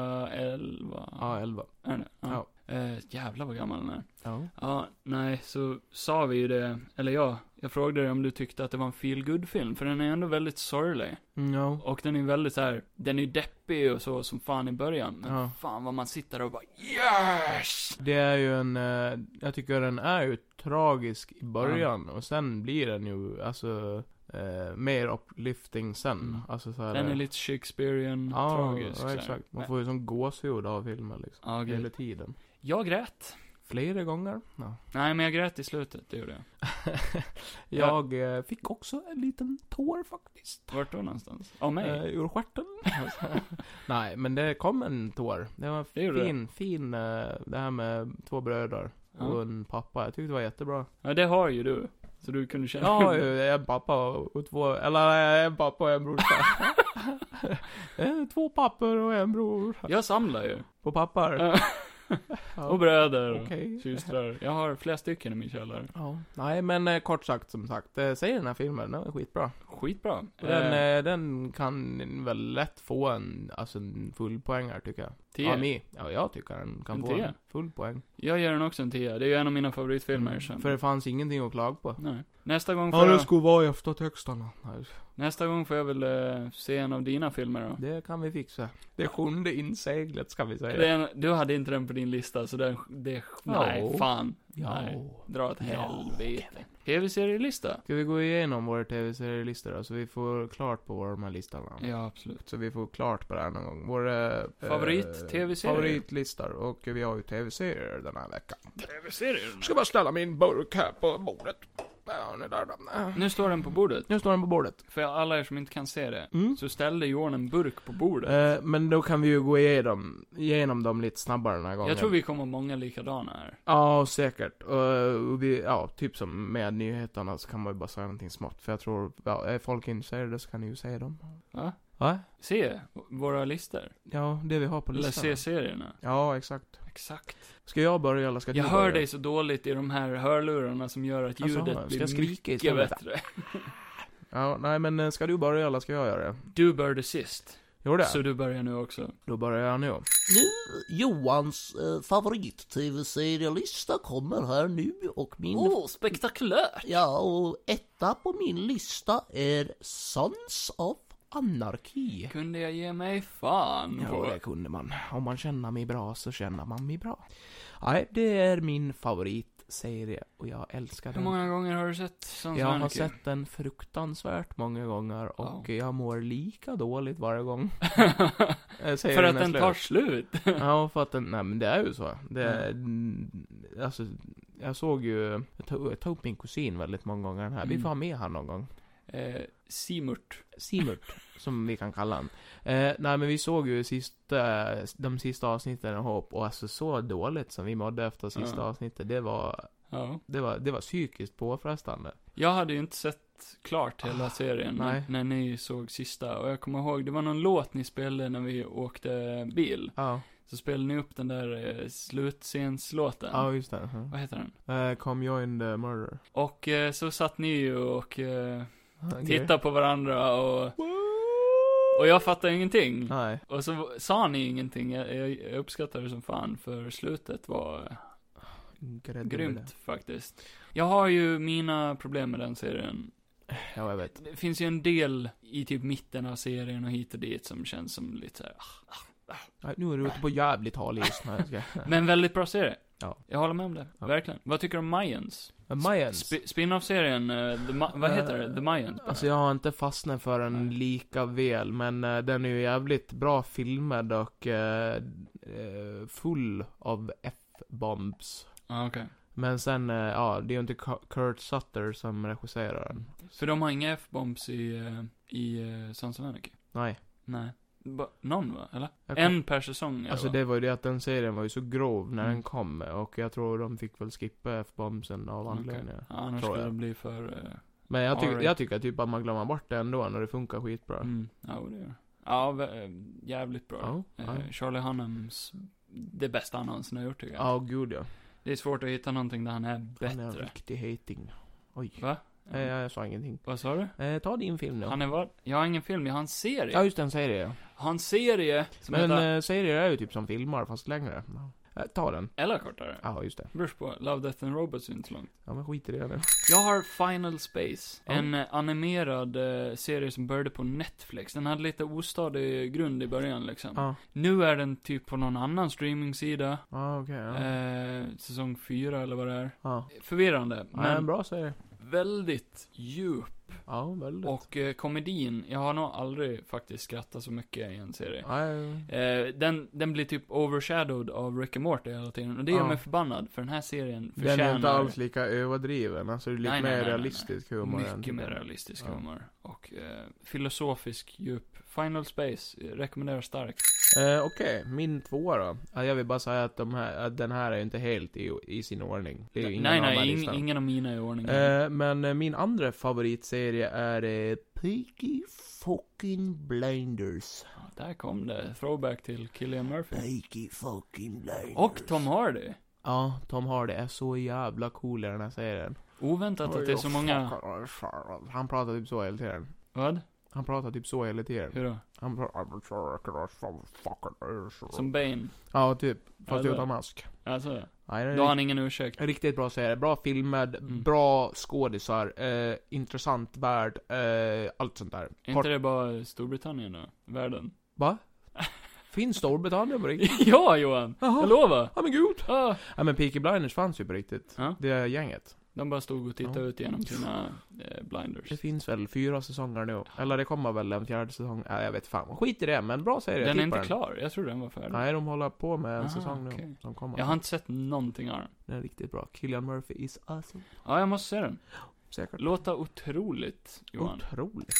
[SPEAKER 1] 2011.
[SPEAKER 2] Ja, 11.
[SPEAKER 1] Är det?
[SPEAKER 2] Ja.
[SPEAKER 1] Eh, jävlar vad gammal den är.
[SPEAKER 2] Ja.
[SPEAKER 1] Ja, nej, så sa vi ju det, eller jag, jag frågade dig om du tyckte att det var en feel good film för den är ändå väldigt sorglig.
[SPEAKER 2] Mm, Ja.
[SPEAKER 1] Och den är väldigt så här, den är deppig och så som fan i början. Men
[SPEAKER 2] Ja.
[SPEAKER 1] fan vad man sitter där och bara YES!
[SPEAKER 2] Det är ju en, eh, jag tycker den är ju tragisk i början och sen blir den ju, alltså, eh, mer uplifting sen.
[SPEAKER 1] Mm.
[SPEAKER 2] Alltså så här,
[SPEAKER 1] Den är
[SPEAKER 2] eh,
[SPEAKER 1] lite Shakespearean,
[SPEAKER 2] ja,
[SPEAKER 1] tragisk. så
[SPEAKER 2] Ja,
[SPEAKER 1] här.
[SPEAKER 2] exakt. Man
[SPEAKER 1] Nej.
[SPEAKER 2] får ju som gåshud av filmen liksom.
[SPEAKER 1] Ja, gud.
[SPEAKER 2] Hela tiden.
[SPEAKER 1] Jag grät.
[SPEAKER 2] Flera gånger. <laughs> Ja.
[SPEAKER 1] Nej, men jag grät i slutet, det gjorde jag.
[SPEAKER 2] jag eh, fick också en liten tår faktiskt.
[SPEAKER 1] Vart då någonstans? Av mig?
[SPEAKER 2] Eh, ur stjärten. <laughs> Nej, men det kom en tår. Det var
[SPEAKER 1] Det gjorde
[SPEAKER 2] fin, fin, eh, det här med två bröder
[SPEAKER 1] Ja.
[SPEAKER 2] och en pappa. Jag tyckte det var jättebra.
[SPEAKER 1] Ja, det har ju du. Så du kunde känna
[SPEAKER 2] Ja, jag är en pappa och två, eller jag är en pappa och
[SPEAKER 1] <laughs>
[SPEAKER 2] en brorsa. Eh, två pappor och en bror.
[SPEAKER 1] Jag samlar ju.
[SPEAKER 2] På pappar.
[SPEAKER 1] Ja. <laughs>
[SPEAKER 2] Ja,
[SPEAKER 1] och bröder och
[SPEAKER 2] Okej.
[SPEAKER 1] systrar. Jag har flera stycken i min källare.
[SPEAKER 2] Ja. Nej, men eh, kort sagt som sagt, eh, säg den här filmen, den är skitbra.
[SPEAKER 1] Skitbra.
[SPEAKER 2] Och Den,
[SPEAKER 1] Eh,
[SPEAKER 2] eh, den kan väl lätt få en, alltså en full poängare tycker jag.
[SPEAKER 1] tio.
[SPEAKER 2] Ja, mig. Ja, jag tycker den kan
[SPEAKER 1] En
[SPEAKER 2] få
[SPEAKER 1] tia.
[SPEAKER 2] en full poäng.
[SPEAKER 1] Jag ger den också en 10. Det är ju en av mina favoritfilmer. Sen.
[SPEAKER 2] Mm. För det fanns ingenting att klaga på.
[SPEAKER 1] Nej. Nästa gång får jag,
[SPEAKER 2] skulle vara efter texterna. Nej,
[SPEAKER 1] nästa gång får jag väl eh, se en av dina filmer då.
[SPEAKER 2] Det kan vi fixa. Det sjunde inseglet ska vi säga.
[SPEAKER 1] Det är en, du hade inte den på din lista, så den, det, nej,
[SPEAKER 2] Jo.
[SPEAKER 1] fan.
[SPEAKER 2] Ja.
[SPEAKER 1] Nej. Dra åt
[SPEAKER 2] Ja,
[SPEAKER 1] helvete. Tv-serielista?
[SPEAKER 2] Ska vi gå igenom våra tv-serielistor då, så vi får klart på vad de här listorna.
[SPEAKER 1] Ja, absolut.
[SPEAKER 2] Så vi får klart på det här någon gång. Vår... eh,
[SPEAKER 1] Favorit
[SPEAKER 2] eh,
[SPEAKER 1] TV-serier.
[SPEAKER 2] Favoritlistor. Och vi har ju tv-serier den här veckan.
[SPEAKER 1] Tv-serier?
[SPEAKER 2] Ska bara ställa min burk här på bordet. Ja, nu där då.
[SPEAKER 1] Nu står den på bordet.
[SPEAKER 2] Nu står den på bordet.
[SPEAKER 1] För alla er som inte kan se det,
[SPEAKER 2] Mm.
[SPEAKER 1] så ställde Johan en burk på bordet.
[SPEAKER 2] Eh, men då kan vi ju gå igenom, igenom dem lite snabbare den här gången.
[SPEAKER 1] jag tror vi kommer många likadana här.
[SPEAKER 2] Ja, säkert. Och vi, ja, typ som med nyheterna så kan man ju bara säga någonting smått. För jag tror, ja, är folk intresserade så kan ni ju säga dem.
[SPEAKER 1] Va?
[SPEAKER 2] Va?
[SPEAKER 1] Se våra listor.
[SPEAKER 2] Ja, det vi har på
[SPEAKER 1] Eller
[SPEAKER 2] listan.
[SPEAKER 1] se serierna.
[SPEAKER 2] Ja, exakt.
[SPEAKER 1] Exakt.
[SPEAKER 2] Ska jag börja eller ska du
[SPEAKER 1] Jag
[SPEAKER 2] börja?
[SPEAKER 1] hör dig så dåligt i de här hörlurarna som gör att
[SPEAKER 2] Alltså,
[SPEAKER 1] ljudet
[SPEAKER 2] ska
[SPEAKER 1] blir
[SPEAKER 2] jag skrika
[SPEAKER 1] mycket
[SPEAKER 2] istället?
[SPEAKER 1] bättre.
[SPEAKER 2] Ja, nej men eh, ska du börja eller ska jag göra det?
[SPEAKER 1] Du började sist,
[SPEAKER 2] Jo det.
[SPEAKER 1] så du börjar nu också.
[SPEAKER 2] Då börjar jag nu.
[SPEAKER 5] Nu, Johans eh, favorit-tv-serielista kommer här nu och min...
[SPEAKER 1] spektakulärt!
[SPEAKER 5] Ja, och etta på min lista är Sons of Anarki.
[SPEAKER 1] Kunde jag ge mig fan
[SPEAKER 2] Ja,
[SPEAKER 1] på.
[SPEAKER 2] det kunde man. Om man känner mig bra så känner man mig bra. Nej, det är min favoritserie och jag älskar
[SPEAKER 1] Hur
[SPEAKER 2] den.
[SPEAKER 1] många gånger har du sett Sons
[SPEAKER 2] Jag
[SPEAKER 1] of
[SPEAKER 2] har
[SPEAKER 1] Anarchy?
[SPEAKER 2] sett den fruktansvärt många gånger och jag mår lika dåligt
[SPEAKER 1] <laughs>
[SPEAKER 2] varje gång. <laughs> eh, säger
[SPEAKER 1] För att
[SPEAKER 2] nästa
[SPEAKER 1] den
[SPEAKER 2] år.
[SPEAKER 1] tar slut. <laughs>
[SPEAKER 2] Ja, för att den, nej men det är ju så. Det, är-
[SPEAKER 1] Mm.
[SPEAKER 2] Alltså, jag såg ju, jag tog, jag tog upp min kusin väldigt många gånger den här. Vi
[SPEAKER 1] Mm.
[SPEAKER 2] får ha med han någon gång.
[SPEAKER 1] Eh, Simurt.
[SPEAKER 2] Simurt, <laughs> som vi kan kalla han. Eh, nej men vi såg ju sista, de sista avsnitten ihop och alltså så dåligt som vi mådde efter sista
[SPEAKER 1] Ja.
[SPEAKER 2] avsnittet, det var,
[SPEAKER 1] Ja.
[SPEAKER 2] det var, det var psykiskt påfrestande.
[SPEAKER 1] Jag hade ju inte sett klart hela
[SPEAKER 2] Ah,
[SPEAKER 1] serien
[SPEAKER 2] nej.
[SPEAKER 1] när ni såg sista. Och jag kommer ihåg, det var någon låt ni spelade när vi åkte bil.
[SPEAKER 2] Ja,
[SPEAKER 1] Så spelade ni upp den där eh, slutscenslåten.
[SPEAKER 2] ja just det. Mm.
[SPEAKER 1] Vad heter den?
[SPEAKER 2] Uh, come join the murder.
[SPEAKER 1] Och eh, så satt ni ju och eh,
[SPEAKER 2] Okay.
[SPEAKER 1] tittade på varandra och, och jag fattade ingenting.
[SPEAKER 2] Nej.
[SPEAKER 1] Och så sa ni ingenting, jag, jag, jag uppskattar det som fan för slutet var
[SPEAKER 2] Grädde
[SPEAKER 1] grymt faktiskt. Jag har ju mina problem med den serien.
[SPEAKER 2] Ja, jag vet.
[SPEAKER 1] Det finns ju en del i typ mitten av serien och hit och dit som känns som lite så här. ah.
[SPEAKER 2] Nej, nu är du ute på jävligt hal is. Nej, jag
[SPEAKER 1] <laughs>
[SPEAKER 2] ska-
[SPEAKER 1] Men väldigt bra serie.
[SPEAKER 2] Ja.
[SPEAKER 1] Jag håller med om det,
[SPEAKER 2] Ja.
[SPEAKER 1] verkligen. Vad tycker du om Mayans?
[SPEAKER 2] Men Mayans.
[SPEAKER 1] Sp- spin-off-serien, eh, The Ma- vad heter det? The Mayans?
[SPEAKER 2] Alltså jag har inte fastnat för den
[SPEAKER 1] Nej.
[SPEAKER 2] lika väl, men eh, den är ju jävligt bra filmad och eh, eh, full av F-bombs.
[SPEAKER 1] Ja, Ah, okej.
[SPEAKER 2] Men sen, eh, ja, det är ju inte Ku- Kurt Sutter som regisserar den.
[SPEAKER 1] För de har inga F-bombs i, eh, i eh, Sons of Anarchy?
[SPEAKER 2] Nej.
[SPEAKER 1] Nej. Ba, någon va? Eller?
[SPEAKER 2] Jag kom-
[SPEAKER 1] En per säsong?
[SPEAKER 2] Alltså
[SPEAKER 1] va?
[SPEAKER 2] det var ju det att den serien var ju så grov när
[SPEAKER 1] Mm.
[SPEAKER 2] den kom och jag tror de fick väl skippa F-bombsen av
[SPEAKER 1] Okej.
[SPEAKER 2] anledningar.
[SPEAKER 1] Ja, annars
[SPEAKER 2] tror
[SPEAKER 1] skulle
[SPEAKER 2] jag.
[SPEAKER 1] det bli för... eh,
[SPEAKER 2] Men jag, tycker-
[SPEAKER 1] Alright.
[SPEAKER 2] jag tycker typ att man glömmer bort det ändå när det funkar skitbra.
[SPEAKER 1] mm, ja, det gör det. Ja, vä- eh, jävligt bra.
[SPEAKER 2] Ja, ja.
[SPEAKER 1] Eh, Charlie Hunnams, det bästa han någonsin har gjort tycker jag.
[SPEAKER 2] Ja, gud ja.
[SPEAKER 1] Det är svårt att hitta någonting där han är
[SPEAKER 2] Han är en
[SPEAKER 1] bättre.
[SPEAKER 2] riktig hating. Oj.
[SPEAKER 1] Va?
[SPEAKER 2] Eh, jag sa ingenting.
[SPEAKER 1] Vad sa du?
[SPEAKER 2] Eh, ta din film då.
[SPEAKER 1] Han är vad? Jag har ingen film, jag har en serie.
[SPEAKER 2] Ja, just den serie ja.
[SPEAKER 1] Har en serie som
[SPEAKER 2] Men
[SPEAKER 1] heter...
[SPEAKER 2] eh, serier är ju typ som filmer, fast längre. Eh, ta den.
[SPEAKER 1] Eller kortare.
[SPEAKER 2] Ja, just det.
[SPEAKER 1] Beror på, Love, Death and Robots är inte så långt.
[SPEAKER 2] Ja, men skit i det nu.
[SPEAKER 1] Jag har Final Space.
[SPEAKER 2] Ja.
[SPEAKER 1] En eh, animerad eh, serie som började på Netflix. Den hade lite ostadig grund i början liksom.
[SPEAKER 2] Ja,
[SPEAKER 1] Nu är den typ på någon annan streamingsida.
[SPEAKER 2] ja okej. ja.
[SPEAKER 1] Eh, säsong 4 eller vad det är.
[SPEAKER 2] Ja.
[SPEAKER 1] Förvirrande,
[SPEAKER 2] Ja, en
[SPEAKER 1] men
[SPEAKER 2] bra serie.
[SPEAKER 1] väldigt djup.
[SPEAKER 2] Ja, väldigt.
[SPEAKER 1] Och eh, komedin, jag har nog aldrig faktiskt skrattat så mycket i en serie.
[SPEAKER 2] Ja, ja,
[SPEAKER 1] Eh, den, den blir typ overshadowed av Rick and Morty hela tiden. Och det gör
[SPEAKER 2] Ja.
[SPEAKER 1] mig förbannad, för den här serien
[SPEAKER 2] Den är inte
[SPEAKER 1] förtjänar
[SPEAKER 2] alls lika överdriven, alltså det är lite
[SPEAKER 1] Nej, nej, nej,
[SPEAKER 2] mer
[SPEAKER 1] nej, nej.
[SPEAKER 2] realistisk humor. än-
[SPEAKER 1] mycket mer realistisk
[SPEAKER 2] Ja.
[SPEAKER 1] humor. Och eh, filosofisk djup. Final Space, eh, rekommenderar starkt.
[SPEAKER 2] Eh, Okej, min tvåa då. Ja, jag vill bara säga att, de här, att den här är ju inte helt i, i sin ordning. Det är ju ingen
[SPEAKER 1] nej,
[SPEAKER 2] av de här
[SPEAKER 1] nej, ing-
[SPEAKER 2] listan.
[SPEAKER 1] ingen av mina är i ordning.
[SPEAKER 2] Eh, men eh, min andra favoritserie är eh,
[SPEAKER 5] Peaky fucking blinders.
[SPEAKER 1] Ja, där kom det. Throwback till Killian Murphy.
[SPEAKER 5] Peaky fucking blinders.
[SPEAKER 1] Och Tom Hardy.
[SPEAKER 2] Ja, Tom Hardy är så jävla cool i den här serien.
[SPEAKER 1] Oväntat att det är så många...
[SPEAKER 2] Han pratar typ så hela tiden.
[SPEAKER 1] Vad?
[SPEAKER 2] Han pratar typ så hela tiden.
[SPEAKER 1] Hur då?
[SPEAKER 2] Han pratar...
[SPEAKER 1] Som Bane?
[SPEAKER 2] Ja, typ. Fast
[SPEAKER 1] Eller-
[SPEAKER 2] utan Eh, mask.
[SPEAKER 1] Alltså, då
[SPEAKER 2] Nej, det är
[SPEAKER 1] har Mm. han ingen ursäkt.
[SPEAKER 2] En Riktigt bra serie, bra filmer, bra skådisar, eh, intressant värld, eh, allt sånt där.
[SPEAKER 1] Är
[SPEAKER 2] Kort-
[SPEAKER 1] inte det bara Storbritannien då? Världen? <laughs>
[SPEAKER 2] Va? Finns Storbritannien på riktigt?
[SPEAKER 1] ja, Johan! Jag
[SPEAKER 2] Jaha,
[SPEAKER 1] lovar!
[SPEAKER 2] ja men gud!
[SPEAKER 1] Ah.
[SPEAKER 2] Ja men Peaky Blinders fanns ju på riktigt.
[SPEAKER 1] Ja.
[SPEAKER 2] Det gänget.
[SPEAKER 1] De bara stod och tittade
[SPEAKER 2] Ja.
[SPEAKER 1] ut genom sina eh, blinders.
[SPEAKER 2] Det finns väl fyra säsonger nu. Eller det kommer väl en fjärde säsong, ja, jag vet fan. Skit i det, men bra serie.
[SPEAKER 1] Den är
[SPEAKER 2] tippar
[SPEAKER 1] inte klar, jag tror den var färdig.
[SPEAKER 2] Nej, de håller på med en
[SPEAKER 1] Aha,
[SPEAKER 2] säsong nu.
[SPEAKER 1] okej.
[SPEAKER 2] Som kommer.
[SPEAKER 1] Jag har inte sett någonting av den.
[SPEAKER 2] Den är riktigt bra. Killian Murphy is awesome.
[SPEAKER 1] Ja, jag måste se den.
[SPEAKER 2] Säkert.
[SPEAKER 1] Låta otroligt, Johan.
[SPEAKER 2] Otroligt.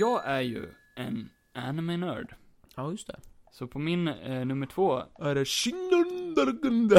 [SPEAKER 1] Jag är ju en anime-nörd.
[SPEAKER 2] Ja, just det.
[SPEAKER 1] Så på min eh, nummer två <laughs>
[SPEAKER 2] Är det Shindundurgunda?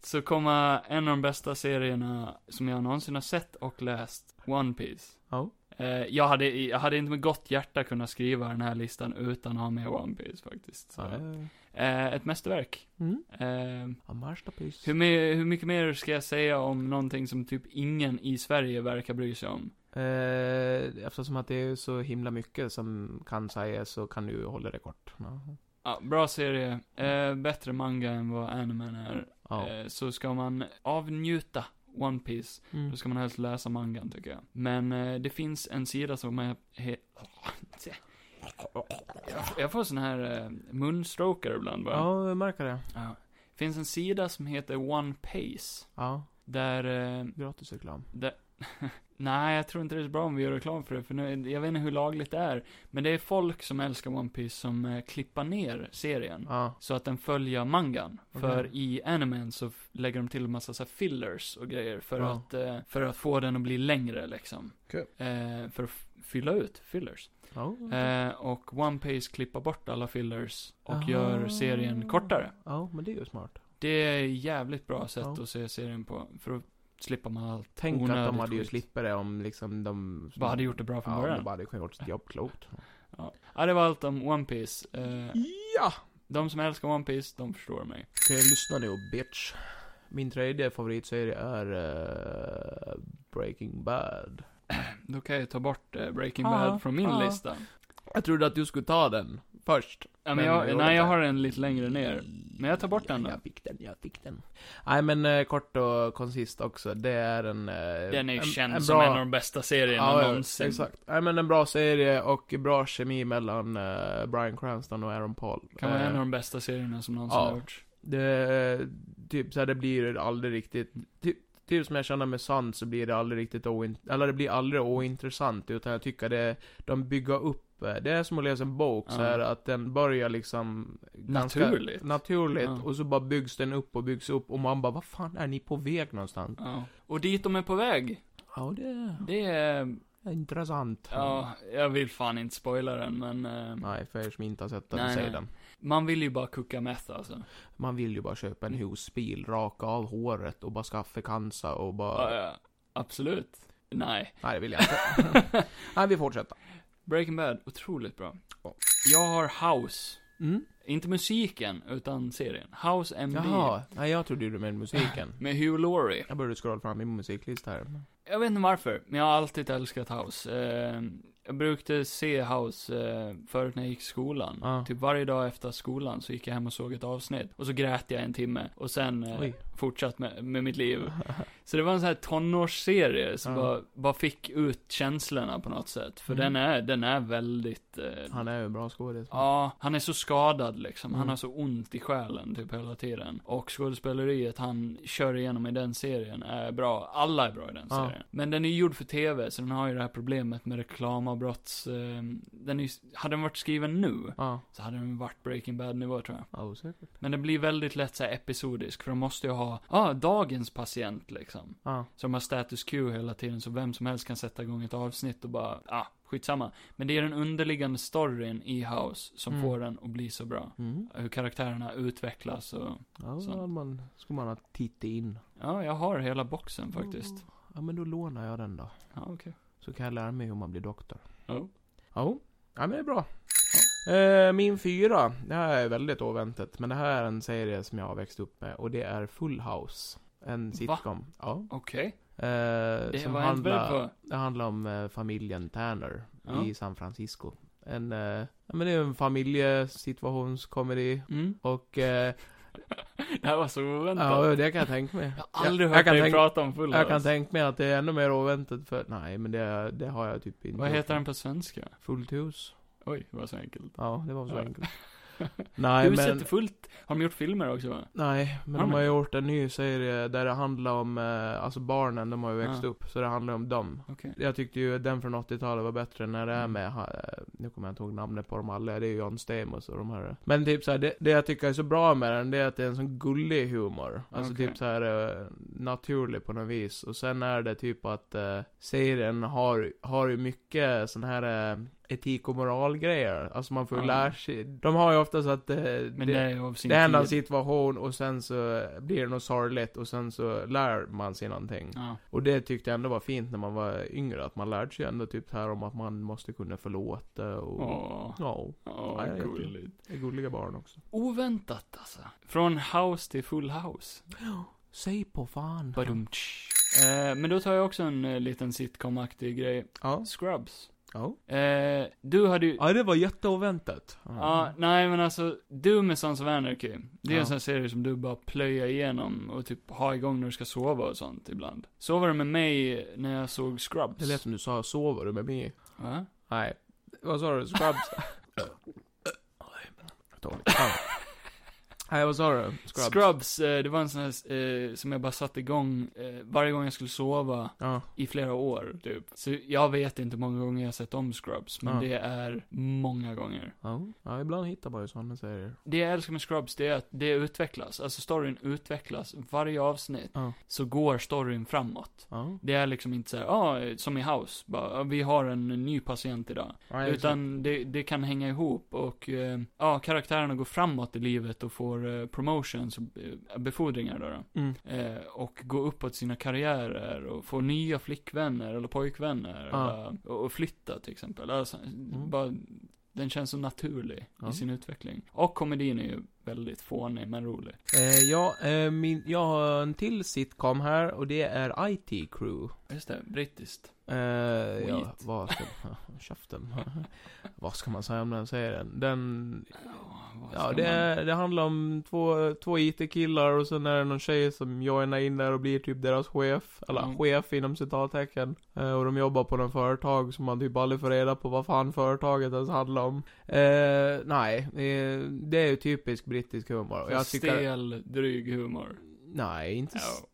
[SPEAKER 1] så kommer en av de bästa serierna som jag någonsin har sett och läst, One Piece.
[SPEAKER 2] Ja.
[SPEAKER 1] Eh, jag, hade, jag hade inte med gott hjärta kunnat skriva den här listan utan att ha med One Piece faktiskt. Så.
[SPEAKER 2] Nej.
[SPEAKER 1] Eh, ett mästerverk.
[SPEAKER 2] Mm.
[SPEAKER 1] Eh,
[SPEAKER 2] A masterpiece.
[SPEAKER 1] hur, me- hur mycket mer ska jag säga om någonting som typ ingen i Sverige verkar bry sig om?
[SPEAKER 2] Eh, eftersom att det är så himla mycket som kan sägas så kan du hålla det kort. Ja.
[SPEAKER 1] Ja, bra serie. Eh, bättre manga än vad animen är.
[SPEAKER 2] Ja.
[SPEAKER 1] Eh, så ska man avnjuta One Piece,
[SPEAKER 2] Mm.
[SPEAKER 1] då ska man helst läsa mangan tycker jag. Men eh, det finns en sida som är... He- jag, får- jag får sån här eh, munstroker ibland bara.
[SPEAKER 2] ja, jag märker det.
[SPEAKER 1] Ja. Finns en sida som heter One Piece.
[SPEAKER 2] Ja,
[SPEAKER 1] Där, eh,
[SPEAKER 2] gratis reklam.
[SPEAKER 1] där <laughs> Nej, jag tror inte det är så bra om vi gör reklam för det, för nu, jag vet inte hur lagligt det är. Men det är folk som älskar One Piece som eh, klippar ner serien.
[SPEAKER 2] Ja.
[SPEAKER 1] Så att den följer mangan.
[SPEAKER 2] Okej.
[SPEAKER 1] För i animen så f- lägger de till en massa så här fillers och grejer för,
[SPEAKER 2] Ja.
[SPEAKER 1] att, eh, för att få den att bli längre liksom.
[SPEAKER 2] Okej.
[SPEAKER 1] Eh, för att f- fylla ut fillers.
[SPEAKER 2] Ja.
[SPEAKER 1] Eh, och One Piece klippar bort alla fillers och
[SPEAKER 2] Ah.
[SPEAKER 1] gör serien kortare.
[SPEAKER 2] Ja, men det är ju smart.
[SPEAKER 1] Det är ett jävligt bra sätt
[SPEAKER 2] Ja. Mm.
[SPEAKER 1] att se serien på. För att slippa man allt.
[SPEAKER 2] Tänk att de
[SPEAKER 1] Onödigt
[SPEAKER 2] hade ju
[SPEAKER 1] skit.
[SPEAKER 2] slippt det om liksom de...
[SPEAKER 1] Bara hade gjort det bra från
[SPEAKER 2] Ja, de
[SPEAKER 1] början.
[SPEAKER 2] bara hade kunnat gjort sitt jobb klokt.
[SPEAKER 1] Ja. ja, det var allt om One Piece. Eh,
[SPEAKER 2] Ja!
[SPEAKER 1] de som älskar One Piece, de förstår mig.
[SPEAKER 2] Okej, lyssna nu bitch. Min tredje favoritserie är eh, Breaking Bad.
[SPEAKER 1] Då kan jag ta bort eh, Breaking
[SPEAKER 2] Ja,
[SPEAKER 1] Bad från min
[SPEAKER 2] ja.
[SPEAKER 1] lista.
[SPEAKER 2] Jag trodde att du skulle ta den först.
[SPEAKER 1] Ja, men
[SPEAKER 2] Men
[SPEAKER 1] jag,
[SPEAKER 2] jag
[SPEAKER 1] nej, jag
[SPEAKER 2] inte.
[SPEAKER 1] har en lite längre ner. Men jag tar bort
[SPEAKER 2] ja,
[SPEAKER 1] den då.
[SPEAKER 2] Eh, Jag fick den, jag fick den. Nej men eh, kort och koncist också, det är en... eh,
[SPEAKER 1] Den är ju
[SPEAKER 2] en,
[SPEAKER 1] känd
[SPEAKER 2] en
[SPEAKER 1] som
[SPEAKER 2] bra-
[SPEAKER 1] en av de bästa serierna
[SPEAKER 2] ja, ja,
[SPEAKER 1] någonsin.
[SPEAKER 2] exakt. Nej men en bra serie och bra kemi mellan eh, Bryan Cranston och Aaron Paul.
[SPEAKER 1] Kan vara
[SPEAKER 2] Eh,
[SPEAKER 1] en av de bästa serierna som någonsin
[SPEAKER 2] ja.
[SPEAKER 1] har gjorts.
[SPEAKER 2] Det, typ såhär, det blir aldrig riktigt, typ, typ som jag känner med Sand så blir det aldrig riktigt oint- eller det blir aldrig ointressant utan jag tycker det, de bygger upp eh, det är som att läsa en bok så
[SPEAKER 1] Ja.
[SPEAKER 2] här att den börjar liksom ganska
[SPEAKER 1] Naturligt.
[SPEAKER 2] naturligt
[SPEAKER 1] Ja.
[SPEAKER 2] och så bara byggs den upp och byggs upp och man bara vad fan är ni på väg någonstans?
[SPEAKER 1] Ja. Och dit de är på väg,
[SPEAKER 2] Ja det
[SPEAKER 1] det är...
[SPEAKER 2] är intressant.
[SPEAKER 1] Ja, jag vill fan inte spoila den, men... Eh,
[SPEAKER 2] Nej, för er som inte har sett den,
[SPEAKER 1] Nej,
[SPEAKER 2] säg
[SPEAKER 1] nej.
[SPEAKER 2] den.
[SPEAKER 1] man vill ju bara kucka meth alltså.
[SPEAKER 2] Man vill ju bara köpa en husbil, raka av håret och bara skaffa cancer och bara...
[SPEAKER 1] Ja, ja, absolut. Nej. <laughs>
[SPEAKER 2] Nej, det vill jag inte. nej, vi fortsätter.
[SPEAKER 1] Breaking Bad, otroligt bra.
[SPEAKER 2] Ja.
[SPEAKER 1] Jag har House.
[SPEAKER 2] Mm.
[SPEAKER 1] Inte musiken, utan serien. House MD.
[SPEAKER 2] Jaha, nej jag trodde du menade musiken.
[SPEAKER 1] Med Hugh Laurie.
[SPEAKER 2] Jag började scrolla fram i min musiklista här.
[SPEAKER 1] Jag vet inte varför, men jag har alltid älskat House. Eh, jag brukade se House eh, förut när jag gick i skolan.
[SPEAKER 2] Ja.
[SPEAKER 1] Typ varje dag efter skolan så gick jag hem och såg ett avsnitt. Och så grät jag en timme. Och sen eh,
[SPEAKER 2] Oj.
[SPEAKER 1] fortsatt med, med mitt
[SPEAKER 2] <laughs>
[SPEAKER 1] liv. Så det var en sån här tonårsserie som
[SPEAKER 2] Ja.
[SPEAKER 1] bara, bara fick ut känslorna på något sätt. För
[SPEAKER 2] Mm.
[SPEAKER 1] den, är, den är väldigt... Eh,
[SPEAKER 2] Han är ju en bra skådis.
[SPEAKER 1] Ja, han är så skadad liksom. Han
[SPEAKER 2] Mm.
[SPEAKER 1] har så ont i själen typ hela tiden. Och skådespeleriet han kör igenom i den serien är bra. Alla är bra i den
[SPEAKER 2] Ja.
[SPEAKER 1] serien. Men den är ju gjord för TV, så den har ju det här problemet med reklamavbrotts... Eh, den är, ju- hade den varit skriven nu,
[SPEAKER 2] Ja,
[SPEAKER 1] så hade den varit Breaking Bad-nivå tror jag.
[SPEAKER 2] ja osäkert.
[SPEAKER 1] Men den blir väldigt lätt så här episodisk, för de måste ju ha, ja, ah, dagens patient liksom.
[SPEAKER 2] Ja.
[SPEAKER 1] Så de har status quo hela tiden, så vem som helst kan sätta igång ett avsnitt och bara, ah, skitsamma. Men det är den underliggande storyn i House som
[SPEAKER 2] Mm.
[SPEAKER 1] får den att bli så bra.
[SPEAKER 2] Mm.
[SPEAKER 1] Hur karaktärerna utvecklas och,
[SPEAKER 2] Ja,
[SPEAKER 1] Sant.
[SPEAKER 2] då hade man, skulle man ha tittat in.
[SPEAKER 1] ja, jag har hela boxen faktiskt.
[SPEAKER 2] Ja, men då lånar jag den då.
[SPEAKER 1] Ja, okej.
[SPEAKER 2] Så kan jag lära mig hur man blir doktor.
[SPEAKER 1] Ja.
[SPEAKER 2] Ja, ja men det är bra. Eh, Min fyra, det här är väldigt oväntat, men det här är en serie som jag har växt upp med och det är Full House. En sitcom. Ja.
[SPEAKER 1] Okej.
[SPEAKER 2] Eh,
[SPEAKER 1] Det
[SPEAKER 2] som
[SPEAKER 1] var jag inte beredd
[SPEAKER 2] handlar,
[SPEAKER 1] på.
[SPEAKER 2] det handlar om eh, familjen Tanner
[SPEAKER 1] Ja.
[SPEAKER 2] i San Francisco. En, eh, ja men det är en familjesituationskomedi
[SPEAKER 1] Mm.
[SPEAKER 2] och, eh,
[SPEAKER 1] Det här var så oväntat.
[SPEAKER 2] ja det kan jag tänka mig.
[SPEAKER 1] jag har aldrig
[SPEAKER 2] jag-
[SPEAKER 1] hört
[SPEAKER 2] jag kan
[SPEAKER 1] dig
[SPEAKER 2] tänka-
[SPEAKER 1] prata om full
[SPEAKER 2] Jag kan
[SPEAKER 1] House.
[SPEAKER 2] tänka mig att det är ännu mer oväntat för, nej men det, det har jag typ inte.
[SPEAKER 1] Vad
[SPEAKER 2] gjort.
[SPEAKER 1] heter den på svenska?
[SPEAKER 2] Fullt hus.
[SPEAKER 1] Oj, det var så enkelt.
[SPEAKER 2] Ja, det var så
[SPEAKER 1] Ja.
[SPEAKER 2] enkelt.
[SPEAKER 1] <laughs>
[SPEAKER 2] Nej
[SPEAKER 1] Huset
[SPEAKER 2] men,
[SPEAKER 1] är fullt. Har de gjort filmer också? va?
[SPEAKER 2] nej men
[SPEAKER 1] Har
[SPEAKER 2] de
[SPEAKER 1] de
[SPEAKER 2] har gjort en ny serie där det handlar om, eh, alltså barnen, de har ju växt
[SPEAKER 1] Ja.
[SPEAKER 2] upp, så det handlar om dem.
[SPEAKER 1] Ah. Okej.
[SPEAKER 2] Jag tyckte ju den från 80-talet var bättre när det är
[SPEAKER 1] Mm.
[SPEAKER 2] med, ha- eh, nu kommer jag inte ihåg namnet på dem alla, det är ju John Stamos och de här. Men typ såhär, det, det jag tycker är så bra med den, det är att det är en sån gullig humor. Alltså
[SPEAKER 1] Okej.
[SPEAKER 2] typ såhär eh, naturlig på något vis. Och sen är det typ att eh, serien har, har ju mycket sån här eh, etik och moralgrejer. Alltså man får ju
[SPEAKER 1] Ja.
[SPEAKER 2] lära sig, de har ju oftast att eh,
[SPEAKER 1] Ah. Men
[SPEAKER 2] det-
[SPEAKER 1] det, är ju av sin
[SPEAKER 2] det händer en
[SPEAKER 1] tid.
[SPEAKER 2] situation och sen så blir det något sorgligt och sen så lär man sig någonting.
[SPEAKER 1] Ja.
[SPEAKER 2] Och det tyckte jag ändå var fint när man var yngre, att man lärde sig ändå typ så här om att man måste kunna förlåta och...
[SPEAKER 1] Åh.
[SPEAKER 2] Ja,
[SPEAKER 1] Åh,
[SPEAKER 2] Ja, jag vet ju.
[SPEAKER 1] gulligt.
[SPEAKER 2] det är gulliga barn också.
[SPEAKER 1] Oväntat alltså. Från house till full house.
[SPEAKER 2] Säg på fan.
[SPEAKER 1] Badumtsch. Eh, men då tar jag också en eh, liten sitcom-aktig grej.
[SPEAKER 2] Ja.
[SPEAKER 1] Scrubs.
[SPEAKER 2] Ja.
[SPEAKER 1] Eh, du hade ju...
[SPEAKER 2] Ja, det var jätteoväntat. Ja.
[SPEAKER 1] Ja, nej men alltså, du med Sons of Anarchy, det är
[SPEAKER 2] Ja.
[SPEAKER 1] en sån här serie som du bara plöjer igenom och typ har igång när du ska sova och sånt ibland. Så var det med mig när jag såg Scrubs.
[SPEAKER 2] Det lät som du sa, sover du med mig?
[SPEAKER 1] Va?
[SPEAKER 2] Nej. Vad sa
[SPEAKER 1] <laughs>
[SPEAKER 2] du? Scrubs? Jag tar lite. Ja. Nej, vad sa du? Scrubs?
[SPEAKER 1] Scrubs, eh, det var en sån här eh, som jag bara satte igång eh, varje gång jag skulle sova
[SPEAKER 2] Ja.
[SPEAKER 1] i flera år, typ. Så jag vet inte hur många gånger jag sett om Scrubs, men
[SPEAKER 2] Ja.
[SPEAKER 1] det är många gånger.
[SPEAKER 2] ja. Ja, ibland hittar man ju sådana serier.
[SPEAKER 1] Det jag älskar med Scrubs, det är att det utvecklas. Alltså storyn utvecklas. Varje avsnitt
[SPEAKER 2] Ja.
[SPEAKER 1] så går storyn framåt.
[SPEAKER 2] Ja.
[SPEAKER 1] Det är liksom inte såhär, ah, som i House, bara, ah, vi har en ny patient idag.
[SPEAKER 2] Nej,
[SPEAKER 1] Utan det, det kan hänga ihop och, eh, ja, karaktärerna går framåt i livet och får eh, promotions och eh, befordringar då. då.
[SPEAKER 2] Mm.
[SPEAKER 1] Eh, och gå uppåt sina karriärer och få nya flickvänner eller pojkvänner.
[SPEAKER 2] Ja. Mm.
[SPEAKER 1] Eller, och, och flytta till exempel. Alltså, bara, den känns så naturlig
[SPEAKER 2] Ja.
[SPEAKER 1] i sin utveckling. Och komedin är ju väldigt fånig men rolig.
[SPEAKER 2] Eh, ja, eh, min, jag har en till sitcom här och det är IT Crew.
[SPEAKER 1] Just det, brittiskt.
[SPEAKER 2] Eh, ja,
[SPEAKER 1] Skit. <laughs>
[SPEAKER 2] vad ska, käften. <laughs> vad ska man säga om den serien? Den,
[SPEAKER 1] vad
[SPEAKER 2] ja
[SPEAKER 1] ska
[SPEAKER 2] det,
[SPEAKER 1] man-
[SPEAKER 2] är- det handlar om två, två IT-killar och sen är det någon tjej som joinar in där och blir typ deras chef. Eller
[SPEAKER 1] Mm.
[SPEAKER 2] chef inom citattecken. Eh, och de jobbar på någon företag som man typ aldrig får reda på vad fan företaget ens handlar om. Eh, nej, eh, det är ju typisk brittisk humor. Och
[SPEAKER 1] För
[SPEAKER 2] jag tycker,
[SPEAKER 1] Stel, dryg humor.
[SPEAKER 2] nej, inte
[SPEAKER 1] Ja.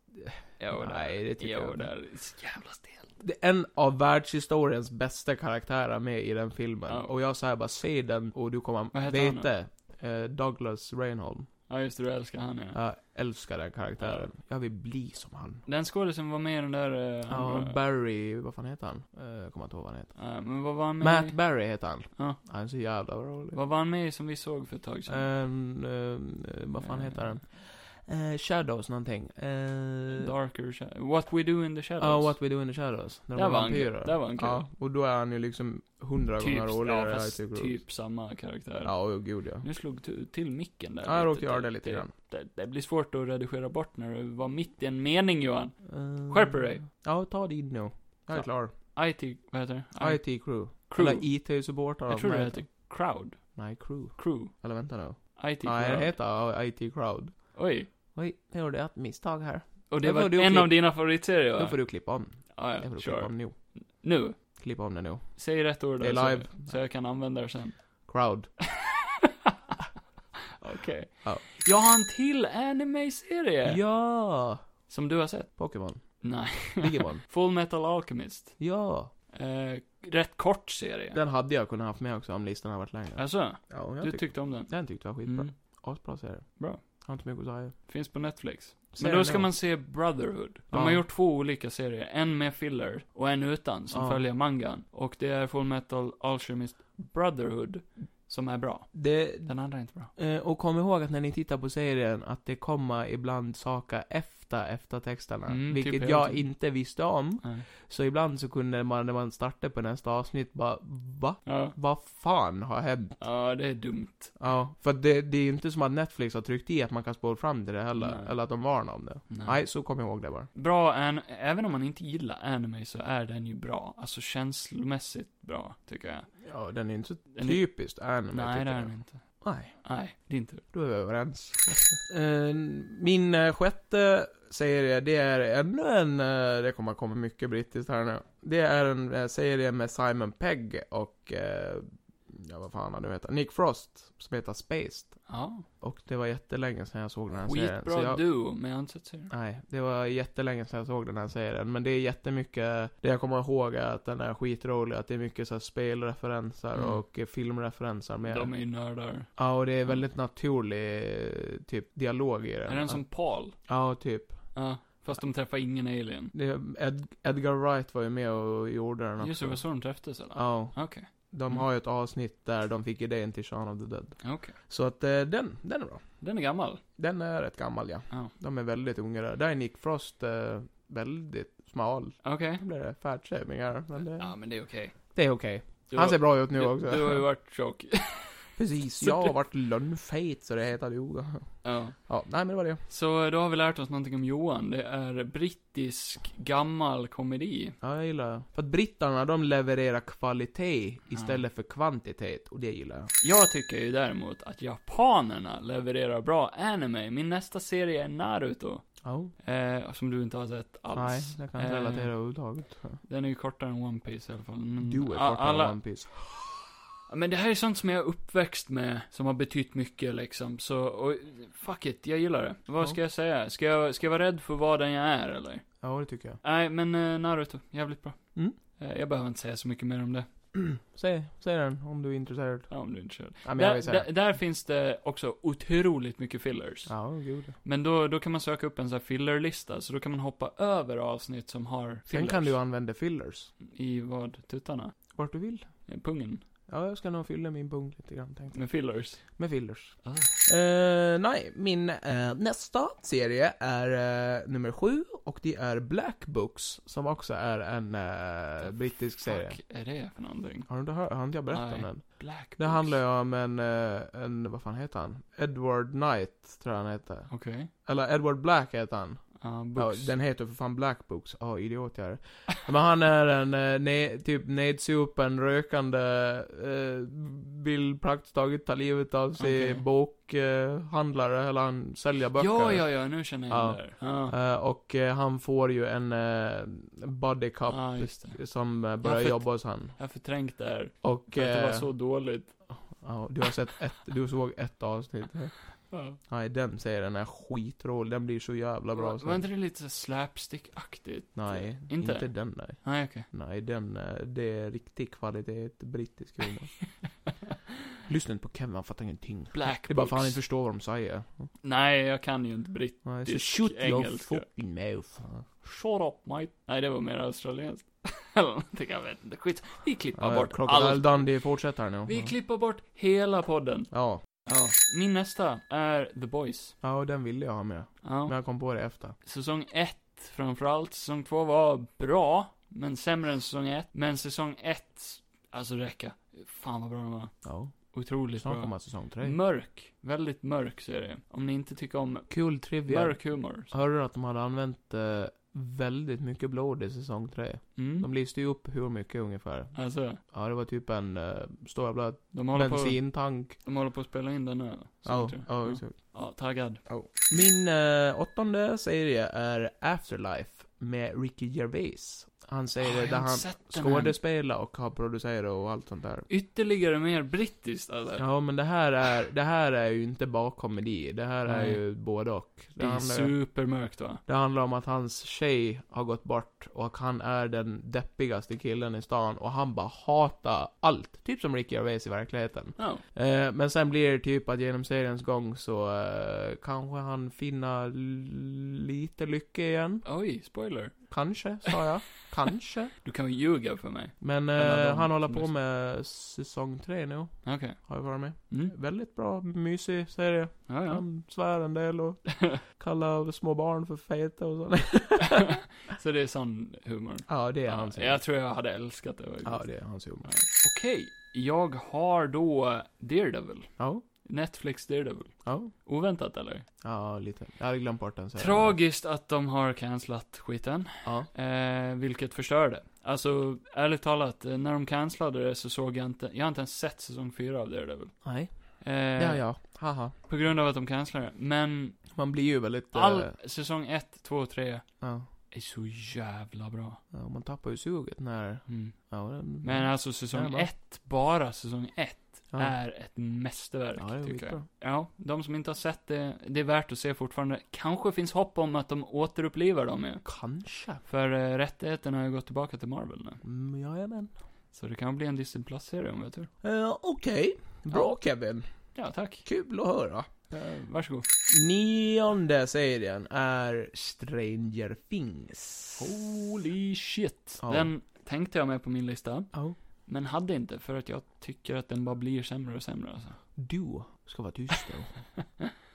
[SPEAKER 1] Jo,
[SPEAKER 2] Nej,
[SPEAKER 1] där.
[SPEAKER 2] det tycker
[SPEAKER 1] jo,
[SPEAKER 2] jag inte.
[SPEAKER 1] där. Det är så jävla stelt.
[SPEAKER 2] Det är en av världshistoriens bästa karaktärer med i den filmen.
[SPEAKER 1] Ja.
[SPEAKER 2] Och jag säger bara, se den och du
[SPEAKER 1] Vad
[SPEAKER 2] kommer
[SPEAKER 1] heter han
[SPEAKER 2] veta. Eh, Douglas Reinholm.
[SPEAKER 1] Ja, just det. Du älskar han ja.
[SPEAKER 2] Jag älskar den karaktären. Jag vill bli som han.
[SPEAKER 1] Den skådisen var med i den där... eh,
[SPEAKER 2] Ja,
[SPEAKER 1] andra-
[SPEAKER 2] Barry, vad fan heter han? Eh, Jag kommer inte ihåg vad han heter.
[SPEAKER 1] Ja, men vad var han med
[SPEAKER 2] Matt
[SPEAKER 1] i?
[SPEAKER 2] Barry heter han.
[SPEAKER 1] Ja.
[SPEAKER 2] Han är så jävla rolig.
[SPEAKER 1] Vad var han med i som vi såg för ett tag sedan?
[SPEAKER 2] Ehm, ehm, eh, vad fan
[SPEAKER 1] Eh,
[SPEAKER 2] heter den? Eh, Shadows någonting. Eh,
[SPEAKER 1] Darker Shadows. What We Do In The Shadows.
[SPEAKER 2] Ja, What We Do In The Shadows. När de
[SPEAKER 1] Där
[SPEAKER 2] var
[SPEAKER 1] var han-
[SPEAKER 2] vampyrer.
[SPEAKER 1] där var han kul.
[SPEAKER 2] Ja, och då är han ju liksom hundra
[SPEAKER 1] typ,
[SPEAKER 2] gånger roligare.
[SPEAKER 1] ja,
[SPEAKER 2] än
[SPEAKER 1] fast
[SPEAKER 2] Isaac Rose.
[SPEAKER 1] typ samma karaktär.
[SPEAKER 2] Ja, och gud ja.
[SPEAKER 1] Nu slog tu- till micken där.
[SPEAKER 2] Ja, jag
[SPEAKER 1] lite. typ.
[SPEAKER 2] råkade göra det lite grann.
[SPEAKER 1] Det, det blir svårt att redigera bort när du var mitt i en mening Johan.
[SPEAKER 2] Eh,
[SPEAKER 1] Skärper dig.
[SPEAKER 2] Ja, ta din nu. Jag är
[SPEAKER 1] Ja.
[SPEAKER 2] klar.
[SPEAKER 1] IT, vad heter det? I-
[SPEAKER 2] IT crew.
[SPEAKER 1] crew.
[SPEAKER 2] Eller IT-supportrar.
[SPEAKER 1] jag tror det heter crowd.
[SPEAKER 2] Nej, crew.
[SPEAKER 1] Crew.
[SPEAKER 2] Eller vänta nu.
[SPEAKER 1] IT
[SPEAKER 2] Nej,
[SPEAKER 1] crowd.
[SPEAKER 2] det heter ja, IT crowd.
[SPEAKER 1] Oj.
[SPEAKER 2] Oj, jag gjorde ett misstag här.
[SPEAKER 1] Och
[SPEAKER 2] Då
[SPEAKER 1] det
[SPEAKER 2] får
[SPEAKER 1] var
[SPEAKER 2] du
[SPEAKER 1] en
[SPEAKER 2] klippa-
[SPEAKER 1] av dina favoritserier
[SPEAKER 2] Då
[SPEAKER 1] va?
[SPEAKER 2] får du klippa om.
[SPEAKER 1] Ja,
[SPEAKER 2] Det får
[SPEAKER 1] ja,
[SPEAKER 2] du klippa
[SPEAKER 1] sure.
[SPEAKER 2] om nu.
[SPEAKER 1] Nu.
[SPEAKER 2] Klippa om det nu.
[SPEAKER 1] Säg rätt ord
[SPEAKER 2] Det är
[SPEAKER 1] så-
[SPEAKER 2] live.
[SPEAKER 1] Så jag kan använda det sen.
[SPEAKER 2] Crowd.
[SPEAKER 1] Okej.
[SPEAKER 2] Ja.
[SPEAKER 1] Jag har en till anime-serie.
[SPEAKER 2] Ja!
[SPEAKER 1] Som du har sett?
[SPEAKER 2] Pokémon.
[SPEAKER 1] Nej.
[SPEAKER 2] Digimon.
[SPEAKER 1] Full Metal Alchemist.
[SPEAKER 2] <laughs> ja!
[SPEAKER 1] Eh, rätt kort serie.
[SPEAKER 2] Den hade jag kunnat haft med också om listan hade varit längre.
[SPEAKER 1] Alltså,
[SPEAKER 2] Ja, jag
[SPEAKER 1] du
[SPEAKER 2] tyck-
[SPEAKER 1] tyckte om den?
[SPEAKER 2] den tyckte jag var skitbra.
[SPEAKER 1] Mm.
[SPEAKER 2] Asbra serie.
[SPEAKER 1] Bra.
[SPEAKER 2] Har inte mycket att säga.
[SPEAKER 1] Finns på Netflix.
[SPEAKER 2] Ser
[SPEAKER 1] Men då
[SPEAKER 2] den
[SPEAKER 1] ska
[SPEAKER 2] då?
[SPEAKER 1] man se Brotherhood. De
[SPEAKER 2] Ja.
[SPEAKER 1] har gjort två olika serier. En med filler och en utan, som
[SPEAKER 2] Ja.
[SPEAKER 1] följer mangan. Och det är Full Metal Alchemist Brotherhood som är bra.
[SPEAKER 2] Det,
[SPEAKER 1] Den andra är inte bra.
[SPEAKER 2] eh, och kom ihåg att när ni tittar på serien att det kommer ibland saker efter eftertexterna.
[SPEAKER 1] Mm, typ
[SPEAKER 2] vilket
[SPEAKER 1] hela
[SPEAKER 2] jag
[SPEAKER 1] tiden.
[SPEAKER 2] inte visste om.
[SPEAKER 1] Nej.
[SPEAKER 2] Så ibland så kunde man när man startade på nästa avsnitt bara va?
[SPEAKER 1] Ja.
[SPEAKER 2] Vad fan har hänt?
[SPEAKER 1] ja, det är dumt.
[SPEAKER 2] Ja, för det, det är ju inte som att Netflix har tryckt i att man kan spola fram till det heller.
[SPEAKER 1] Nej.
[SPEAKER 2] Eller att de varnar om det.
[SPEAKER 1] Nej.
[SPEAKER 2] Nej, så kom ihåg det bara.
[SPEAKER 1] Bra, an- även om man inte gillar anime så är den ju bra. Alltså känslomässigt bra, tycker jag.
[SPEAKER 2] Ja, den är inte så
[SPEAKER 1] Den är-
[SPEAKER 2] typiskt Typ anime
[SPEAKER 1] Nej,
[SPEAKER 2] tycker
[SPEAKER 1] det är
[SPEAKER 2] jag.
[SPEAKER 1] den inte.
[SPEAKER 2] Nej.
[SPEAKER 1] Nej, det är inte.
[SPEAKER 2] Då är vi överens. Eh, Min eh, sjätte serie, det är ännu en, eh, det kommer komma mycket brittiskt här nu. Det är en eh, serie med Simon Pegg och, eh, ja vad fan han nu heter, Nick Frost, som heter Spaced.
[SPEAKER 1] Ja.
[SPEAKER 2] Och det var jättelänge sedan jag såg den här serien. så
[SPEAKER 1] Skitbra
[SPEAKER 2] jag,
[SPEAKER 1] duo, men jag har inte sett serien.
[SPEAKER 2] Nej, det var jättelänge sedan jag såg den här serien, men det är jättemycket, det jag kommer ihåg är att den är skitrolig, att det är mycket så här spelreferenser
[SPEAKER 1] Mm.
[SPEAKER 2] och eh, filmreferenser med.
[SPEAKER 1] De är ju nördar.
[SPEAKER 2] Ja, och det är väldigt naturlig eh, typ dialog i den.
[SPEAKER 1] Är den som Paul?
[SPEAKER 2] Ja, typ.
[SPEAKER 1] Ja. Fast de träffar ingen alien.
[SPEAKER 2] Det, Ed, Edgar Wright var ju med och gjorde den också.
[SPEAKER 1] Just det, det var så de träffades eller?
[SPEAKER 2] Ja.
[SPEAKER 1] Okej.
[SPEAKER 2] De
[SPEAKER 1] Mm.
[SPEAKER 2] har ju ett avsnitt där de fick idén till Shaun of the Dead.
[SPEAKER 1] Okej.
[SPEAKER 2] Så att eh, den, den är bra.
[SPEAKER 1] Den är gammal.
[SPEAKER 2] Den är rätt gammal ja.
[SPEAKER 1] Ja.
[SPEAKER 2] De är väldigt unga där. Där är Nick Frost eh, väldigt smal.
[SPEAKER 1] Okej.
[SPEAKER 2] Nu blir det fatshaming här, men det,
[SPEAKER 1] Ja, men det är okej.
[SPEAKER 2] det är okej.
[SPEAKER 1] Du
[SPEAKER 2] Han
[SPEAKER 1] har-
[SPEAKER 2] ser bra ut nu
[SPEAKER 1] du,
[SPEAKER 2] också.
[SPEAKER 1] Du har ju varit tjock.
[SPEAKER 2] Precis,
[SPEAKER 1] så
[SPEAKER 2] jag
[SPEAKER 1] du-
[SPEAKER 2] har varit lönnfet så det heter duga.
[SPEAKER 1] ja.
[SPEAKER 2] Ja, nej men det var det.
[SPEAKER 1] Så då har vi lärt oss någonting om Johan. Det är brittisk, gammal komedi.
[SPEAKER 2] Ja, jag gillar det. För att brittarna, de levererar kvalitet istället för kvantitet. Och det gillar jag.
[SPEAKER 1] Jag tycker ju däremot att japanerna levererar bra anime. Min nästa serie är Naruto.
[SPEAKER 2] Ja.
[SPEAKER 1] Eh, som du inte har sett alls.
[SPEAKER 2] Nej, jag kan inte
[SPEAKER 1] Eh,
[SPEAKER 2] relatera överhuvudtaget.
[SPEAKER 1] Den är ju kortare än One Piece i alla fall. Men,
[SPEAKER 2] Du är kortare
[SPEAKER 1] a- alla-
[SPEAKER 2] än One Piece.
[SPEAKER 1] Men det här är sånt som jag är uppväxt med, som har betytt mycket liksom. Så, och, fuck it, jag gillar det. Vad
[SPEAKER 2] Ja.
[SPEAKER 1] ska jag säga? Ska jag, ska jag vara rädd för vad den jag är eller?
[SPEAKER 2] Ja, det tycker jag.
[SPEAKER 1] Nej, men eh, Naruto, jävligt bra.
[SPEAKER 2] Mm.
[SPEAKER 1] Eh, jag behöver inte säga så mycket mer om det.
[SPEAKER 2] Säg, säg den om du är intresserad.
[SPEAKER 1] Ja, om du inte kör.
[SPEAKER 2] Ja, men jag
[SPEAKER 1] Där,
[SPEAKER 2] vill säga.
[SPEAKER 1] där, där finns det också otroligt mycket fillers.
[SPEAKER 2] Ja, gud.
[SPEAKER 1] Men då, då kan man söka upp en sån här fillerlista, så då kan man hoppa över avsnitt som har
[SPEAKER 2] Sen
[SPEAKER 1] fillers.
[SPEAKER 2] kan du använda fillers.
[SPEAKER 1] I vad? Tuttarna?
[SPEAKER 2] Vart du vill.
[SPEAKER 1] Eh, Pungen?
[SPEAKER 2] Ja, jag ska nog fylla min punkt lite grann tänkte jag.
[SPEAKER 1] Med fillers?
[SPEAKER 2] Med fillers.
[SPEAKER 1] Ah.
[SPEAKER 2] Eh, nej, min eh, nästa serie är eh, nummer sju och det är Black Books som också är en eh, brittisk serie.
[SPEAKER 1] Fuck är det för någonting?
[SPEAKER 2] Har du inte hört? Har inte jag berättat
[SPEAKER 1] Nej.
[SPEAKER 2] om den?
[SPEAKER 1] Black Books?
[SPEAKER 2] Det handlar ju om en, eh, en, vad fan heter han? Edward Knight, tror jag han heter.
[SPEAKER 1] Okej.
[SPEAKER 2] Eller Edward Black heter han.
[SPEAKER 1] Ja,
[SPEAKER 2] Ja,
[SPEAKER 1] books.
[SPEAKER 2] den heter för fan Black Books. Ja, idiot jag är. Men han är en eh, ne- typ nedsupen, rökande, eh, vill praktiskt taget ta livet av sig
[SPEAKER 1] Okej.
[SPEAKER 2] bokhandlare, eh, handlare, eller han säljer böcker.
[SPEAKER 1] Ja, ja, ja, nu känner jag igen
[SPEAKER 2] Ja.
[SPEAKER 1] det Ah. där. Ja.
[SPEAKER 2] Eh, och eh, han får ju en eh, body cup
[SPEAKER 1] Ja, Ah, just det.
[SPEAKER 2] som eh, börjar
[SPEAKER 1] Ja, för-
[SPEAKER 2] jobba hos han.
[SPEAKER 1] Jag har förträngt det här.
[SPEAKER 2] Och...
[SPEAKER 1] För att det var
[SPEAKER 2] eh,
[SPEAKER 1] så dåligt.
[SPEAKER 2] Ja, du har sett ett, du såg ett avsnitt.
[SPEAKER 1] Ja.
[SPEAKER 2] Nej, den säger den är skitrolig. Den blir så jävla bra
[SPEAKER 1] Var
[SPEAKER 2] sen.
[SPEAKER 1] inte det lite så slapstick-aktigt?
[SPEAKER 2] Nej,
[SPEAKER 1] Inte?
[SPEAKER 2] inte, den där.
[SPEAKER 1] Nej, okej.
[SPEAKER 2] Nej, den, eh, det är riktig kvalitet,
[SPEAKER 1] <laughs>
[SPEAKER 2] brittisk humor. Lyssna inte på Kevin, han fattar ingenting.
[SPEAKER 1] Black
[SPEAKER 2] Det är bara för att han
[SPEAKER 1] Books.
[SPEAKER 2] inte förstår vad de säger.
[SPEAKER 1] Nej, jag kan ju inte britt.
[SPEAKER 2] Nej,
[SPEAKER 1] Disk engelska.
[SPEAKER 2] fucking mouth.
[SPEAKER 1] Shut up, mate. Nej, det var mer australienskt. <laughs> Eller någonting, jag vet inte. Skit. Vi klipper
[SPEAKER 2] Ja,
[SPEAKER 1] bort
[SPEAKER 2] Eh, Crocodile
[SPEAKER 1] allt.
[SPEAKER 2] Dundee fortsätter här nu.
[SPEAKER 1] Vi
[SPEAKER 2] Ja.
[SPEAKER 1] klipper bort hela podden.
[SPEAKER 2] Ja.
[SPEAKER 1] Ja. Min nästa är The Boys.
[SPEAKER 2] Ja, och den ville jag ha med. Men
[SPEAKER 1] Ja.
[SPEAKER 2] jag kom på det efter.
[SPEAKER 1] Säsong 1 framförallt. Säsong 2 var bra, men sämre än säsong 1. Men säsong 1, alltså räcka. Fan vad bra den var.
[SPEAKER 2] Ja.
[SPEAKER 1] Otroligt
[SPEAKER 2] Snart
[SPEAKER 1] bra. Mm.
[SPEAKER 2] kommer säsong tre.
[SPEAKER 1] Mörk. Väldigt mörk serie. Om ni inte tycker om
[SPEAKER 2] Kul trivia.
[SPEAKER 1] mörk humor. så-
[SPEAKER 2] Hörde du att de hade använt eh, väldigt mycket blod i säsong tre? De
[SPEAKER 1] Mm.
[SPEAKER 2] listade ju upp hur mycket ungefär.
[SPEAKER 1] Alltså,
[SPEAKER 2] Ja, det var typ en eh, stor jävla
[SPEAKER 1] de håller, på,
[SPEAKER 2] bensintank.
[SPEAKER 1] de håller på att spela in den nu. eller? Så
[SPEAKER 2] Ja,
[SPEAKER 1] tror jag.
[SPEAKER 2] ja,
[SPEAKER 1] Ja.
[SPEAKER 2] exakt.
[SPEAKER 1] Ja, taggad.
[SPEAKER 2] Min eh, åttonde serie är Afterlife med Ricky Gervais. Han
[SPEAKER 1] Ah,
[SPEAKER 2] säger det där
[SPEAKER 1] jag har
[SPEAKER 2] han
[SPEAKER 1] inte sett den än.
[SPEAKER 2] skådespelar och har producerat och allt sånt där.
[SPEAKER 1] Ytterligare mer brittiskt alltså.
[SPEAKER 2] Ja, men det här är, det här är ju inte bara komedi. Det här är
[SPEAKER 1] Nej.
[SPEAKER 2] ju både och.
[SPEAKER 1] det
[SPEAKER 2] Det
[SPEAKER 1] är
[SPEAKER 2] handlar,
[SPEAKER 1] supermörkt va?
[SPEAKER 2] det handlar om att hans tjej har gått bort och han är den deppigaste killen i stan och han bara hatar allt. Typ som Ricky Gervais i verkligheten.
[SPEAKER 1] Ja.
[SPEAKER 2] Eh, men sen blir det typ att genom seriens gång så eh, kanske han finner l- lite lycka igen.
[SPEAKER 1] Oj, spoiler.
[SPEAKER 2] Kanske,
[SPEAKER 1] <laughs>
[SPEAKER 2] sa jag. Kanske.
[SPEAKER 1] Du kan ju ljuga för mig.
[SPEAKER 2] Men
[SPEAKER 1] Eller
[SPEAKER 2] eh,
[SPEAKER 1] de
[SPEAKER 2] han håller
[SPEAKER 1] som
[SPEAKER 2] på
[SPEAKER 1] lyssnar.
[SPEAKER 2] med säsong tre nu,
[SPEAKER 1] Okej.
[SPEAKER 2] har jag varit med.
[SPEAKER 1] Mm.
[SPEAKER 2] Väldigt bra, mysig serie.
[SPEAKER 1] Ja, <laughs> ja.
[SPEAKER 2] Han svär en
[SPEAKER 1] <laughs>
[SPEAKER 2] del och kallar små barn för feta och sånt. <laughs>
[SPEAKER 1] Så det är sån humor.
[SPEAKER 2] ja, det är
[SPEAKER 1] Ja,
[SPEAKER 2] hans humor.
[SPEAKER 1] jag tror jag hade älskat det faktiskt.
[SPEAKER 2] Ja, det är hans humor.
[SPEAKER 1] Okej, jag har då Daredevil.
[SPEAKER 2] Ja,
[SPEAKER 1] Netflix Daredevil.
[SPEAKER 2] ja.
[SPEAKER 1] Oväntat eller?
[SPEAKER 2] Ja, lite. Jag hade glömt bort den serien.
[SPEAKER 1] Tragiskt att de har cancelat skiten.
[SPEAKER 2] Ja.
[SPEAKER 1] Eh, vilket förstörde. Alltså, ärligt talat, eh, när de cancellade det så såg jag inte, jag har inte ens sett säsong 4 av Daredevil.
[SPEAKER 2] Nej.
[SPEAKER 1] Eh,
[SPEAKER 2] Ja, ja. Haha.
[SPEAKER 1] På grund av att de cancelade det. Men,
[SPEAKER 2] Man blir ju väldigt... eh,
[SPEAKER 1] all, säsong 1, 2 och 3
[SPEAKER 2] ja.
[SPEAKER 1] är så jävla bra.
[SPEAKER 2] Ja, Eh, man tappar ju suget när...
[SPEAKER 1] Mm.
[SPEAKER 2] Ja, den,
[SPEAKER 1] Men alltså säsong
[SPEAKER 2] Jävlar.
[SPEAKER 1] 1, bara säsong 1,
[SPEAKER 2] ja.
[SPEAKER 1] är ett mästerverk,
[SPEAKER 2] Ja, det är
[SPEAKER 1] tycker jag.
[SPEAKER 2] skitbra.
[SPEAKER 1] Ja, de som inte har sett det, det är värt att se fortfarande. Kanske finns hopp om att de återupplivar dem ju.
[SPEAKER 2] Kanske.
[SPEAKER 1] För eh, rättigheterna har ju gått tillbaka till Marvel nu.
[SPEAKER 2] Mm, jajamän.
[SPEAKER 1] Så det kan bli en Disney Plus-serie om vi har tur.
[SPEAKER 2] Uh, Okej. Bra Kevin.
[SPEAKER 1] Ja, tack.
[SPEAKER 2] Kul att höra.
[SPEAKER 1] Eh, Varsågod.
[SPEAKER 2] Nionde serien är Stranger Things.
[SPEAKER 1] Holy shit.
[SPEAKER 2] Ja.
[SPEAKER 1] Den tänkte jag med på min lista,
[SPEAKER 2] Ja.
[SPEAKER 1] men hade inte för att jag tycker att den bara blir sämre och sämre alltså.
[SPEAKER 2] Du ska vara tyst
[SPEAKER 1] <laughs>
[SPEAKER 2] då.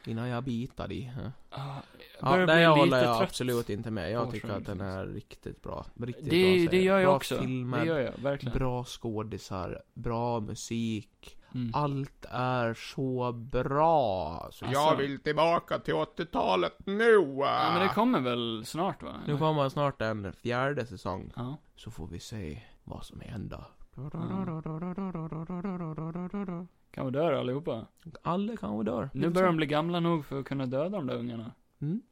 [SPEAKER 2] Innan jag bitar dig. Ja,
[SPEAKER 1] Ah, jag
[SPEAKER 2] Ja,
[SPEAKER 1] börjar
[SPEAKER 2] nej,
[SPEAKER 1] bli
[SPEAKER 2] jag
[SPEAKER 1] lite
[SPEAKER 2] håller jag
[SPEAKER 1] trött.
[SPEAKER 2] absolut inte med.
[SPEAKER 1] på
[SPEAKER 2] Jag tycker att
[SPEAKER 1] Stranger
[SPEAKER 2] den är riktigt bra. Riktigt bra
[SPEAKER 1] Det,
[SPEAKER 2] serie.
[SPEAKER 1] det gör jag
[SPEAKER 2] bra
[SPEAKER 1] också.
[SPEAKER 2] Filmer,
[SPEAKER 1] Det gör jag, verkligen.
[SPEAKER 2] Bra skådisar, bra musik.
[SPEAKER 1] Mm.
[SPEAKER 2] Allt är så bra. Så
[SPEAKER 1] Alltså.
[SPEAKER 2] Jag vill tillbaka till 80-talet nu!
[SPEAKER 1] Ja, men det kommer väl snart va?
[SPEAKER 2] Nu kommer snart en fjärde säsong.
[SPEAKER 1] Ja.
[SPEAKER 2] Så får vi se vad som händer. Mm.
[SPEAKER 1] Kan vi dö då, allihopa?
[SPEAKER 2] Alla kanske dör.
[SPEAKER 1] Nu börjar de bli gamla nog för att kunna döda de där ungarna.
[SPEAKER 2] Mm.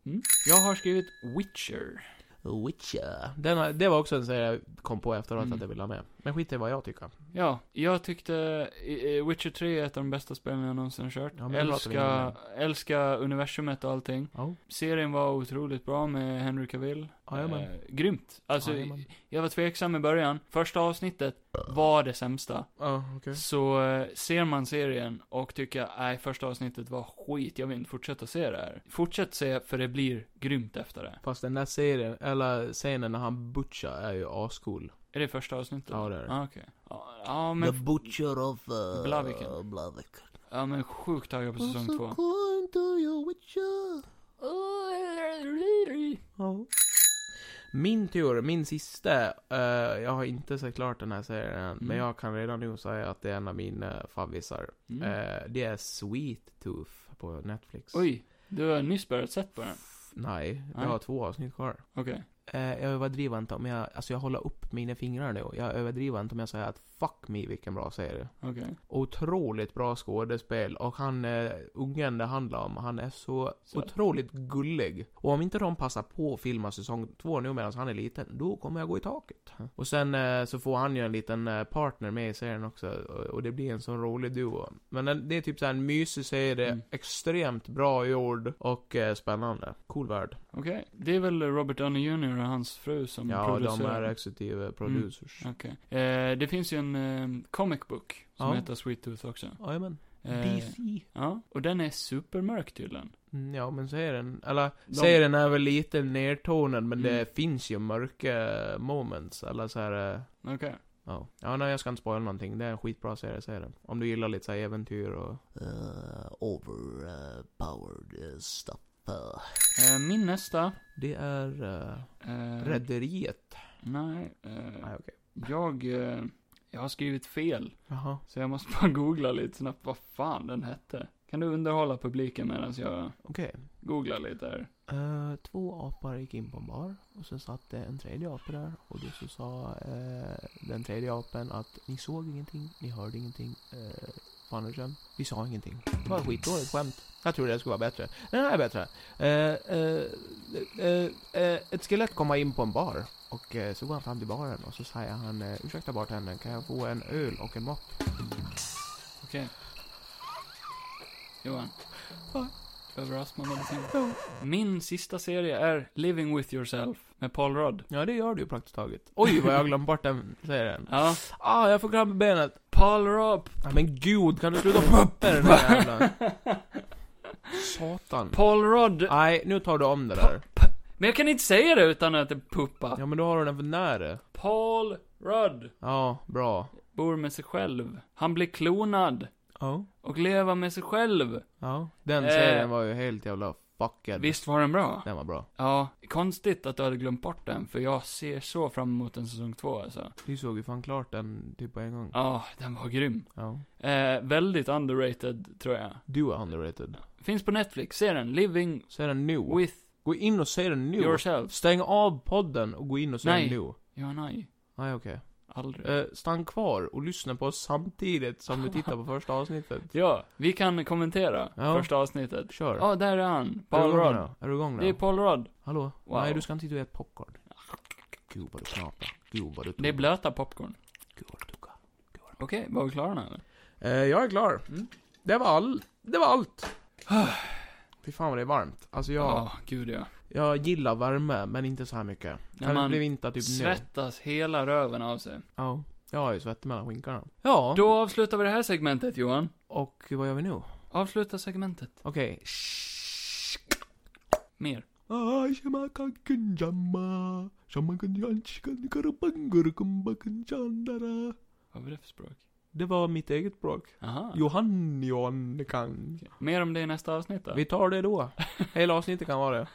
[SPEAKER 1] Jag har skrivit Witcher.
[SPEAKER 2] Witcher. Den, har- det var också en serie jag kom på efteråt
[SPEAKER 1] Mm.
[SPEAKER 2] att jag ville ha med. Men skit i vad jag tycker.
[SPEAKER 1] Ja, jag tyckte eh, eh, Witcher 3 är ett av de bästa spelen jag någonsin kört.
[SPEAKER 2] Ja, men det pratar vi
[SPEAKER 1] älska,
[SPEAKER 2] om
[SPEAKER 1] älska universumet och allting.
[SPEAKER 2] Ja.
[SPEAKER 1] Serien var otroligt bra med Henry Cavill.
[SPEAKER 2] Jajamän.
[SPEAKER 1] Eh, grymt. Alltså,
[SPEAKER 2] Jajamän.
[SPEAKER 1] jag var tveksam i början. Första avsnittet var det sämsta.
[SPEAKER 2] Ja, okej.
[SPEAKER 1] Så eh, ser man serien och tycker, nej första avsnittet var skit, jag vill inte fortsätta se det här. Fortsätt se, för det blir grymt efter det.
[SPEAKER 2] Fast den där serien, eller scenen när han butchar är ju ascool.
[SPEAKER 1] Är det första avsnittet?
[SPEAKER 2] Ja, det är det.
[SPEAKER 1] Ah, okej. Ja, ja,
[SPEAKER 5] The
[SPEAKER 1] men,
[SPEAKER 5] Butcher of... Uh,
[SPEAKER 1] Blaviken.
[SPEAKER 5] Blaviken.
[SPEAKER 1] ja, men sjukt taggad på säsong två.
[SPEAKER 5] According to your witcher.
[SPEAKER 2] Ja. Min tur, min sista. eh, jag har inte sett klart den här serien än,
[SPEAKER 1] Mm.
[SPEAKER 2] men jag kan redan nu säga att det är en av mina favvisar.
[SPEAKER 1] Mm.
[SPEAKER 2] Eh, det är Sweet Tooth på Netflix.
[SPEAKER 1] Oj, du har nyss börjat sett på den?
[SPEAKER 2] F- Nej, jag
[SPEAKER 1] Nej.
[SPEAKER 2] har två avsnitt kvar.
[SPEAKER 1] Okej.
[SPEAKER 2] eh, jag överdriver inte om jag, alltså jag håller upp mina fingrar nu. Jag överdriver inte om jag säger att fuck me vilken bra serie.
[SPEAKER 1] Okej.
[SPEAKER 2] Otroligt bra skådespel och han eh, ungen det handlar om, han är så
[SPEAKER 1] Så.
[SPEAKER 2] otroligt gullig. Och om inte de passar på att filma säsong två nu medan han är liten, då kommer jag gå i taket. Och sen eh, så får han ju en liten eh, partner med i serien också och och det blir en sån rolig duo. Men den, det är typ så här en mysig serie,
[SPEAKER 1] Mm.
[SPEAKER 2] extremt bra gjord och eh, spännande. Cool värld.
[SPEAKER 1] Okej. Det är väl Robert Downey Jr och hans fru som
[SPEAKER 2] Ja, de
[SPEAKER 1] Mm, producerar? Mm.
[SPEAKER 2] är exekutiva producers.
[SPEAKER 1] Okej. Eh, det finns ju en eh, comic book som
[SPEAKER 2] Ja.
[SPEAKER 1] heter Sweet Tooth också.
[SPEAKER 2] Jajamän.
[SPEAKER 1] Eh,
[SPEAKER 2] DC.
[SPEAKER 1] Ja, och den är supermörk tydligen.
[SPEAKER 2] Mm, ja, men serien, eller
[SPEAKER 1] De-
[SPEAKER 2] serien är väl lite nertonad men
[SPEAKER 1] Mm.
[SPEAKER 2] det finns ju mörka moments, eller så här. eh,
[SPEAKER 1] Okej.
[SPEAKER 2] Ja. Ja, nej jag ska inte spoila någonting. Det är en skitbra serie, säger den. Om du gillar lite så här äventyr och...
[SPEAKER 5] Uh, overpowered uh, stuff. Uh,
[SPEAKER 1] Eh, min nästa.
[SPEAKER 2] Det är... Uh,
[SPEAKER 1] Eh,
[SPEAKER 2] Rederiet.
[SPEAKER 1] Nej. Eh,
[SPEAKER 2] Nej, okej.
[SPEAKER 1] jag, eh, jag har skrivit fel.
[SPEAKER 2] Jaha.
[SPEAKER 1] Så jag måste <laughs> bara googla lite snabbt vad fan den hette. Kan du underhålla publiken medan jag
[SPEAKER 2] Okej.
[SPEAKER 1] googlar lite här?
[SPEAKER 2] Eh, två apor gick in på en bar och så satt det en tredje apa där och då så sa eh, den tredje apen att ni såg ingenting, ni hörde ingenting. Eh, fan är det sen? Vi sa ingenting. Det var ett skitdåligt skämt. Jag trodde det skulle vara bättre. Den här är bättre. Eh, eh, eh, eh, ett skelett kommer in på en bar och eh, så går han fram till baren och så säger han eh, ursäkta bartendern, kan jag få en öl och en mopp?
[SPEAKER 1] Okej.
[SPEAKER 2] <laughs>
[SPEAKER 1] Johan.
[SPEAKER 2] Va?
[SPEAKER 1] Överraskar man någonting?
[SPEAKER 2] Ja.
[SPEAKER 1] Min sista serie är Living With Yourself med Paul Rudd.
[SPEAKER 2] Ja, det gör du ju praktiskt taget. Oj, vad jag har glömt bort den, säger den.
[SPEAKER 1] Ja,
[SPEAKER 2] Ah, jag får kramp i benet.
[SPEAKER 1] Paul Rudd.
[SPEAKER 2] Ja, men gud, kan du sluta hoppa den <laughs> där jävla... Satan.
[SPEAKER 1] Paul Rudd.
[SPEAKER 2] Nej, nu tar du om det där.
[SPEAKER 1] Men jag kan inte säga det utan att det puppa.
[SPEAKER 2] Ja, men då har du den för nära.
[SPEAKER 1] Paul Rudd
[SPEAKER 2] Ja, bra.
[SPEAKER 1] bor med sig själv. Han blir klonad
[SPEAKER 2] Ja.
[SPEAKER 1] och lever med sig själv.
[SPEAKER 2] Ja. Den
[SPEAKER 1] Eh.
[SPEAKER 2] serien var ju helt jävla fuckad.
[SPEAKER 1] Visst var den bra?
[SPEAKER 2] Den var bra.
[SPEAKER 1] Ja, konstigt att du hade glömt bort den, för jag ser så fram emot en säsong två alltså.
[SPEAKER 2] Du såg ju fan klart den typ på en gång.
[SPEAKER 1] Ja, den var grym.
[SPEAKER 2] Ja.
[SPEAKER 1] Eh, väldigt underrated, tror jag.
[SPEAKER 2] Du är underrated.
[SPEAKER 1] Finns på Netflix, se den. Living
[SPEAKER 2] Se den nu.
[SPEAKER 1] with
[SPEAKER 2] Gå in och se den nu.
[SPEAKER 1] yourself.
[SPEAKER 2] Stäng av podden och gå in och se
[SPEAKER 1] Nej.
[SPEAKER 2] den nu.
[SPEAKER 1] Ja, nej.
[SPEAKER 2] Nej, okej.
[SPEAKER 1] Aldrig.
[SPEAKER 2] Eh, stann kvar och lyssna på oss samtidigt som du tittar på första avsnittet.
[SPEAKER 1] Ja, vi kan kommentera
[SPEAKER 2] Ja.
[SPEAKER 1] första avsnittet.
[SPEAKER 2] Kör.
[SPEAKER 1] Ja, där är han.
[SPEAKER 2] Är du
[SPEAKER 1] Paul
[SPEAKER 2] igång
[SPEAKER 1] Rudd.
[SPEAKER 2] nu? Är du igång nu?
[SPEAKER 1] Det är Paul Rudd.
[SPEAKER 2] Hallå?
[SPEAKER 1] Wow.
[SPEAKER 2] Nej, du ska inte hit och äta popcorn. Gud vad du knaprar. Gud vad
[SPEAKER 1] Det
[SPEAKER 2] du
[SPEAKER 1] är
[SPEAKER 2] tuggar.
[SPEAKER 1] blöta popcorn.
[SPEAKER 2] Gud vad du tuggar.
[SPEAKER 1] Okej, var vi klara nu eller?
[SPEAKER 2] Eh, jag är klar.
[SPEAKER 1] Mm.
[SPEAKER 2] Det var allt. Det var
[SPEAKER 1] <sighs>
[SPEAKER 2] allt. Fy fan vad det är varmt. Alltså jag,
[SPEAKER 1] Ja, gud ja.
[SPEAKER 2] jag gillar värme, men inte så här mycket.
[SPEAKER 1] När
[SPEAKER 2] kan det
[SPEAKER 1] man
[SPEAKER 2] bli vinter typ nu?
[SPEAKER 1] Svettas hela röven av sig.
[SPEAKER 2] Ja. Jag har ju svett mellan skinkorna. Ja,
[SPEAKER 1] Då avslutar vi det här segmentet, Johan.
[SPEAKER 2] och vad gör vi nu?
[SPEAKER 1] Avsluta segmentet.
[SPEAKER 2] Okej. Okay.
[SPEAKER 1] Mer.
[SPEAKER 4] Ah, sama kakin jama. Sama kenjan chikan karapang gerkemba kencan darah.
[SPEAKER 1] Vad var det för språk?
[SPEAKER 2] Det var mitt eget språk.
[SPEAKER 1] Aha.
[SPEAKER 2] Johan, Johan kan.
[SPEAKER 1] Okej. Mer om det i nästa avsnitt då.
[SPEAKER 2] Vi tar det <laughs> då. Hela avsnittet kan vara det.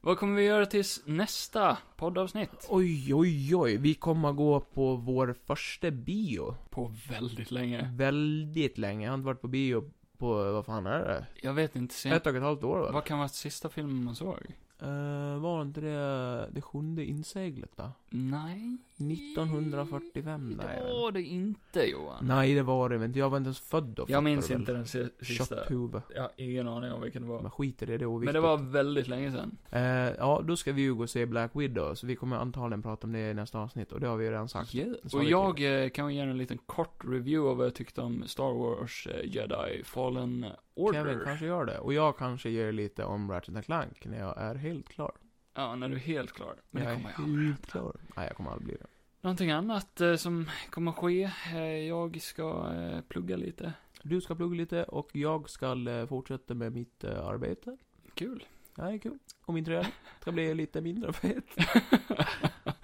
[SPEAKER 1] Vad kommer vi göra tills nästa poddavsnitt?
[SPEAKER 2] Oj, oj, oj. Vi kommer gå på vår första bio.
[SPEAKER 1] På väldigt länge.
[SPEAKER 2] Väldigt länge. Jag har inte varit på bio på, vad fan är det?
[SPEAKER 1] Jag vet inte sen.
[SPEAKER 2] Ett och ett halvt år va?
[SPEAKER 1] Vad kan vara sista filmen man såg?
[SPEAKER 2] Eh, var inte det det sjunde inseglet va?
[SPEAKER 1] Nej.
[SPEAKER 2] 1945 där
[SPEAKER 1] Det
[SPEAKER 2] är den.
[SPEAKER 1] var det inte Johan.
[SPEAKER 2] Nej, det var det inte. Jag var inte ens född då. fattar
[SPEAKER 1] Jag minns
[SPEAKER 2] du väl?
[SPEAKER 1] inte den si- sista.
[SPEAKER 2] Kötthuvud.
[SPEAKER 1] Jag har ingen aning om vilken det var.
[SPEAKER 2] Men skit i det, det är
[SPEAKER 1] Men
[SPEAKER 2] oviktigt.
[SPEAKER 1] det var väldigt länge sedan.
[SPEAKER 2] Eh, ja, då ska vi ju gå och se Black Widow, så vi kommer antagligen prata om det i nästa avsnitt, och det har vi ju redan sagt.
[SPEAKER 1] Yeah.
[SPEAKER 2] Så
[SPEAKER 1] Och
[SPEAKER 2] vi
[SPEAKER 1] jag eh, kan ge en liten kort review av vad jag tyckte om Star Wars eh, Jedi Fallen Order.
[SPEAKER 2] Kevin kanske gör det, och jag kanske ger lite om Ratchet and Clank när jag är helt klar.
[SPEAKER 1] Ja, när du är helt klar. Men
[SPEAKER 2] jag
[SPEAKER 1] det
[SPEAKER 2] är
[SPEAKER 1] kommer jag aldrig
[SPEAKER 2] helt
[SPEAKER 1] hända.
[SPEAKER 2] klar. Nej, jag kommer aldrig bli det.
[SPEAKER 1] Någonting annat eh, som kommer ske. Eh, jag ska eh, plugga lite.
[SPEAKER 2] Du ska plugga lite och jag ska eh, fortsätta med mitt eh, arbete. <laughs>
[SPEAKER 1] Kul.
[SPEAKER 2] Det här är kul. Och min träning ska bli lite mindre fet.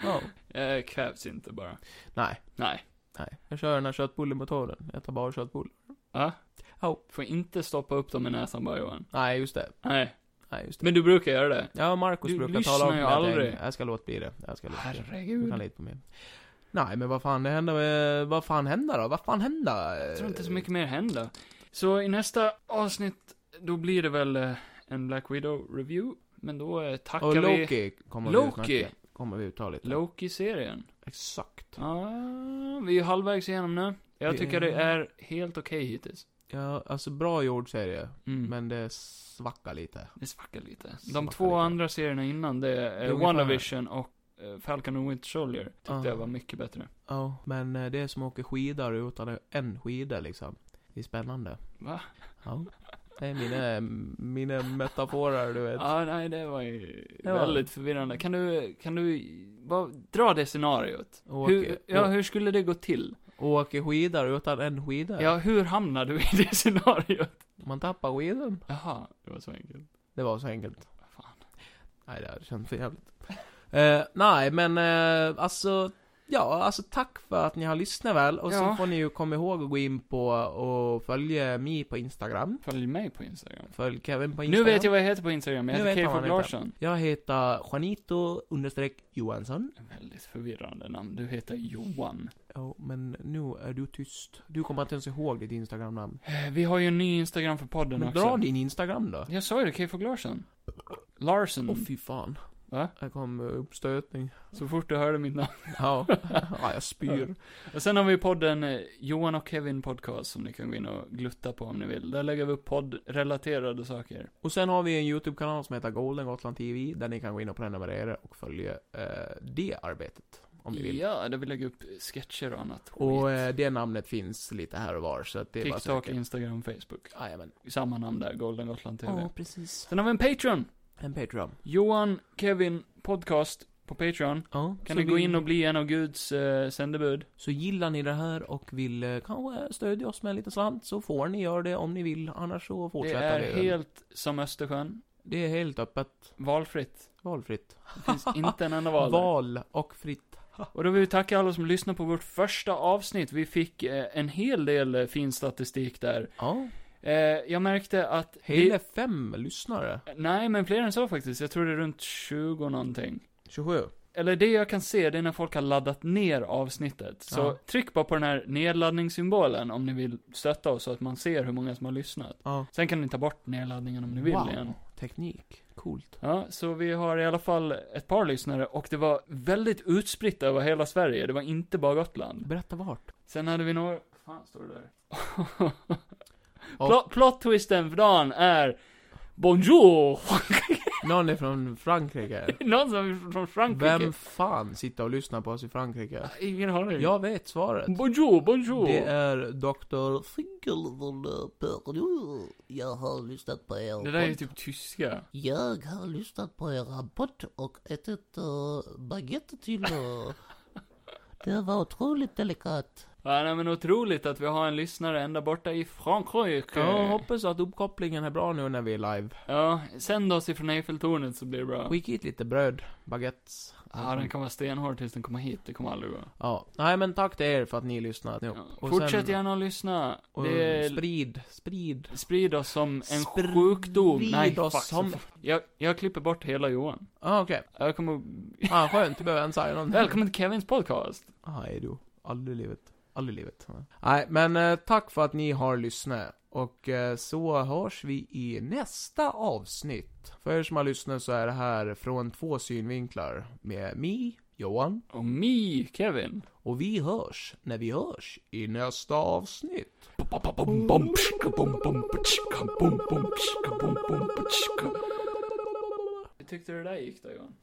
[SPEAKER 2] Ja.
[SPEAKER 1] eh, kvävs inte bara.
[SPEAKER 2] Nej,
[SPEAKER 1] Nej.
[SPEAKER 2] nej. Jag kör den här köttbullemetoden. Jag tar bara köttbullar.
[SPEAKER 1] Ja.
[SPEAKER 2] Ja.
[SPEAKER 1] Får inte stoppa upp dem i näsan bara Johan.
[SPEAKER 2] Nej, just det.
[SPEAKER 1] Nej.
[SPEAKER 2] Nej, just det.
[SPEAKER 1] Men du brukar göra det.
[SPEAKER 2] ja, Marcus
[SPEAKER 1] Du
[SPEAKER 2] brukar
[SPEAKER 1] lyssnar
[SPEAKER 2] tala om
[SPEAKER 1] ju
[SPEAKER 2] det. Jag
[SPEAKER 1] aldrig.
[SPEAKER 2] tänkte, Jag ska låta bli det. Jag ska låta bli det. Du kan
[SPEAKER 1] Herregud.
[SPEAKER 2] lita på mig. Nej, men vad fan det händer med, Vad fan händer då? Vad fan händer?
[SPEAKER 1] Jag tror inte så mycket mer händer. Så i nästa avsnitt, då blir det väl eh, en Black Widow review. Men då eh, tackar
[SPEAKER 2] Och
[SPEAKER 1] vi...
[SPEAKER 2] Loki kommer vi att
[SPEAKER 1] Loki?
[SPEAKER 2] snacka. kommer vi ta lite.
[SPEAKER 1] Loki-serien.
[SPEAKER 2] Exakt.
[SPEAKER 1] Ja, vi är halvvägs igenom nu. Jag
[SPEAKER 2] Det
[SPEAKER 1] tycker det
[SPEAKER 2] är-
[SPEAKER 1] är helt okej hittills.
[SPEAKER 2] Ja, alltså bra gjord serie.
[SPEAKER 1] Mm.
[SPEAKER 2] Men det svackar lite.
[SPEAKER 1] Det svackar lite. De
[SPEAKER 2] Svackar
[SPEAKER 1] två
[SPEAKER 2] lite.
[SPEAKER 1] andra serierna innan, det är
[SPEAKER 2] ungefär-
[SPEAKER 1] WandaVision och eh, Falcon and Winter Soldier. Tyckte
[SPEAKER 2] Ah.
[SPEAKER 1] jag var mycket bättre.
[SPEAKER 2] Ja, men eh, det är som att åka skidor utan en skida liksom. Det är spännande.
[SPEAKER 1] Va?
[SPEAKER 2] Ja. Det är mina, mina metaforer, du
[SPEAKER 1] Ja,
[SPEAKER 2] vet.
[SPEAKER 1] ah, nej, det var ju
[SPEAKER 2] Ja.
[SPEAKER 1] väldigt förvirrande. Kan du, kan du, vad, dra det scenariot.
[SPEAKER 2] Åke,
[SPEAKER 1] Hur, ja, hur skulle det gå till?
[SPEAKER 2] åker skidor utan en skida.
[SPEAKER 1] Ja, hur hamnar du i det <laughs> scenariot?
[SPEAKER 2] Man tappar skidan.
[SPEAKER 1] Jaha, det var så enkelt.
[SPEAKER 2] Det var så enkelt.
[SPEAKER 1] Fan.
[SPEAKER 2] Nej, det hade känts för jävligt. Eh, nej, men eh, alltså, ja, alltså tack för att ni har lyssnat väl. Och
[SPEAKER 1] Ja.
[SPEAKER 2] så får ni ju komma ihåg att gå in på och följa mig på Instagram.
[SPEAKER 1] Följ mig på Instagram.
[SPEAKER 2] Följ Kevin på
[SPEAKER 1] Nu
[SPEAKER 2] Instagram.
[SPEAKER 1] vet jag vad jag heter på Instagram, jag
[SPEAKER 2] Nu
[SPEAKER 1] heter
[SPEAKER 2] vet man
[SPEAKER 1] Keyford
[SPEAKER 2] vad han heter.
[SPEAKER 1] Larsson.
[SPEAKER 2] Jag heter Juanito understreck Johansson.
[SPEAKER 1] Väldigt förvirrande namn. Du heter Johan.
[SPEAKER 2] Ja, men nu är du tyst. Du kommer inte ens ihåg ditt Instagram-namn.
[SPEAKER 1] Eh, Vi har ju en ny Instagram för podden
[SPEAKER 2] Men
[SPEAKER 1] också. Mm.
[SPEAKER 2] dra din Instagram då.
[SPEAKER 1] Jag sa ju det, Keyford Larsson. Larsen.
[SPEAKER 2] Åh fy fan.
[SPEAKER 1] Va?
[SPEAKER 2] Här kom eh, uppstötning.
[SPEAKER 1] Så fort du hörde mitt namn.
[SPEAKER 2] Ja. ja, jag spyr.
[SPEAKER 1] Och sen har vi podden eh, Johan och Kevin Podcast som ni kan gå in och glutta på om ni vill. Där lägger vi upp poddrelaterade saker.
[SPEAKER 2] Och sen har vi en YouTube-kanal som heter Golden Gotland TV, där ni kan gå in och prenumerera och följa eh, det arbetet. Om ni vill.
[SPEAKER 1] Ja, där vi lägger upp sketcher och annat
[SPEAKER 2] Och
[SPEAKER 1] skit.
[SPEAKER 2] eh, det namnet finns lite här och var, så att det är bara att
[SPEAKER 1] TikTok,
[SPEAKER 2] söka.
[SPEAKER 1] Instagram, Facebook.
[SPEAKER 2] Jajamän.
[SPEAKER 1] Samma namn där, Golden Gotland TV.
[SPEAKER 2] Ja, precis.
[SPEAKER 1] Sen har vi en Patreon.
[SPEAKER 2] En Patreon.
[SPEAKER 1] Johan Kevin Podcast på Patreon.
[SPEAKER 2] Ja,
[SPEAKER 1] Kan
[SPEAKER 2] så
[SPEAKER 1] ni gå
[SPEAKER 2] vill-
[SPEAKER 1] in och bli en av Guds eh, sändebud?
[SPEAKER 2] Så gillar ni det här och vill eh, kanske stödja oss med en liten slant så får ni göra det om ni vill, annars så
[SPEAKER 1] Det
[SPEAKER 2] fortsätter
[SPEAKER 1] är
[SPEAKER 2] vi.
[SPEAKER 1] helt som Östersjön.
[SPEAKER 2] Det är helt öppet,
[SPEAKER 1] Valfritt.
[SPEAKER 2] valfritt.
[SPEAKER 1] Det
[SPEAKER 2] <laughs>
[SPEAKER 1] finns inte en enda val. där.
[SPEAKER 2] Val och fritt.
[SPEAKER 1] Och då vill vi tacka alla som lyssnar på vårt första avsnitt. Vi fick eh, en hel del eh, fin statistik där.
[SPEAKER 2] Ja,
[SPEAKER 1] Eh, jag märkte att...
[SPEAKER 2] hela fem lyssnare.
[SPEAKER 1] det, nej, men fler än så faktiskt. Jag tror det är runt 20 någonting.
[SPEAKER 2] 27.
[SPEAKER 1] Eller det jag kan se, det är när folk har laddat ner avsnittet. Så
[SPEAKER 2] Ja.
[SPEAKER 1] tryck bara på den här nedladdningssymbolen om ni vill stötta oss så att man ser hur många som har lyssnat.
[SPEAKER 2] Ja.
[SPEAKER 1] Sen kan ni ta bort nedladdningen om ni vill igen.
[SPEAKER 2] teknik. Coolt.
[SPEAKER 1] Ja, så vi har i alla fall ett par lyssnare och det var väldigt utspritt över hela Sverige. Det var inte bara Gotland.
[SPEAKER 2] Berätta vart.
[SPEAKER 1] Sen hade vi några... fan står det där?
[SPEAKER 2] <laughs> Ja.
[SPEAKER 1] Plot, plot twisten för dagen är...
[SPEAKER 2] <laughs>
[SPEAKER 1] Bonjour!
[SPEAKER 2] Någon är från Frankrike.
[SPEAKER 1] Någon som är från Frankrike.
[SPEAKER 2] Vem fan sitter och lyssnar på oss i Frankrike?
[SPEAKER 1] Ingen aning.
[SPEAKER 2] Jag vet svaret.
[SPEAKER 1] Bonjour, bonjour!
[SPEAKER 2] Det är Dr.
[SPEAKER 5] uh, Singelvulperdu. Jag har lyssnat på er
[SPEAKER 1] Det där är ju
[SPEAKER 5] podd.
[SPEAKER 1] typ tyska.
[SPEAKER 5] Jag har lyssnat på er rapport och ätit uh, baguette till
[SPEAKER 1] <laughs>
[SPEAKER 5] eh, Det var otroligt delikat.
[SPEAKER 1] Ja, nej, men otroligt att vi har en lyssnare ända borta i Frankrike.
[SPEAKER 2] Jag hoppas att uppkopplingen är bra nu när vi är live.
[SPEAKER 1] Ja, sänd oss ifrån Eiffeltornet så blir det bra.
[SPEAKER 2] Skicka hit lite bröd, baguettes.
[SPEAKER 1] Ja, den kan vara stenhård tills den kommer hit. Det kommer aldrig gå.
[SPEAKER 2] Ja. Nej men tack till er för att ni lyssnat.
[SPEAKER 1] Ja. Fortsätt gärna att lyssna.
[SPEAKER 2] Och
[SPEAKER 1] Det är...
[SPEAKER 2] Sprid, sprid.
[SPEAKER 1] Sprid oss som en
[SPEAKER 2] Sprid
[SPEAKER 1] sjukdom. Nej,
[SPEAKER 2] oss
[SPEAKER 1] fuck,
[SPEAKER 2] som-
[SPEAKER 1] så- Jag, jag klipper bort hela Johan.
[SPEAKER 2] Ah, okej.
[SPEAKER 1] Jag kommer...
[SPEAKER 2] Ah, skönt, du behöver inte säga någonting.
[SPEAKER 1] Välkommen till Kevins podcast.
[SPEAKER 2] Ah, är du. Aldrig i livet. Aldrig i livet. Nej. Nej, men eh, tack för att ni har lyssnat. Och eh, så hörs vi i nästa avsnitt. För er som har lyssnat så är det här från två synvinklar. Med mig, Johan.
[SPEAKER 1] Och me, Kevin.
[SPEAKER 2] Och vi hörs när vi hörs i nästa avsnitt.
[SPEAKER 1] Hur tyckte du det där gick då, Johan?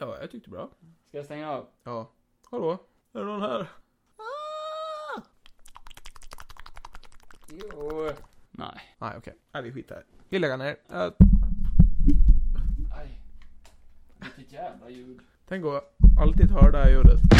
[SPEAKER 2] Ja, jag tyckte bra.
[SPEAKER 1] Ska jag stänga av?
[SPEAKER 2] Ja. Hallå? Är det någon här?
[SPEAKER 1] Jo. Nej.
[SPEAKER 2] Nej, okej. Nej, vi skiter i det. Vi lägger ner. Eh,
[SPEAKER 1] Aj. Vilket jävla ljud.
[SPEAKER 2] tänk att alltid höra det här ljudet.